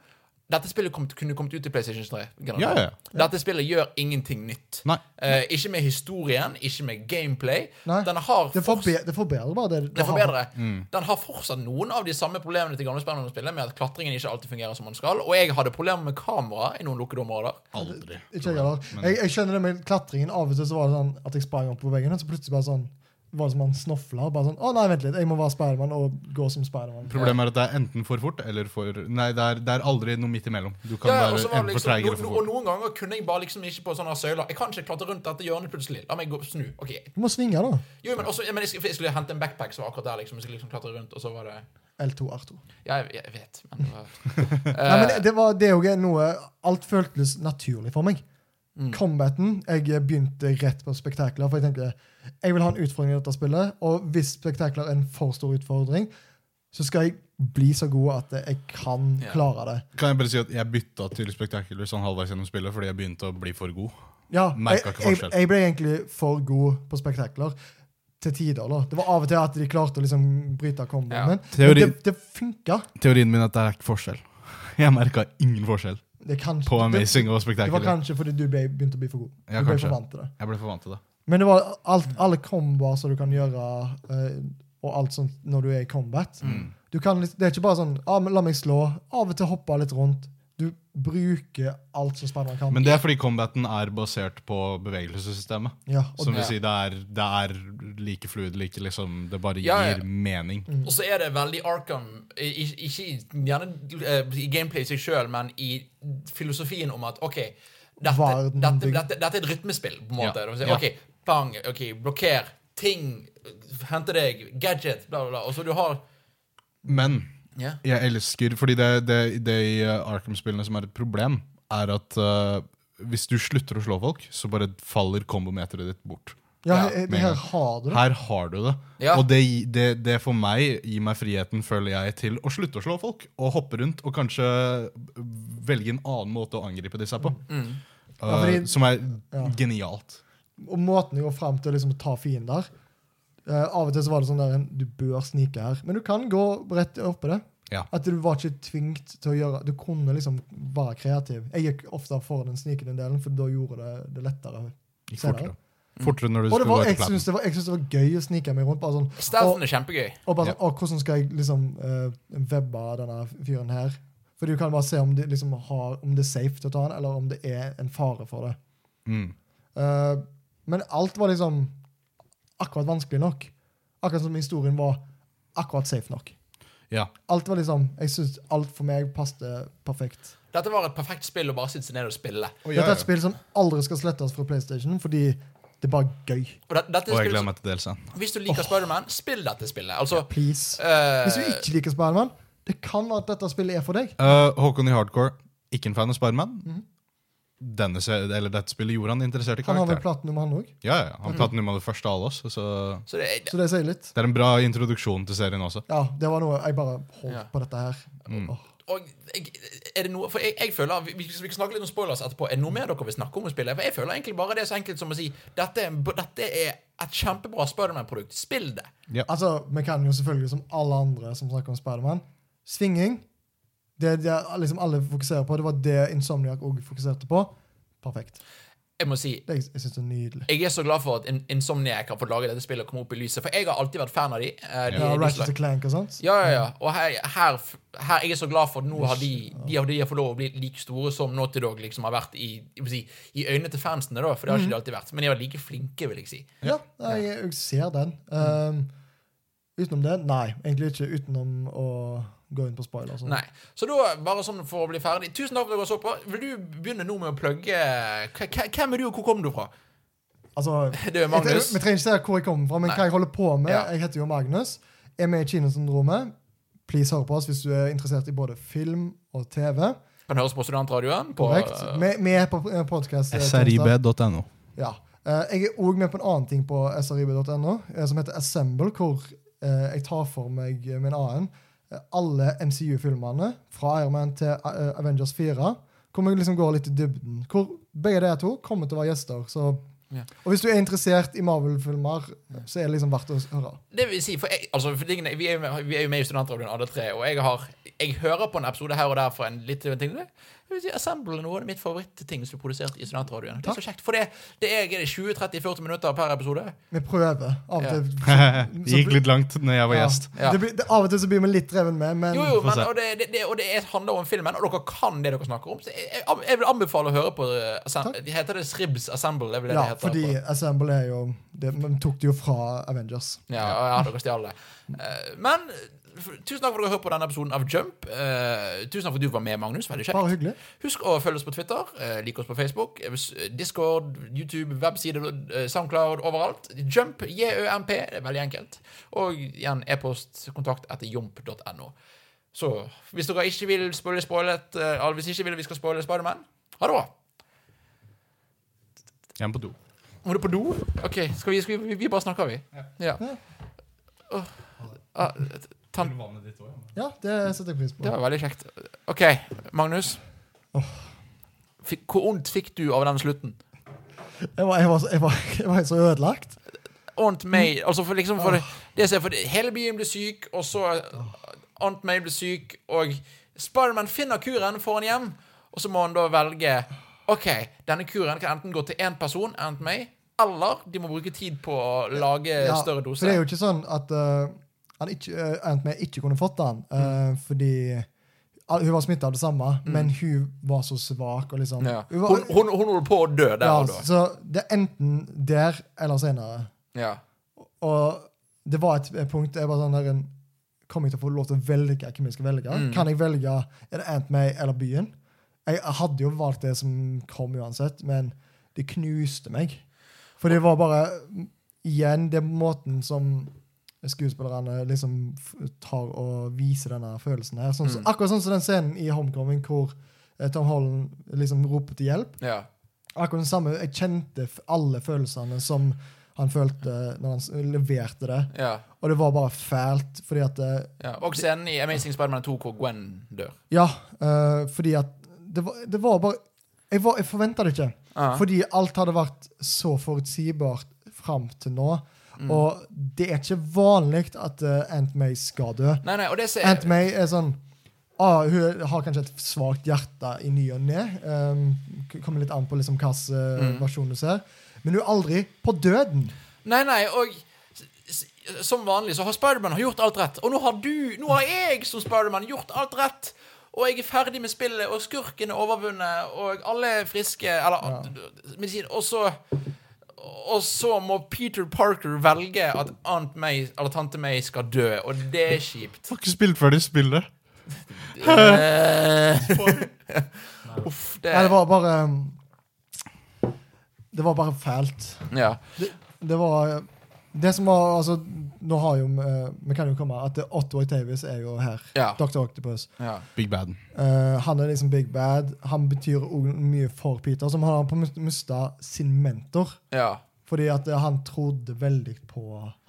A: Dette spillet kom, kunne kommet ut i PlayStation 3. generelt.
B: Ja, ja,
A: Dette spillet gjør ingenting nytt.
B: Nei.
A: Eh, ikke med historien, ikke med gameplay.
C: Nei.
A: Den har
C: Det
A: fortsatt-
C: forbe- det forbedrer bare det. du
A: Det
C: har.
A: forbedrer.
B: Mm.
A: Den har fortsatt noen av de samme problemene til gamle Spiderman-spillet, med at klatringen ikke alltid fungerer som den skal. Og jeg hadde problemer med kamera i noen lukkede områder.
B: Aldri.
C: Ikke jeg, heller. jeg, jeg skjønner det med klatringen. Av og til så var det sånn at jeg sprang opp på veggen, og så plutselig bare sånn var det som han snofla. Bare sånn, å nei, vent litt, jeg må være Spiderman og gå som Spiderman.
B: Problemet er at det er enten for fort eller for Nei, det er, det er aldri noe midt imellom. Du kan
A: Ja, ja, og,
B: være
A: så var det
B: enten for
A: liksom,
B: treig eller
A: no,
B: for
A: no, og
B: fort.
A: noen ganger kunne jeg bare liksom ikke på sånne søyler. Jeg kan ikke klatre rundt dette hjørnet plutselig. La meg gå, snu. Ok.
C: Du må svinge, da.
A: Jo, men, også, ja, men jeg, skulle, jeg skulle hente en backpack som var akkurat der, liksom. Jeg skulle liksom klatre rundt, og så var det
C: L2 R2.
A: Ja, jeg, jeg vet, men det var
C: Nei, men det, var, det er jo ikke noe Alt føltes naturlig for meg. Combaten Jeg eh, begynte rett på spektakler, for jeg tenkte jeg vil ha en utfordring i dette spillet. Og hvis spektakler er en for stor utfordring, så skal jeg bli så god at jeg kan
A: Ja.
C: klare det.
B: Kan jeg bare si at jeg bytta til Spectacular sånn halvveis gjennom spillet fordi jeg begynte å bli for god?
C: Ja, jeg,
B: Merket ikke
C: jeg,
B: forskjell.
C: jeg ble egentlig for god på spektakler. Til tider, da. Det var av og til at de klarte å liksom bryte komboen
A: Ja.
C: min. Men
B: Teori-
C: det, det funka.
B: Teorien min er at det er ikke forskjell. *laughs* Jeg merka ingen forskjell
C: Det, er kanskje-
B: på
C: det,
B: Amazing og
C: det var
B: Spectacular.
C: kanskje fordi du ble, begynte å bli for god.
B: Ja,
C: du ble
B: kanskje.
C: for vant til det.
B: Jeg ble for vant til det.
C: Men det var alt, alle komboer som du kan gjøre, eh, og alt sånt når du er i combat.
B: Mm.
C: Du kan, litt- det er ikke bare sånn ah, men 'la meg slå', av og til hoppe litt rundt. Du bruker alt som spennende kan.
B: Men det er fordi combaten er basert på bevegelsessystemet.
C: ja, og
B: Som vil
A: Ja.
B: si, det er, det er like fluid, like liksom Det bare
A: Ja, Mm. ja.
B: gir mening.
A: Og så er det veldig Arkham i- i- Ikke i- gjerne eh, i gameplay i seg sjøl, men i filosofien om at OK, dette,
C: Verden
A: dette,
C: bygd.
A: dette, dette er et rytmespill, på en måte.
B: Ja.
A: Det vil si,
B: Ja.
A: OK, pang, ok, blokker, ting, hente deg, gadget, bla, bla, bla. Og så du har
B: Men
A: Ja.
B: jeg elsker Fordi det, det, det i eh, Arkham-spillene som er et problem, er at eh, hvis du slutter å slå folk, så bare faller kombometeret ditt bort.
C: ja,
A: Ja,
C: he-
B: med en
C: her
B: gang.
C: har du det.
B: Her har du det.
A: Ja.
B: Og det, gi- det, det for meg gir meg friheten, føler jeg, til å slutte å slå folk. Og hoppe rundt og kanskje velge en annen måte å angripe disse på.
A: Mm.
B: Eh,
C: Mm. Ja, fordi-
B: som er
C: Ja.
B: genialt.
C: Og måten de går fram til å liksom ta fiender eh, Av og til så var det sånn der Du bør snike her, men du kan gå rett oppå det.
B: Ja.
C: At du var ikke tvingt til å gjøre Du kunne liksom være kreativ. Jeg gikk ofte for den snikende delen, for da gjorde det det lettere.
B: Gikk
C: senere.
B: fortere. Fortere når du
C: Og det
B: skulle
C: var,
B: gå
C: jeg
B: etter planen.
C: syns det, var- jeg synes det var gøy å snike meg rundt. Bare sånn,
A: Stealthen er kjempegøy.
C: og bare sånn, å, hvordan skal jeg liksom eh, webbe denne fyren her? For du kan bare se om det, liksom har, om det er safe til å ta han, eller om det er en fare for det.
B: Mm.
C: Eh, men alt var liksom akkurat vanskelig nok. Akkurat som historien var akkurat safe nok.
B: Ja.
C: Alt var liksom, Jeg syns alt for meg passet perfekt.
A: Dette var et perfekt spill å bare sitte seg ned og spille.
B: Og
C: Dette er
B: jeg,
C: et spill som aldri skal slettes fra PlayStation, fordi det er bare gøy.
A: Og det, dette er
B: og jeg
A: spill
B: gleder
A: som,
B: meg til DLC-en.
A: hvis du liker Spiderman, spill dette spillet. Altså
C: Please.
A: eh,
C: Hvis du ikke liker Spiderman, det kan være at dette spillet er for deg.
B: Eh, Håkon i Hardcore, ikke en fan av Spiderman. Denne se- Eller Dette spillet gjorde han interessert i
C: Mhm. Han har vel
B: karakteren.
C: platinum, han òg,
B: Ja, ja, han
C: Mhm.
B: pratet om det første av alle oss. Så
A: så det, er-
C: så det sier litt.
B: det er en bra introduksjon til serien også.
C: Ja, det var noe jeg bare holdt
A: Ja. Mm.
C: på dette her. Åh.
A: og jeg, er det noe For jeg, jeg føler vi, vi skal snakke litt om spoilers etterpå. Er det noe mer dere vil snakke om å spille? For jeg føler egentlig bare det er så enkelt som å si dette er, en b- dette er et kjempebra Spiderman-produkt. Spill det.
C: Altså, Vi kan jo selvfølgelig, som alle andre som snakker om Spiderman, svinging. Det, det liksom alle fokuserer på, det var det Insomniac òg fokuserte på. Perfekt.
A: Jeg må si
C: Det, jeg jeg syns det er nydelig.
A: jeg er så glad for at In- Insomniac har fått lage dette spillet og komme opp i lyset, for jeg har alltid vært fan av de. eh, de,
C: Ja,
A: de
C: Ratchet og Clank og sånt.
A: Ja, ja, ja. Og her, her, her er jeg så glad for at nå har de, de, har, de har fått lov å bli like store som Naughty Dog liksom har vært i, jeg vil si, i øynene til fansene, da, for det har ikke de alltid vært. Men de var like flinke, vil jeg si.
C: Ja, jeg, jeg ser den. Um, Utenom det? Nei, egentlig ikke. Utenom å gå inn på spoiler. og sånn.
A: Nei. Så da, bare sånn for å bli ferdig Tusen takk for at dere så på. Vil du begynne nå med å plugge K- k- Hvem er du, og hvor kom du fra?
C: Altså,
A: *laughs* Det er Magnus.
C: Jeg, vi trenger ikke si hvor jeg kommer fra, men
A: Nei.
C: hva jeg holder på med.
A: Ja.
C: Jeg heter jo Magnus. Er med i Kinosyndromet. Please hør på oss hvis du er interessert i både film og TV.
A: Kan høres på studentradioen. På, eh,
C: Korrekt. Vi vi er på eh, podkast.
B: srib.no.
C: Ja. Eh, Jeg er òg med på en annen ting på srib.no, eh, som heter Assemble, hvor eh, jeg tar for meg eh, min annen eh, alle MCU-filmene, fra Iron Man til eh, Avengers 4, hvor vi liksom går litt i dybden. Hvor begge de to kommer til å være gjester. Så.
A: Ja.
C: Og hvis du er interessert i Marvel-filmer, så er det liksom verdt å høre.
A: Det vil si, for, jeg, altså, for tingene, vi, er, jo- vi er jo med i Studentradioen alle tre, og jeg, har, jeg hører på en episode her og der fra en litt eh, ting. Det vil si, Assemble er noe av mitt favorittting som er produsert i Studentradioen. Det er så kjekt, for det, det er, er det 20-30-40 minutter per episode.
C: Vi prøver. Av
A: *laughs*
C: og
A: Ja.
C: til.
B: Det *laughs* gikk litt langt når jeg var
C: Ja.
B: gjest.
A: Ja.
C: Det blir, det, av og til så blir vi litt reven med, men
A: Jo, jo,
B: Få
A: men,
B: se.
A: og, det, det, det, og det er- handler om filmen, og dere kan det dere snakker om. Så jeg, jeg, jeg vil anbefale å høre på eh, assem,
C: Takk.
A: de Heter det Sribs Assemble? Det er vel det
C: ja,
A: det heter
C: fordi
A: på-
C: Assemble er jo det, Man tok det jo fra Avengers.
A: Ja, og ja dere stjal det. Eh, Men f- tusen takk for at dere hørte på denne episoden av Jump. Eh, tusen takk for at du var med, Magnus. Veldig kjekt.
C: Bare hyggelig.
A: Husk å følge oss på Twitter, eh, like oss på Facebook, eh, hvis- eh, Discord, YouTube, webside, eh, Soundcloud, overalt. Jump, JØMP, det er veldig enkelt. Og igjen e-post, kontakt etter jump.no. Så hvis dere ikke vil spoile spoilet, eh, eller hvis ikke vil vi skal spoile Spiderman, ha det bra.
B: Jeg er på do.
A: Må du på do? OK, skal vi, skal vi, vi bare snakker, vi. Ja. Åh. Ah, tan-
C: Ja, det setter jeg pris på.
A: Det var veldig kjekt. OK, Magnus.
C: Åh.
A: Fikk, hvor vondt fikk du av den slutten?
C: Jeg var, jeg var, så- jeg var, jeg var helt så ødelagt.
A: Aunt May altså for liksom for det, det som er for det, Hele byen blir syk, og så Aunt May blir syk, og Spiderman finner kuren, får han hjem, og så må han da velge OK, denne kuren kan enten gå til én person, Aunt May, eller de må bruke tid på å lage
C: Ja,
A: Eh, større
C: For det
A: doser.
C: er jo ikke sånn at eh, han ikke, eh, Aunt May ikke kunne fått den, eh,
A: Mm.
C: fordi al- hun var smitta av det samme, men hun var så svak og liksom
A: Ja. Hun,
C: hun var,
A: hun, hun holder på å dø der
C: ja, altså.
A: og da.
C: Så det er enten der eller senere.
A: Ja.
C: Og det var et eh, punkt jeg bare sånn der, en- Kommer jeg til å få lov til å velge hvem jeg skal velge? Kan jeg velge er det Aunt May eller byen? Jeg hadde jo valgt det som kom uansett, men det knuste meg. For det var bare Igjen, det er måten som skuespillerne liksom f- tar og viser denne følelsen her. Sånn, som- Akkurat sånn som den scenen i Homecoming hvor eh, Tom Holland liksom roper til hjelp.
A: ja.
C: Akkurat det samme. Jeg kjente f- alle følelsene som han følte når han s- leverte det.
A: ja.
C: Og det var bare fælt, fordi at eh,
A: Ja. Og scenen i Amazing Spiderman 2 hvor Gwen dør.
C: Ja, eh, fordi at Det var, det var bare Jeg, var- jeg forventa det ikke.
A: Ja.
C: Fordi alt hadde vært så forutsigbart fram til nå. Og det er ikke vanlig at eh, Aunt May skal dø.
A: Nei, nei, og det ser
C: Aunt May er sånn ah, Hun har kanskje et svakt hjerte i ny og ne. Um, k- kommer litt an på liksom hvilken versjon du ser. Men hun er aldri på døden.
A: Mm. Nei, nei, og s- s- som vanlig så har Spiderman har gjort alt rett. Og nå har du, nå har jeg som Spiderman gjort alt rett. Og jeg er ferdig med spillet, og skurken er overvunnet, og alle er friske. Eller medisin. Og så Og så må Peter Parker velge at Aunt May, eller tante May skal dø, og det er kjipt.
B: Får ikke spilt før de spiller.
A: *laughs* Eh, Uff, det
C: Nei, det var bare um, Det var bare fælt.
A: Ja.
C: Det, det var Det som var Altså, nå har jo eh, Vi kan jo komme at det- Otto Octavius er jo her.
A: Ja.
C: Dr. Octopus.
A: ja.
B: Big Bad.
C: Eh, han er liksom big bad. Han betyr også mye for Peter, som han har mista sin mentor.
A: ja.
C: Fordi at eh, han trodde veldig på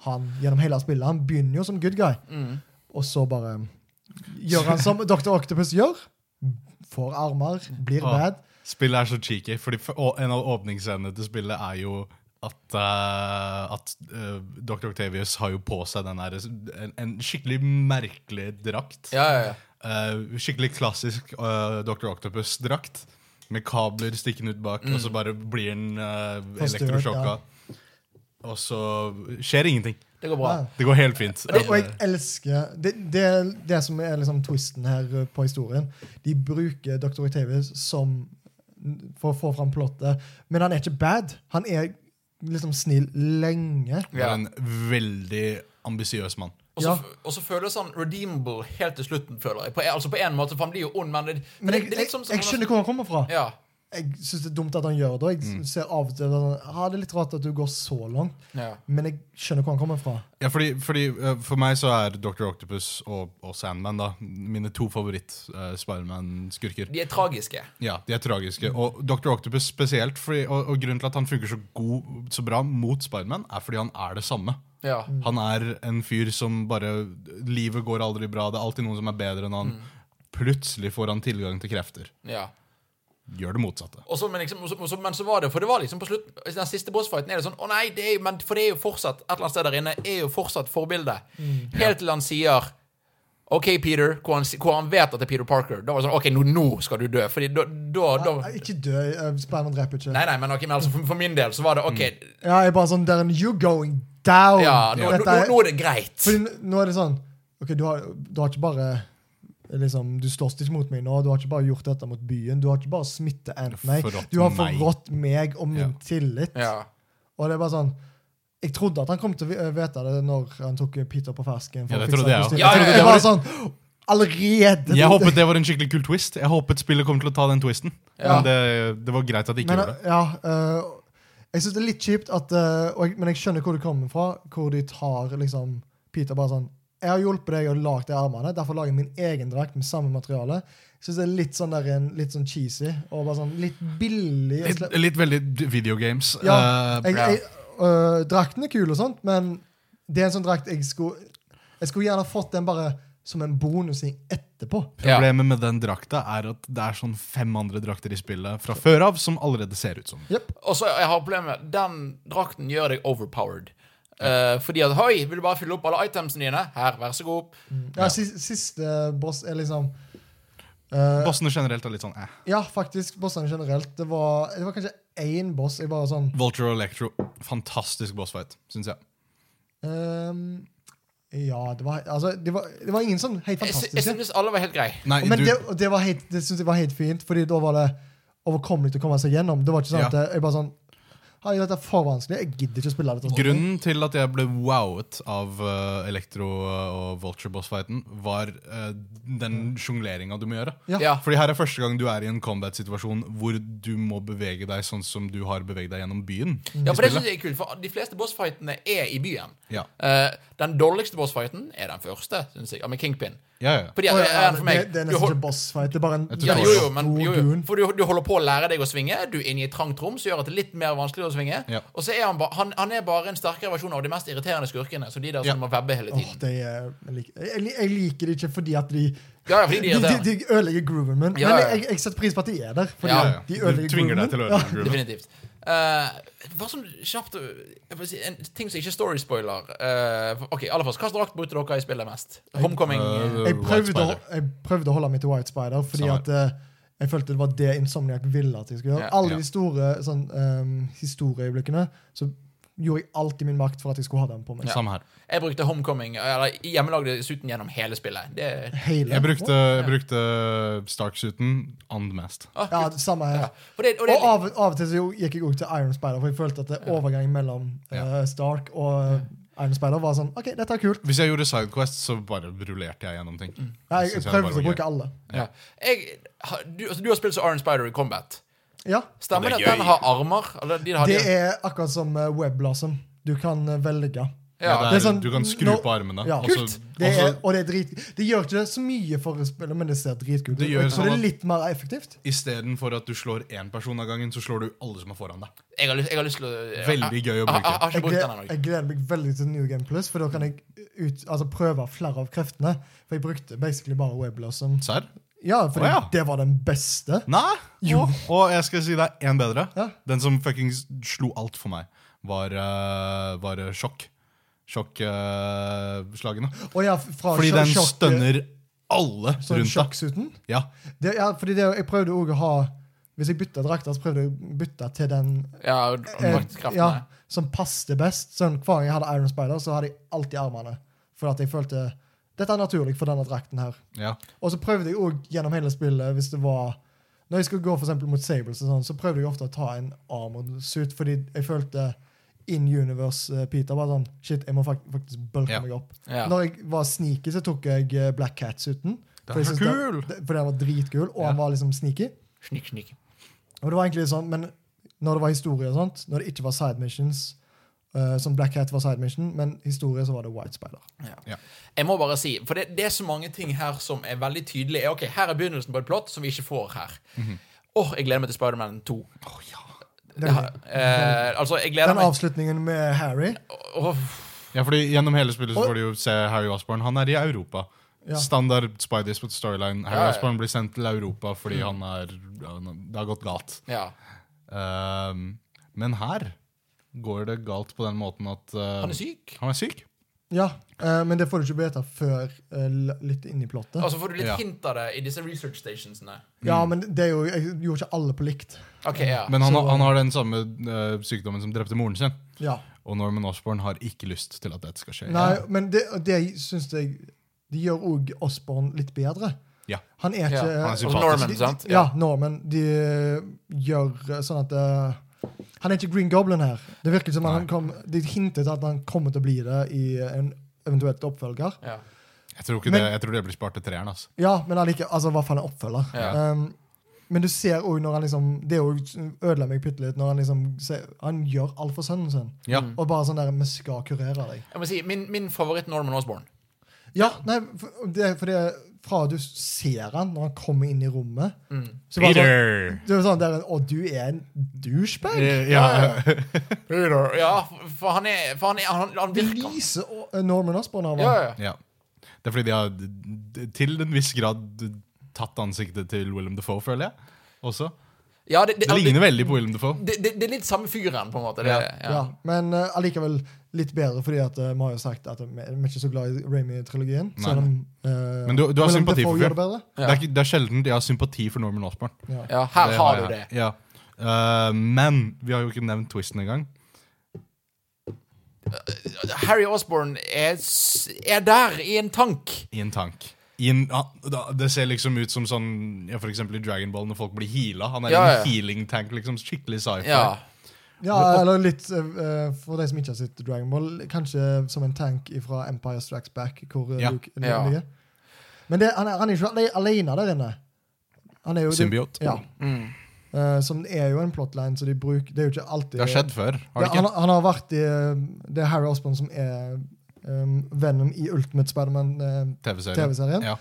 C: han gjennom hele spillet. Han begynner jo som good guy,
A: Mm.
C: og så bare gjør han som Dr. Octopus gjør. Får armer, blir
B: Ah.
C: bad.
B: Spillet er så cheeky, fordi f- å- en av åpningsscenene til spillet er jo at, eh, at eh, Dr. Octavius har jo på seg den der, en, en skikkelig merkelig drakt.
A: Ja, ja, ja.
B: Eh, skikkelig klassisk eh, Dr. Octopus-drakt. Med kabler stikkende ut bak, og så bare blir den uh,
C: Forstørret,
B: elektrosjokka. Og så skjer ingenting.
A: Det går bra.
C: Ja.
B: Det går helt fint. Eh,
C: Og jeg elsker det, det, er det som er liksom twisten her eh, på historien. De bruker Dr. Octavius som for å få fram plottet. Men han er ikke bad. Han er liksom snill lenge.
B: Han var en veldig ambisiøs mann.
A: Og så, og så føles han redeemable helt til slutten, føler jeg. På, altså på en måte, for han blir jo ond, men det, men
C: Men
A: det,
C: jeg,
A: det er
C: jeg,
A: litt som,
C: jeg,
A: som han-
C: skjønner hvor han kommer fra.
A: Ja.
C: Jeg syns det er dumt at han gjør det. og
A: Mm.
C: Jeg ser av og til at han- ah, Det er litt rart at du går så langt,
A: ja.
C: men jeg skjønner hvor han kommer fra.
B: Ja, fordi, fordi eh, For meg så er Dr. Octopus og, og Sandman da mine to favoritt-Spiderman-skurker.
A: De er tragiske.
B: ja, De er tragiske. Og Dr. Octopus spesielt. Fordi, og, og Grunnen til at han funker så, god, så bra mot Spiderman, er fordi han er det samme.
A: Ja.
B: Han er en fyr som bare Livet går aldri bra. Det er alltid noen som er bedre enn han. Plutselig får han tilgang til krefter.
A: ja.
B: Gjør det motsatte.
A: Og så, men, liksom, og så- og så, men så var det For det var liksom på slutten i Den siste bossfighten er det sånn Å nei, det er jo, men, for det er jo fortsatt Et eller annet sted der inne er jo fortsatt forbildet.
C: Mm.
A: Helt til han sier OK, Peter, hvor han, si- hvor han vet at det er Peter Parker. Da var det sånn OK, nå, nå skal du dø. Fordi da, da, da
C: Ah, Ikke dø. eh, Spiderman dreper ikke.
A: Nei, nei, men, ok, men altså, for, for min del så var det OK,
C: Ja, jeg er bare sånn Darren, you're going down.
A: ja, nå, nå,
C: Dette
A: nå,
C: er-
A: nå er det greit.
C: Fordi n- nå er det sånn Ok, du har, du har ikke bare liksom, Du slåss ikke mot meg nå, du har ikke bare gjort dette mot byen. Du har ikke bare smittet Ant, nei.
B: Forrådt
C: Du har
B: meg.
C: forrådt meg og min
B: Ja.
C: tillit.
A: Ja.
C: Og det er bare sånn Jeg trodde at han kom til å vi- vite det når han tok Peter på fersken.
B: Ja, det
C: å fikse
B: trodde jeg også.
C: kostymet.
A: Ja, ja, ja,
C: Jeg
A: ja.
C: bare sånn Allerede!
B: Jeg håpet det var en skikkelig kul twist. Jeg håpet spillet kom til å ta den twisten.
A: Ja.
B: Men det, det var greit at de ikke
C: Men, eh,
B: gjorde det.
C: ja, øh, jeg syns det er litt kjipt, at, øh, og jeg, men jeg skjønner hvor det kommer fra. Hvor de tar liksom Peter bare sånn Jeg har hjulpet deg og lagd de armene, derfor lager jeg min egen drakt med samme materiale. Jeg synes det er litt sånn der, en- litt sånn cheesy og bare sånn litt billig. og
B: Litt,
C: slett-
B: litt veldig videogames.
C: Ja,
B: Eh,
C: jeg,
A: ja.
C: jeg, øh, drakten er kul og sånt, men det er en sånn drakt jeg skulle Jeg skulle gjerne fått den bare som en bonus i etterpå.
B: Problemet med den drakta er at det er sånn fem andre drakter i spillet fra før av som allerede ser ut som.
C: Jepp.
A: Og så jeg har problemet Den drakten gjør deg overpowered. Eh, fordi at Hoi, vil du bare fylle opp alle itemsene dine? Her, vær så god.
C: Ja, siste, siste boss er liksom øh,
B: Bossene generelt er litt sånn eh.
C: Ja, faktisk. Bossene generelt. Det var, det var kanskje én boss jeg bare sånn
B: Vulture og Electro. Fantastisk bossfight, syns jeg.
C: ehm, Ja, det var, altså, det, var, det var ingen sånn helt
A: Jeg, sy- jeg
C: fantastiske.
A: synes alle var helt greie.
B: Nei,
C: Men
B: du,
C: det, og det, var helt, det synes jeg var helt fint, Fordi da var det overkommelig å komme seg gjennom. Det var ikke sånn
B: Ja.
C: at jeg- jeg bare sånn Hei, dette er for vanskelig. Jeg gidder ikke å spille dette.
B: Grunnen til at jeg ble wowet av eh, Electro og Vulture-bossfighten, var eh, den sjongleringa du må gjøre.
C: Mm. Ja.
A: Ja.
B: Fordi her er første gang du er i en combat-situasjon hvor du må bevege deg sånn som du har beveget deg gjennom byen.
C: Mm.
A: Ja, for det synes jeg er kult, for de fleste bossfightene er i byen.
B: Ja,
A: Eh, den dårligste bossfighten er den første, synes jeg. Ja, Med Kingpin.
B: ja, ja.
A: Fordi
C: Å,
A: at,
C: ja,
A: eh, for meg
C: det, det er
A: du
C: nesten
A: hol-
C: ikke bossfight. Det er bare en
B: Jeg tror
A: ja,
B: det
A: jo, jo,
B: var
A: men, jo, jo. For du, du holder på å lære deg å svinge. Du er inne i et trangt rom som gjør at det er litt mer vanskelig å svinge.
B: Ja.
A: Og så er han, ba, han, han er bare en sterkere versjon av de mest irriterende skurkene. Så de der som må
B: Ja.
A: webbe hele
C: Åh,
A: tiden.
C: det er, jeg, liker, jeg, li- jeg liker det ikke fordi at de
A: Ja, ja, fordi de
C: de,
A: er
C: de,
A: irriterende.
C: de ødelegger grooven min.
A: Ja,
C: men
A: ja.
C: jeg, jeg setter pris på at de er der. Fordi
A: Ja,
B: ja, ja.
C: de
B: Du
C: ødelegger
B: tvinger deg
C: grooven
B: til å
C: min.
B: gjøre
C: Ja.
A: *laughs*
B: det. Groove.
A: Definitivt. Eh, bare sånn kjapt eh, jeg vil si, en ting som ikke er story-spoiler. Eh, ok, aller først, Hva slags drakt brukte dere i spillet mest? Homecoming?
B: Eh,
C: jeg
B: White
C: prøvde, å,
B: Spider.
C: jeg prøvde å holde meg til White Spider, fordi
B: Samme.
C: at eh, jeg følte det var det Insomniac ville at jeg skulle gjøre.
A: Ja.
C: Alle
B: Ja.
C: de store sånn, ehm, historieøyeblikkene så gjorde jeg alltid min makt for at jeg skulle ha den på meg.
B: Samme her.
A: Jeg brukte Homecoming, eller hjemmelagde dessuten gjennom hele spillet. Det,
C: Hele.
B: Jeg brukte, jeg brukte Stark-suiten and mest.
A: ah,
C: ja,
A: kult.
C: det samme her.
A: Ja. For det, og
C: Og
A: det,
C: av, av og til så jo- gikk jeg også til Iron Spider, for jeg følte at det overgangen mellom eh, Stark og eh, Iron Spider var sånn OK, dette er kult.
B: Hvis jeg gjorde Sidequest, så bare rullerte jeg gjennom ting.
C: Ja,
B: Synes
C: jeg, jeg
B: det bare
C: prøvde Mm. å
B: var gøy.
C: bruke alle.
A: ja. jeg, har- du, altså, du har spilt som Iron Spider i Combat.
C: Ja.
A: Stemmer
B: Det
A: det
B: er
A: at den
B: gøy.
A: har armer? Eller de har
C: Det
A: de-
C: er akkurat som uh, Webblossom. Du kan eh, velge.
B: Ja,
A: ja.
B: det
C: Det er
B: er,
C: sånn-
B: du kan skru
C: nå-
B: på armene.
C: Ja.
B: og så-
A: Kult.
C: Det er,
B: og så-
C: og det er drit Det gjør ikke så mye for spillet, men det ser dritkult ut.
B: Det gjør
C: Og jeg tror
B: sånn
C: det
B: at-
C: er litt mer effektivt.
B: Istedenfor at du slår én person av gangen, så slår du alle som er foran deg.
A: jeg, har lyst, jeg har lyst til å jeg-
B: Veldig gøy
A: Jeg, jeg, jeg
B: å
A: har
B: bruke.
A: ikke
C: Jeg
A: brukt
C: gleder,
A: den ennå.
C: jeg gleder meg veldig til New Game Plus, for da kan jeg ut, altså, prøve flere av kreftene. For jeg brukte basically bare Webblossom.
B: Serr?
C: Ja, fordi
B: Å, ja.
C: det var den beste.
B: Nei! Jo. Og jeg skal si det er én bedre.
C: Ja.
B: Den som fuckings slo alt for meg, var, eh, var eh, sjokk. Sjokkslagene.
C: Og ja, fra
B: Fordi
C: sjokk-
B: den
C: sjokk-
B: stønner alle
C: Sånn
B: rundt deg.
C: sjokksuten.
B: Ja.
C: Det, ja, fordi det, jeg prøvde òg å ha Hvis jeg bytta drakter, så prøvde jeg å bytte til den
A: Ja,
C: eh,
A: draktkraften,
C: ja,
A: nei.
C: som passet best. Sånn, hver gang jeg hadde Iron Spider, så hadde jeg alltid armene. For at jeg følte dette er naturlig for denne drakten her.
B: ja.
C: Og så prøvde jeg òg gjennom hele spillet hvis det var Når jeg skulle gå for eksempel mot Sables, og sånn, så prøvde jeg ofte å ta en armored suit, fordi jeg følte in universe eh, Peter. Bare sånn Shit, jeg må fak faktisk bulke
B: Ja.
C: meg opp.
A: Ja.
C: Når jeg var sneaky, så tok jeg eh, Black Cats-uten.
B: Den er
C: den,
B: kul!
C: fordi den var dritkul, og
B: Ja.
C: han var liksom sneaky.
A: Snikk, snikk.
C: Og det var egentlig sånn, Men når det var historie og sånt, når det ikke var side missions eh, Som Black Hat var side mission, men historie, så var det White Spider.
A: Ja.
B: Ja.
A: Jeg må bare si, for det, det er så mange ting her som er veldig tydelige. Ok, Her er begynnelsen på et plott som vi ikke får her. Åh,
B: Mhm.
A: Jeg gleder meg til Spiderman 2.
C: Den,
A: Det har, eh, altså, jeg gleder
C: den
A: meg
C: avslutningen med Harry
A: Åh,
B: Ja, fordi Gjennom hele spillet så
C: Og-
B: får du jo se Harry Osborn. Han er i Europa.
C: Ja.
B: Standard Spideys på storyline. Harry
A: Ja, ja.
B: Osborn blir sendt til Europa fordi han er han- Det har gått galt.
A: Ja.
B: Ehm, men her går det galt på den måten at eh,
A: Han er syk.
B: Han er syk.
C: Ja, eh, men det får du ikke vite før eh, l- litt inni plottet.
B: Altså,
A: Og så Altså, får du litt
B: Ja.
A: hint av det i disse research stationsene.
C: ja,
B: mm.
C: men det er jo, jeg gjorde ikke alle på likt.
A: Ok, ja.
B: Men han,
C: Så-
B: han har den samme eh, sykdommen som drepte moren sin.
C: Ja.
B: Og Norman Osborn har ikke lyst til at dette skal skje.
C: Nei, men det, det syns jeg De gjør òg Osborn litt bedre.
B: Ja.
C: Han er ikke eh, altså,
A: Ja,
B: han er
A: Og
B: sympatisk.
A: Norman, sant?
C: Ja, Norman. De gjør eh, sånn at eh, Han er ikke Green Goblin her. Det virker som
B: Nei.
C: han kom, De hintet at han kommer til å bli det i en eventuelt oppfølger.
A: Ja.
B: Jeg tror, ikke
C: Men-
B: det, jeg tror det blir spart til treeren. Altså.
C: Ja, men allike, altså, hva faen er oppfølger?
A: Ja.
C: Um, men du ser òg når han liksom Det også ødela meg bitte litt når han liksom ser, Han gjør alt for sønnen sin.
A: Mm.
B: Ja.
C: Og bare sånn der Vi skal kurere deg.
A: Jeg må si, Min, min favoritt Norman Osborn.
C: Ja, nei, for det, for det Fra du ser han når han kommer inn i rommet
A: Mm.
C: så bare sånn,
B: Peter!
C: Det er sånn der Å, du er en douchebag!
B: Eh, Ja.
A: Ja, for- for han er For han, er, han, han
C: Det
A: virker
C: lyser og- eh, Norman Osborn av
A: ja,
C: ham.
A: ja.
B: ja. Det er fordi de har d- d- til en viss grad d- tatt ansiktet til Willem Dafoe, føler jeg. Også.
A: ja det, det,
B: Det
A: det,
B: ligner veldig på Willem Dafoe.
A: det, det, er litt samme fyren, på en måte. Det,
B: Ja.
A: ja.
C: Ja, men eh, allikevel litt bedre, fordi at eh, vi har jo sagt at vi vi er ikke så glad i Ramy-trilogien.
B: Nei.
C: Selv om eh,
B: Men du- du har
C: Willem
B: sympati
C: Dafoe
B: for
C: gjør
B: fyren.
C: det bedre.
B: Det, er ikke, det er sjelden jeg har sympati for Norman Osborn.
C: Ja.
A: Ja, her
B: Det
A: har du det.
B: jeg. Ja. Eh, men vi har jo ikke nevnt twisten engang.
A: Harry Osborn er, s- er der, i en tank.
B: I en tank. I en, ja, da- det ser liksom ut som sånn ja, For eksempel i Dragon Ball når folk blir heala. Han er
A: Ja,
B: i en
A: ja.
B: healing tank. liksom Skikkelig sci-fi.
A: Ja.
C: Ja, eller litt eh, eh, for de som ikke har sett Dragon Ball, kanskje som en tank fra Empire Strikes Back, hvor eh,
B: Ja.
C: Luke Luke
A: Ja.
C: ligger. Men det, han, er, han er ikke ale- alene der inne. Han er jo
B: Symbiot.
C: Ja.
A: Mm.
B: Mm.
C: Eh, som er jo en plotline, så de bruker Det er jo ikke alltid
B: Det har skjedd før. Har det
C: Ja, han,
B: ikke?
C: han har vært i eh, Det er Harry Osborn som er um, Venom i Ultimate Spiderman-TV-serien.
B: TV-serien. ja.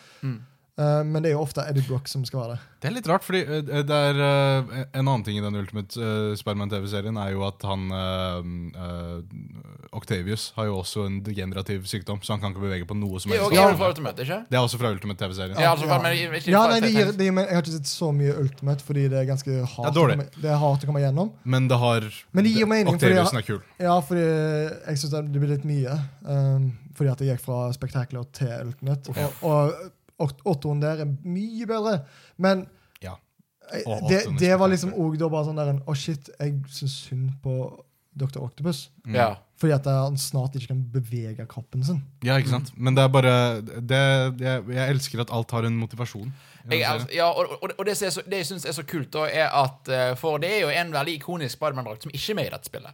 C: Eh, men det er jo ofte Eddie Brock som skal være det.
B: Det er litt rart, fordi eh, det er eh, en annen ting i den Ultimate uh, Spiderman-TV-serien er jo at han eh, eh, Octavius har jo også en degenerativ sykdom, så han kan ikke bevege på noe som
A: Det er
B: helst.
A: også Harry fra Ultimate, ikke?
B: Det er også fra Ultimate TV-serien.
A: Ja, altså, men ikke
C: Ja,
A: fra-
C: nei, de gir, de, men Jeg har ikke sett så mye Ultimate, fordi det er ganske hardt,
B: Det er dårlig.
C: å komme- det er hardt å komme gjennom.
B: Men det har
C: Men det gir mening, fordi
B: Octaviusen
C: jeg-
B: er kul.
C: Ja, fordi jeg syns det blir litt mye. Um, fordi at jeg gikk fra spektakler til Ultimate. Og, og, og åttoen der er mye bedre. Men
B: Ja.
C: eh,
B: Og
C: det,
B: åttoen er
C: det
B: spektakulær.
C: var liksom òg da bare sånn der en Å, shit, jeg syns synd på Dr. Octopus.
B: Mm.
A: Ja.
C: Fordi at han snart ikke kan bevege kroppen sin.
B: ja, ikke
A: Mm.
B: sant? Men det er bare det, jeg, jeg elsker at alt har en motivasjon. i den
A: Jeg,
B: serien.
A: altså, ja, og, og, og det, som er så, det jeg syns er så kult, da, er at eh, For det er jo en veldig ikonisk Spiderman-drakt som ikke er med i dette spillet.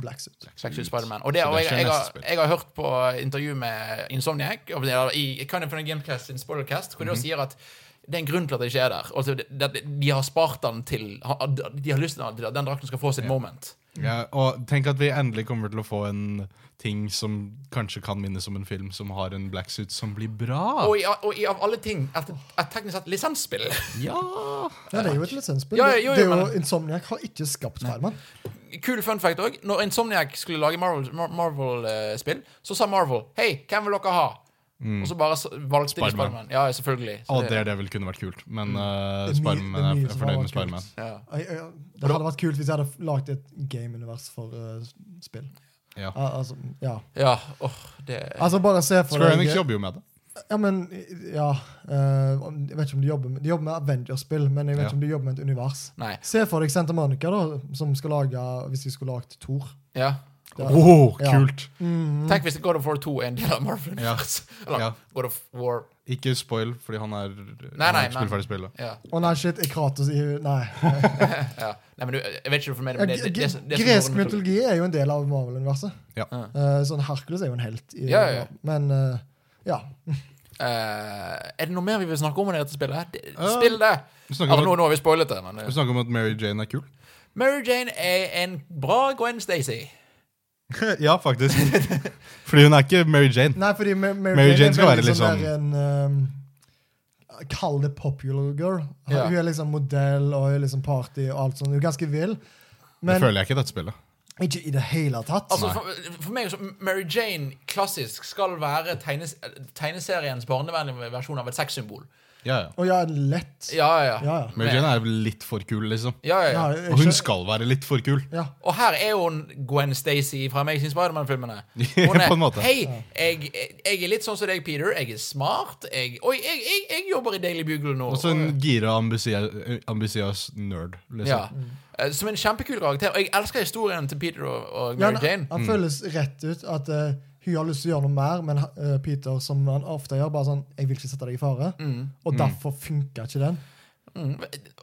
C: Blacksuit.
A: Black Suit Spider-Man. Og, det,
B: Så
A: og
B: det
A: jeg,
B: skjer
A: jeg,
B: neste
A: har,
B: spill.
A: jeg har hørt på intervju med Insomniac og det er i Kind of Funny Gamecast sin spoilercast, hvor de
B: Mhm.
A: også sier at det er en grunn til at det ikke er der. Altså, det, det, de har spart den til ha- De har lyst til at den drakten skal få sitt moment.
B: Mm. Ja, og tenk at vi endelig kommer til å få en ting som kanskje kan minnes om en film som har en black suit som blir bra.
A: Og, i, og i, av alle ting et, et teknisk sett lisensspill.
B: Ja!
C: Ja, det er jo et lisensspill.
A: Ja, jo, jo,
C: det er jo,
A: men-
C: Insomniac har ikke skapt Spiderman.
A: Kul fun fact òg. Når Insomniac skulle lage Marvel- Mar- Marvel-spill, så sa Marvel Hei, hvem vil dere ha? Og så bare s- valgte de
B: Spider-Man.
A: Spiderman. Ja, selvfølgelig. Så Mm.
B: Og det er det vel kunne vært kult, men uh,
C: Det er mye-
B: Spiderman
C: det er
B: er,
C: mye
B: er
C: som har
B: fornøyd
C: vært
B: med Spiderman.
C: kult.
A: ja.
C: Jeg- jeg- Det hadde vært kult hvis jeg hadde lagd et game-univers for eh, spill.
B: Ja.
C: Al- Altså, ja.
A: ja åh, det
C: altså, bare se for
B: Square Enix jobber jo med det.
C: Ja, men Ja. eh, jeg vet ikke om de jobber med De jobber med Avengers-spill, men jeg vet
B: Ja.
C: ikke om de jobber med et univers.
A: Nei.
C: Se for deg Santa Monica, da, som skal lage Hvis de skulle lagd Thor.
A: Ja.
C: Det er-
B: Wow,
C: Ja.
B: kult!
A: Tenk hvis God of War 2 er en del av Marvel-universet. Eller
B: Ja.
A: God of War
B: Ikke spoil, fordi han
A: Nei,
B: er han har
A: nei,
B: ikke
A: men-
B: spilt ferdig spillet.
A: Ja,
C: Å nei, shit, er Kratos i
A: *laughs*
C: Nei.
A: ja. Nei, men du, jeg vet ikke hva du mener
C: Ja,
A: men det, det, det, det, det,
C: gresk mytologi er jo en del av Marvel-universet.
B: Ja.
C: Eh, sånn Hercules er jo en helt. I,
A: Ja, ja, ja.
C: Men eh, ja.
A: Eh, Er det noe mer vi vil snakke om i dette spillet? Det-
B: Eh,
A: Spill det!
B: Vi snakker,
A: Altså,
B: om
A: nå,
B: at,
A: nå har vi spoilet det, men eh,
B: vi snakker om at Mary Jane er kul. *laughs*
A: Mary Jane er en bra Gwen Stacy.
B: ja,
A: *laughs*
B: faktisk. fordi hun er ikke Mary Jane.
C: Nei, fordi Ma- Mary,
B: Mary Jane
C: er
B: skal
C: veldig
B: være litt
A: liksom-
C: sånn der en, ehm, Kall det popular girl.
A: Ja.
C: Hun er liksom modell og er liksom party og alt sånt. Hun er ganske vill.
B: Det
C: Men
B: føler jeg ikke i dette spillet.
C: ikke i det hele tatt.
A: Altså, for, for meg så Mary Jane klassisk skal være tegnes, tegneseriens barnevennlige versjon av et sexsymbol.
B: Ja, ja.
C: og ja, lett.
A: Ja, ja.
C: Ja, ja.
B: Mary Jane er litt for kul, liksom.
A: ja, ja, ja.
C: Ja,
B: Og hun
C: ikke-
B: skal være litt for kul.
C: ja.
A: Og her er hun Gwen Stacy fra Amazing Spiderman-filmene.
B: *laughs*
A: Hun
B: På en
A: er
B: måte.
A: Hei, jeg, jeg er litt sånn som deg, Peter. Jeg er smart. Jeg, oi, jeg, jeg, jeg jobber i Daily Bugle nå.
B: Og så en gira, ambisie- ambisiøs nerd,
A: ja.
B: liksom.
A: Eh, Som en kjempekul karakter. Og jeg elsker historien til Peter og, og
C: Ja,
A: Mary
C: han,
A: Jane. Mm.
C: han føles rett ut at eh, hun har lyst til å gjøre noe mer, men eh, Peter, som han ofte gjør, bare sånn 'Jeg vil ikke sette deg i fare', og derfor funka ikke den.
A: Mm.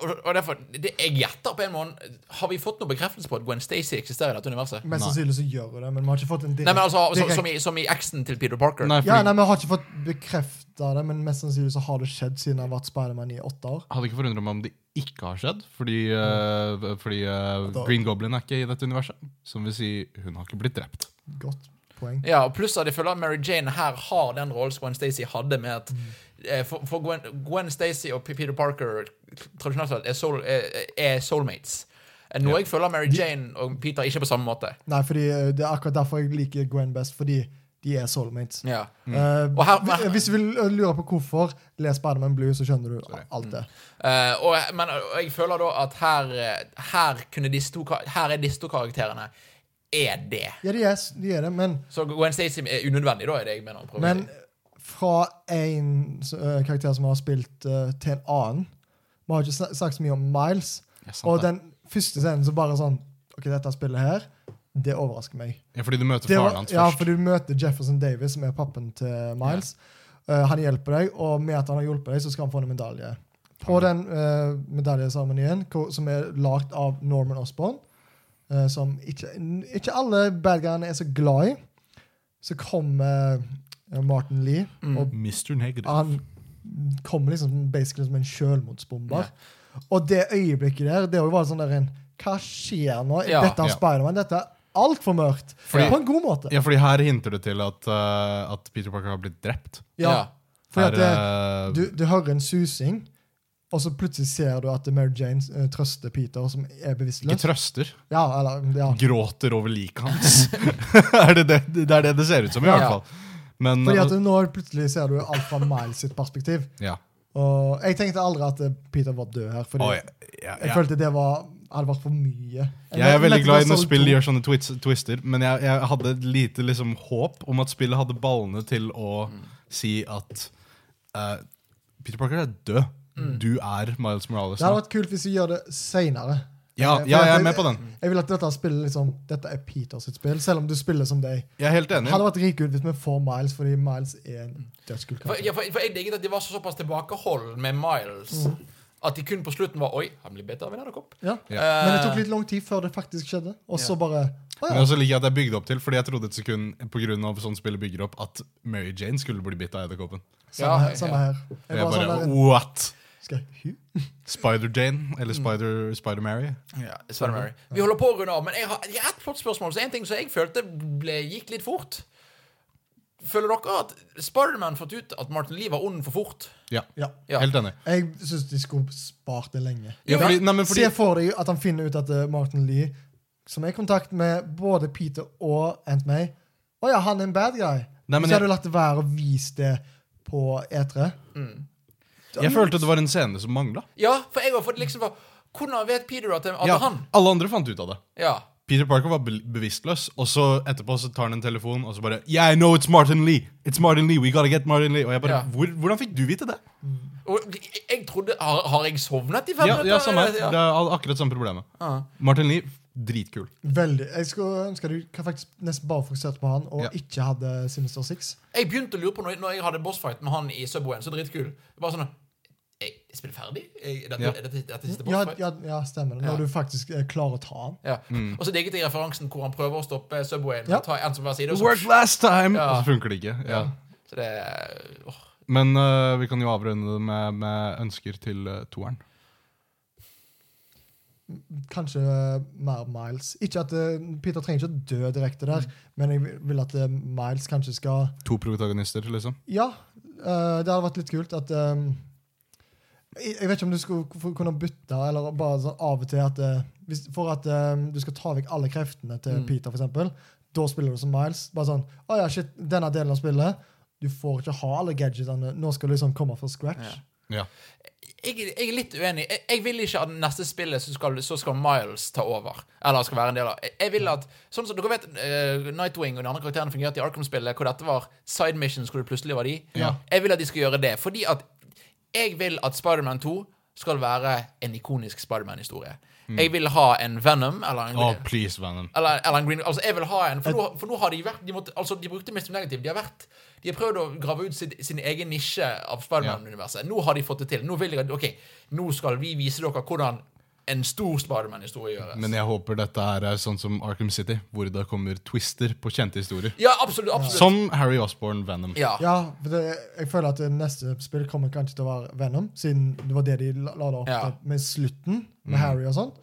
A: Og, og derfor, det, Jeg gjetter på en måte Har vi fått noe bekreftelse på at Gwen Stacy eksisterer i dette universet?
B: Nei.
C: Mest sannsynlig så gjør hun det, men vi har ikke fått en
A: Nei,
C: direkte
A: men altså, så,
C: direkt-
A: som, i, som i eksen til Peter Parker.
B: Nei,
C: Ja,
B: fordi,
C: nei, men Jeg har ikke fått bekrefta det, men mest sannsynlig så har det skjedd siden jeg har vært Spiderman i åtte år.
B: hadde ikke forundret meg om det ikke har skjedd, fordi, eh, fordi eh,
C: Da-
B: Green Goblin er ikke i dette universet. Som vil si, hun har ikke blitt drept.
C: Godt poeng.
A: Ja, og Pluss at jeg føler at Mary Jane her har den rollen som Gwen Stacy hadde. med at
C: Mm.
A: eh, For, for Gwen, Gwen Stacy og P- Peter Parker tradisjonelt sett er, soul, er, er soulmates. Eh, Noe jeg føler Mary Jane og Peter ikke er på samme måte.
C: Nei, fordi eh, Det er akkurat derfor jeg liker Gwen best, fordi de er soulmates.
A: Ja.
C: Eh,
A: Mm. Og her- her-
C: hvi- hvis du vil eh, lure på hvorfor, les Spiderman Blue, så skjønner du alt det.
A: Eh, og, men og jeg føler da at her, eh, her, kunne disse to, kar- her er disse to karakterene er det.
C: Ja, de er, s- de er det, men,
A: Så Gwen Stacy er unødvendig, da, er det jeg mener. å prøve å
C: men
A: si.
C: fra én karakter som har spilt, eh, til en annen Vi har ikke snak- snakket så mye om Miles,
B: Ja, sant
C: og
B: det.
C: den første scenen så bare sånn OK, dette spillet her, det overrasker meg.
B: Ja, fordi du møter
C: Det var-
B: faren hans
C: ja,
B: først.
C: for du møter Jefferson Davis, som er pappen til Miles. Eh, han hjelper deg, og med at han har hjulpet deg, så skal han få en medalje. På den eh, medaljeseremonien, hvor- som er lagd av Norman Osborn, eh, som ikke, ikke alle badguyene er så glad i, så kommer eh, Martin Lee,
B: Mm.
C: og
B: Mr. Negative.
C: han kommer liksom basically som en sjølmordsbomber. Og det øyeblikket der, det var sånn der en Hva skjer nå?
A: Ja.
C: Dette er
B: Ja.
C: Spiderman. Dette er altfor mørkt.
A: Fordi-
C: på en god måte.
B: Ja, fordi her hinter det til at, eh, at Peter Parker har blitt drept.
C: Ja.
A: Ja.
C: Fordi at det,
B: Her, eh,
C: du, du hører en susing, og så plutselig ser du at Mary Jane eh, trøster Peter, som er
B: ikke
C: bevisstløs.
B: trøster.
C: Ja, eller, ja.
B: Gråter over liket hans. *laughs* er det, det, det er det det ser ut som, i hvert
A: Ja.
B: fall. Men eh,
C: Fordi at nå plutselig ser du alt fra Miles sitt perspektiv.
B: ja.
C: Og jeg tenkte aldri at eh, Peter var død her, fordi
B: Å, ja, ja,
C: jeg
B: ja.
C: følte det var, hadde vært for mye.
B: Jeg er veldig glad i når
C: Metal Gear
B: spill
C: Solid
B: gjør sånne twits, twister, men jeg, jeg hadde et lite liksom, håp om at spillet hadde ballene til å
A: Mm.
B: si at eh, Peter Parker er død.
A: Mm.
B: Du er Miles Morales.
C: Det hadde
B: nå.
C: vært kult hvis vi gjør det seinere.
B: sånn. Ja, ja, jeg er med på den.
C: Jeg vil at dette spillet liksom, Dette er Peter sitt spill, selv om du spiller som deg.
B: Jeg er helt enig.
C: Hadde vært rik ut hvis vi får Miles, fordi Miles er en dødskul
A: For,
C: karakter.
A: ja, for, for jeg digget at de var så såpass tilbakehold med Miles
B: Mm.
A: at de kun på slutten var Oi, han blir bitt av en edderkopp.
C: Ja.
B: Ja.
C: Men det tok litt lang tid før det faktisk skjedde. Og så bare Å
B: Men
C: ja.
B: også liker jeg at det er bygd opp til, fordi jeg trodde et sekund på grunn av sånn spillet bygger opp, at Mary Jane skulle bli bitt av edderkoppen.
C: Samme her. Samme her.
B: Og
C: Jeg
B: jeg bare
C: bare
B: «Oh».
C: sånn der,
B: What?!
C: skal jeg,
B: Spider-Jane? Eller
C: Mm.
B: Spider- Spider-Mary?
A: Ja, Sven Mary. Vi holder på å runde av, men jeg har jeg har et flott spørsmål. Så en ting som jeg følte ble, gikk litt fort. Føler dere at Spiderman fått ut at Martin Lee var ond for fort?
B: ja.
C: ja.
A: Ja.
B: Helt enig.
C: Jeg syns de skulle spart det lenge.
B: Ja,
A: Ja,
B: fordi, nei, men fordi,
C: Se for deg at han finner ut at eh, Martin Lee, som er i kontakt med både Peter og Aunt May Å ja, han er en bad guy.
B: Nei, men
C: så
B: jeg-
C: hadde du latt det være å vise det på E E3.
B: jeg følte det var en scene som mangla.
A: Ja, for jeg har fått liksom for, Hvordan vet Peter at det at det er
B: Ja,
A: han?
B: alle andre fant ut av det.
A: Ja.
B: Peter Parker var be bevisstløs, og så etterpå så tar han en telefon og så bare Yeah, I know it's Martin Lee! It's Martin Lee, we gotta get Martin Lee! Og jeg bare,
A: Ja.
B: Hvor, Hvordan fikk du vite det?
A: Og jeg- jeg trodde Har, har jeg sovnet i fem
B: Ja,
A: minutter?
B: ja samme her.
A: Ja.
B: Det er al- akkurat samme problemet.
A: Ja.
B: Martin Lee Dritkul.
C: Veldig. Jeg skulle ønske du kan faktisk nesten bare fokuserte på han, og
B: Ja.
C: ikke hadde Sinister Six.
A: Jeg begynte å lure på når jeg, når jeg hadde bossfight med han i Subwayen, så dritkul. Bare sånn Jeg jeg spiller ferdig? Jeg, dette,
B: Ja.
A: dette, dette, er siste
C: Ja,
A: bossfight?
C: ja, ja stemmer det.
A: Ja.
C: Når du faktisk eh, klarer å ta han.
A: Ja. Og så digget jeg referansen hvor han prøver å stoppe Subwayen.
C: Ja.
A: Og ta en som hver side og så,
B: Worked last time!
A: Ja.
B: Og så funker det ikke. Ja.
A: så det er- åh.
B: Men eh, vi kan jo avrunde det med, med ønsker til eh, toeren.
C: Kanskje eh, mer Miles. Ikke at eh, Peter trenger ikke å dø direkte der, men jeg vil- vil at eh, Miles kanskje skal
B: To protagonister, liksom.
C: Ja, eh, det hadde vært litt kult at eh, jeg, jeg vet ikke om du skulle få- kunne bytte, eller bare sånn av og til at eh, hvis, For at eh, du skal ta vekk alle kreftene til Peter, f.eks. Da spiller du som Miles. Bare sånn Å ja, shit, denne delen av spillet. Du får ikke ha alle gadgetene. Nå skal du liksom komme fra scratch.
A: Ja.
B: Ja.
A: jeg, jeg er litt uenig. Jeg, jeg vil ikke at neste spillet så skal, så skal Miles ta over. Eller skal være en del av. Jeg, jeg vil at, sånn som Dere vet eh, Nightwing og de andre karakterene fungerte i Arkham-spillet, hvor dette var side missions hvor det plutselig var de.
B: Ja.
A: Jeg vil at de skal gjøre det. Fordi at jeg vil at Spiderman 2 skal være en ikonisk Spiderman-historie. Jeg vil ha en Venom eller en
B: Oh, please, Venom.
A: eller, eller en Green Altså, jeg vil ha en, for nå, for nå har de vært De, måtte, altså, de brukte Mr. Negative. De har vært De har prøvd å grave ut sin, sin egen nisje av Spiderman-universet. Nå har de fått det til. Nå vil jeg at OK, nå skal vi vise dere hvordan en stor Spiderman-historie gjøres.
B: Men jeg håper dette her er sånn som Arkham City, hvor det kommer twister på kjente historier.
A: ja, absolutt. absolutt.
B: Som Harry Osborn Venom.
A: ja.
C: Ja, for det, jeg føler at det neste spill kommer kanskje til å være Venom, siden det var det de la la det opp
A: Ja.
C: til med slutten, med
B: Mm.
C: Harry og sånt.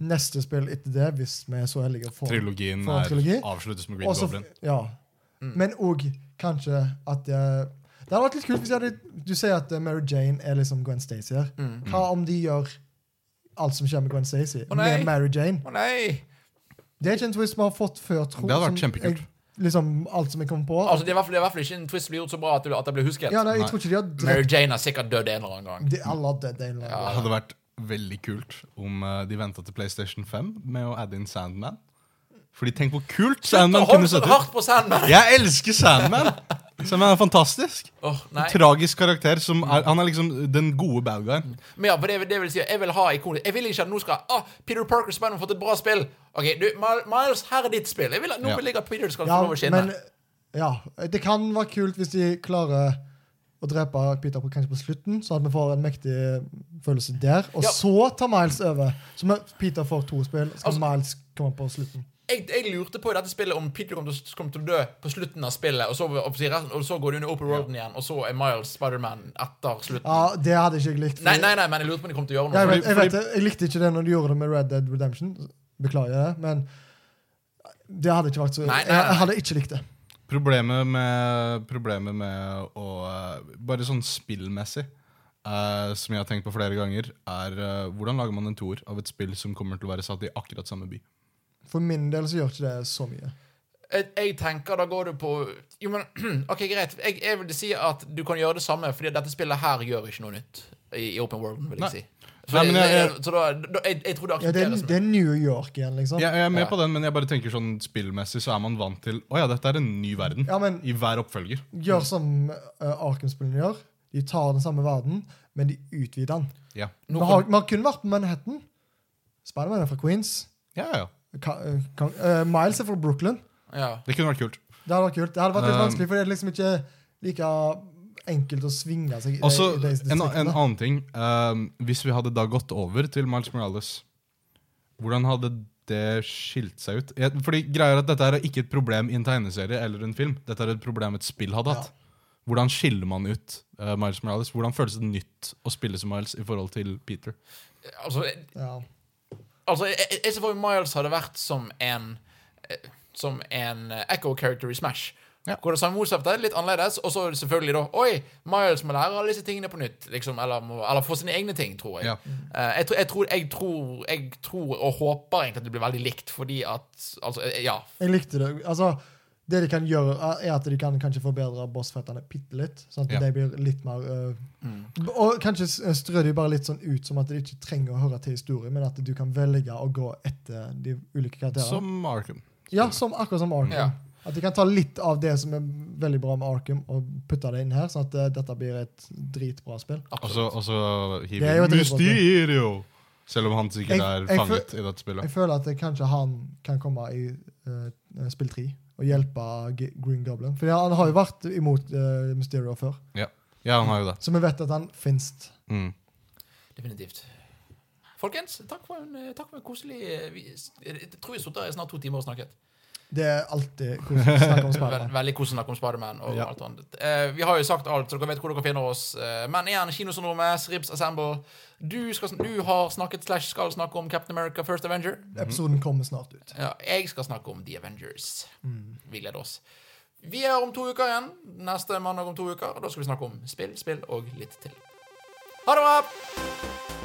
C: Neste spill etter det, hvis vi er så heldige å få
B: Trilogien
C: få en
B: er
C: trilogi.
B: avsluttes med Green
C: Også-
B: Goblin. Mm.
C: Ja. Men òg kanskje at eh, Det hadde vært litt kult hvis de hadde, du sier at eh, Mary Jane er liksom Gwen Stacy her.
B: Mm.
C: Hva om de gjør alt som skjer med Gwen Stacy,
A: nei.
C: med Mary Jane?
A: Å nei!
C: Det er ikke en twist vi har fått før, tror
B: Det hadde vært
C: som
B: kjempekult.
C: jeg- Liksom alt som jeg kom på.
A: Altså, det er i hvert fall- det er i hvert fall ikke en twist som blir gjort så bra at det, at det blir husket.
C: ja, nei,
B: Nei.
C: jeg tror ikke de har
A: Mary
C: drept
A: Jane har sikkert dødd en eller annen gang.
C: de, Alle har dødd en eller annen gang.
B: Det hadde vært veldig kult om eh, de venta til PlayStation 5 med å adde inn Sandman. Fordi tenk hvor kult Sandman kunne
A: Hold
B: sett
A: så
B: ut!
A: hardt på Sandman!
B: Jeg elsker Sandman! Sandman er fantastisk.
A: Åh, nei.
B: Tragisk karakter. Som er, han er liksom den gode bad guyen.
A: Men ja, for det, det vil si at Jeg vil ha ikon Jeg vil ikke at nå skal ah, Peter Parker Spiderman har fått et bra spill. Ok, du, Mil- Miles, her er ditt spill. Jeg vil at, nå
B: Ja.
A: vil jeg at Peter skal få lov å
C: Ja,
A: skinne.
C: men ja, det kan være kult hvis de klarer å drepe Peter på, kanskje på slutten, sånn at vi får en mektig følelse der. Og
A: Ja.
C: så tar Miles over. Så må Peter får to spill, så kan
A: Altså-
C: Miles komme på slutten.
A: jeg, jeg lurte på i dette spillet om Peter kom til, å- kom til å dø på slutten av spillet, og så, og så resten- og så går det under Open Roaden igjen, og så er Miles Spiderman etter slutten.
C: Ja, Det hadde ikke jeg likt. fordi-
A: Nei, nei, nei, men jeg lurte på om de kom til å gjøre
C: Ah, Ja,
A: noe.
C: jeg,
A: for-
C: vet, jeg, vet, det. jeg likte ikke det når du gjorde det med Red Dead Redemption. Beklager det, men det hadde ikke vært så
A: Nei, nei, nei.
C: Jeg hadde ikke likt det.
B: Problemet med, problemet med å eh, Bare sånn spillmessig, eh, som jeg har tenkt på flere ganger, er eh, hvordan lager man en toer av et spill som kommer til å være satt i akkurat samme by?
C: For min del så gjør ikke det så mye.
A: jeg, jeg tenker da går du på Jo, men *clears throat* OK, greit. Jeg, jeg vil si at du kan gjøre det samme, fordi dette spillet her gjør ikke noe nytt i, i Open Worlden, vil
B: Nei.
A: jeg si. Så,
B: Nei, men
A: jeg,
B: jeg-
A: så da, da jeg, jeg tror det
C: Ja, det, er,
A: aksepteres.
C: det er New York igjen, liksom.
B: Jeg, jeg er med
A: Ja.
B: på den, men jeg bare tenker sånn spillmessig så er man vant til Å ja, dette er en ny verden.
C: Ja, men-
B: I hver oppfølger.
C: gjør som uh, Arkham-spillene gjør. De tar den samme verden, men de utvider den.
B: Ja,
A: Nå
C: Vi
A: kom-
C: har, vi har kun vært på Manhattan. Spiderman er fra Queens.
B: ja, ja.
C: Ka, uh, kan, uh, Miles er fra Brooklyn.
A: ja.
B: Det kunne vært kult.
C: Det hadde vært kult. Det hadde vært litt
B: Um,
C: vanskelig, for det er liksom ikke like enkelt å svinge seg i-
B: Også,
C: i de
B: en, en
C: distriktene.
B: annen ting. ehm, hvis vi hadde da gått over til Miles Morales, hvordan hadde det skilt seg ut? Jeg, fordi greier at Dette her er ikke et problem i en tegneserie eller en film. Dette er et problem et spill hadde hatt. Hvordan skiller man ut eh, Miles Morales? Hvordan føles det nytt å spille som Miles i forhold til Peter?
A: Altså,
C: Ja.
A: Altså, jeg, jeg- jeg ser for meg Miles hadde vært som en eh, Som en eh, Echo character i Smash.
B: Ja.
A: Hvor det samme motsettet, litt annerledes. Og så selvfølgelig, da Oi, Miles må lære alle disse tingene på nytt. Liksom, eller, må, eller få sine egne ting, tror jeg.
B: Ja.
A: Eh, jeg, tror, jeg, tror, jeg, tror, jeg tror og håper egentlig at det blir veldig likt, fordi at Altså, eh, ja.
C: Jeg likte det. Altså, det de kan gjøre, er at de kan kanskje forbedre bossfighterne bitte litt. Sånn at
B: Ja. Mm.
C: de blir litt mer øh, Og kanskje s- strø de bare litt sånn ut, som at de ikke trenger å høre til historien, men at du kan velge å gå etter de ulike karakterene.
B: Som Arkham.
C: ja, som, akkurat som Arkham.
A: Ja.
C: At de kan ta litt av det som er veldig bra med Arkham, og putte det inn her, sånn at øh, dette blir et dritbra spill.
B: Altså, Og så
A: Absolutt.
B: og så hiver
C: Det er jo et
B: vi Mysterio! Selv om han sikkert
C: Jeg-
B: er
C: jeg fø-
B: fanget i dette spillet.
C: Jeg føler at det kanskje han kan komme i eh, spill tre og hjelpe G Green Goblin. For han har jo vært imot eh, Mysterio før,
B: Ja, han har jo det.
C: så vi vet at han fins.
B: Mm.
A: Definitivt. Folkens, takk for en, eh, takk for en koselig eh, vi, Jeg tror vi har sittet i snart to timer og snakket.
C: Det er alltid koselig å snakke
A: Vel-
C: om Spiderman.
A: Veldig koselig å snakke om Spiderman og
B: Ja.
A: alt annet. Eh, vi har jo sagt alt, så dere vet hvor dere finner oss. Eh, men igjen, Kinosyndromet, Ribs Assemble. Du, skal, sn- du har snakket slash skal snakke om Captain America First Avenger.
C: Episoden kommer snart ut.
A: Ja, jeg skal snakke om The Avengers. Vi gleder oss. Vi er om to uker igjen. Neste mandag om to uker. Og da skal vi snakke om spill, spill og litt til. Ha det bra!